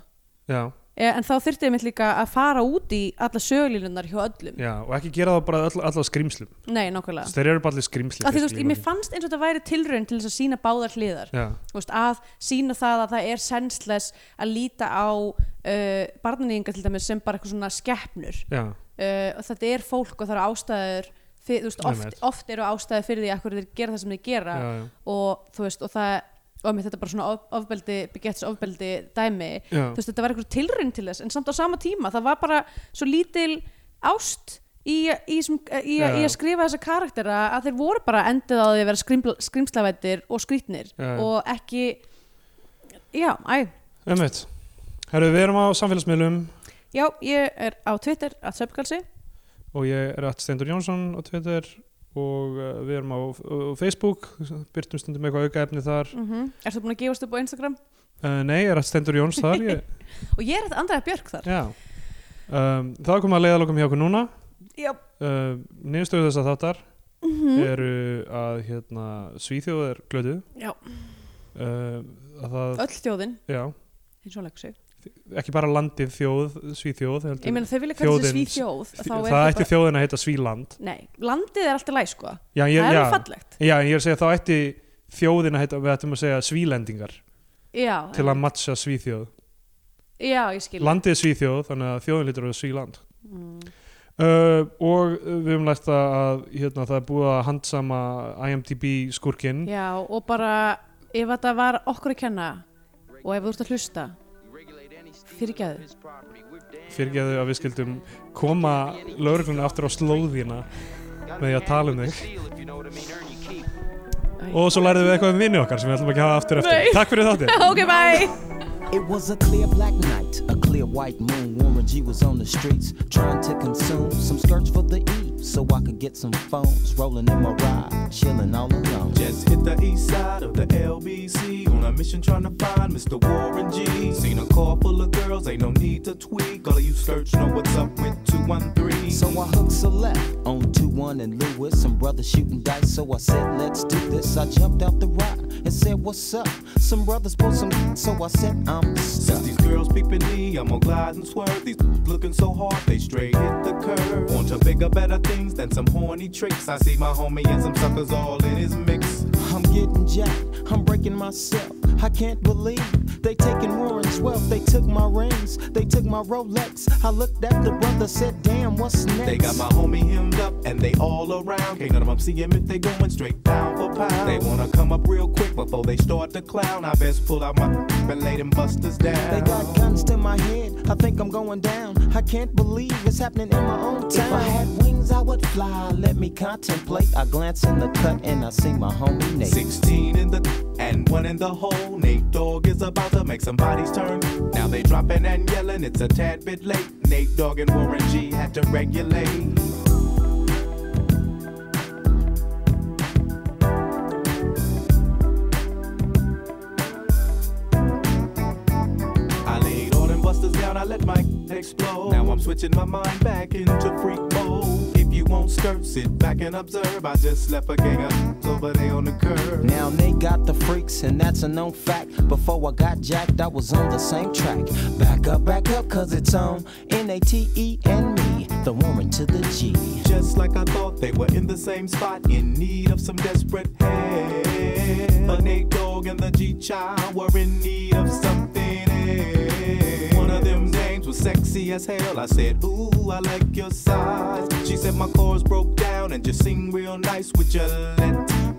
S3: já,
S2: Eh, en þá þyrfti ég mitt líka að fara út í alla sögulínunar hjá öllum
S3: Já, og ekki gera það bara öll, öll á skrýmslum
S2: nei, nákvæmlega
S3: Þeir eru bara allir skrýmsli
S2: að því þú veist, ég- mér fannst eins og þetta væri tilraun til þess að sína báðar hliðar
S3: Já,
S2: Þú veist, að sína það að það er sensles að líta á uh, barnanýðingar til dæmis sem bara eitthvað svona skeppnur
S3: já,
S2: uh, og þetta er fólk og það eru ástæður fyrir, veist, oft,
S3: Einmitt.
S2: oft eru ástæður fyrir því að hverju þeir gera það sem þeir gera
S3: já, já,
S2: og þú veist, og það og mér þetta er bara svona of, ofbeldi, begets ofbeldi dæmi,
S3: já.
S2: þú veist, þetta var eitthvað tilrinn til þess en samt á sama tíma, það var bara svo lítil ást í, í, sem, í,
S3: Já,
S2: í
S3: já.
S2: að skrifa þessa karaktera að þeir voru bara endið á því að vera skrimsla, skrimslavættir og skrýtnir
S3: Já, já.
S2: og ekki já, æ,
S3: Einmitt. Herru, við erum á samfélagsmiðlum
S2: já, ég er á Twitter að söpkalsi,
S3: og ég er að Steindur Jónsson á Twitter og uh, við erum á, á Facebook, byrtum stundum eitthvað aukaefni þar.
S2: mm -hmm. ertu búin að gefast upp á Instagram
S3: Uh, nei, ég er að Steindur Jóns þar, ég,
S2: og ég er þetta Andrea Björk þar
S3: já. Um, það er komið að leiða hjá okkur núna.
S2: já,
S3: Uh, Niðurstöðu þess að þáttar
S2: Mhm.
S3: eru að hérna, Svíþjóð er glötuð.
S2: Já.
S3: Uh, að það,
S2: öll þjóðin
S3: já,
S2: eins og leggur sig,
S3: ekki bara landið þjóð, Svíþjóð. heldur-
S2: ég meina þeir vilja kalla þessi
S3: Þjóðin-
S2: svíþjóð þá
S3: það
S2: er það
S3: ætti
S2: bara,
S3: þjóðin að heita Svíland.
S2: nei, landið er alltaf læg sko,
S3: Já, ég,
S2: það er
S3: já,
S2: alveg fallegt
S3: já, en ég er að segja þá ætti þjóðin að heita, við ættum að segja Svílendingar.
S2: já,
S3: til að matcha Svíþjóð
S2: já, ég skil
S3: landið er Svíþjóð, þannig að þjóðin lítur að vera Svíland
S2: Mm.
S3: uh, og við höfum lært það að hérna, það er búið að handsama IMDb skurkin
S2: Já, og bara ef þetta var okkur að kenna og ef þú ert að hlusta fyrirgæðu
S3: fyrirgeðu að við skildum koma lögreglunni aftur á slóðina með því að tala um þig og svo lærðum við eitthvað um vinni okkar sem við ætlum ekki að hafa aftur eftir
S2: Nei.
S3: takk fyrir þáttið
S2: Ok, bye!
S4: It was a clear black night, a clear white moon. Warren G was on the streets trying to consume some skirts for the E so I could get some phones rolling in my ride, chilling all alone.
S5: Just hit the east side of the LBC on a mission trying to find Mr. Warren G. Seen a car full of girls, ain't no need to tweak. All of you search know what's up with 213.
S4: So I hooked a left on 2 1 and Lewis. Some brothers shooting dice, so I said, let's do this. I jumped out the ride and said, what's up? Some brothers pulled some, so I said, I'm
S5: Since
S4: stuck.
S5: these girls peeping me, I'm gonna glide and swerve. These looking so hard, they straight hit the curve. Want to bigger, better things than some horny tricks. I see my homie and some suckers all in his mix.
S4: I'm getting jacked, I'm breaking myself. I can't believe they taking Warren's wealth. They took my rings, they took my Rolex. I looked at the brother, said, damn, what's next?
S5: They got my homie hemmed up and they all around. Can't none of them see him if they going straight down for pound. They wanna come up real quick before they start to clown. I best pull out my and lay them busters down.
S4: They got guns to my head. I think I'm going down. I can't believe it's happening in my own town. If I had wings, I would fly. Let me contemplate. I glance in the cut and I see my homie Nate.
S5: 16 in the and one in the hole. Nate Dogg is about to make somebody's turn. Now they dropping and yelling, it's a tad bit late. Nate Dogg and Warren G had to regulate. I laid all them busters down, I let my explode. Now I'm switching my mind back into freak mode. If you won't skirt, sit back and observe. I just left a gang of over there on the curb.
S4: Now they got the freaks, and that's a known fact. Before I got jacked, I was on the same track. Back up, back up, cause it's on N A T E and me, the woman to the G.
S5: Just like I thought, they were in the same spot, in need of some desperate help. But Nate Dogg and the G Child were in need of something else. One of them names was sexy as hell. I said, Ooh, I like your size. She said, My chords broke down and you sing real nice. Would you let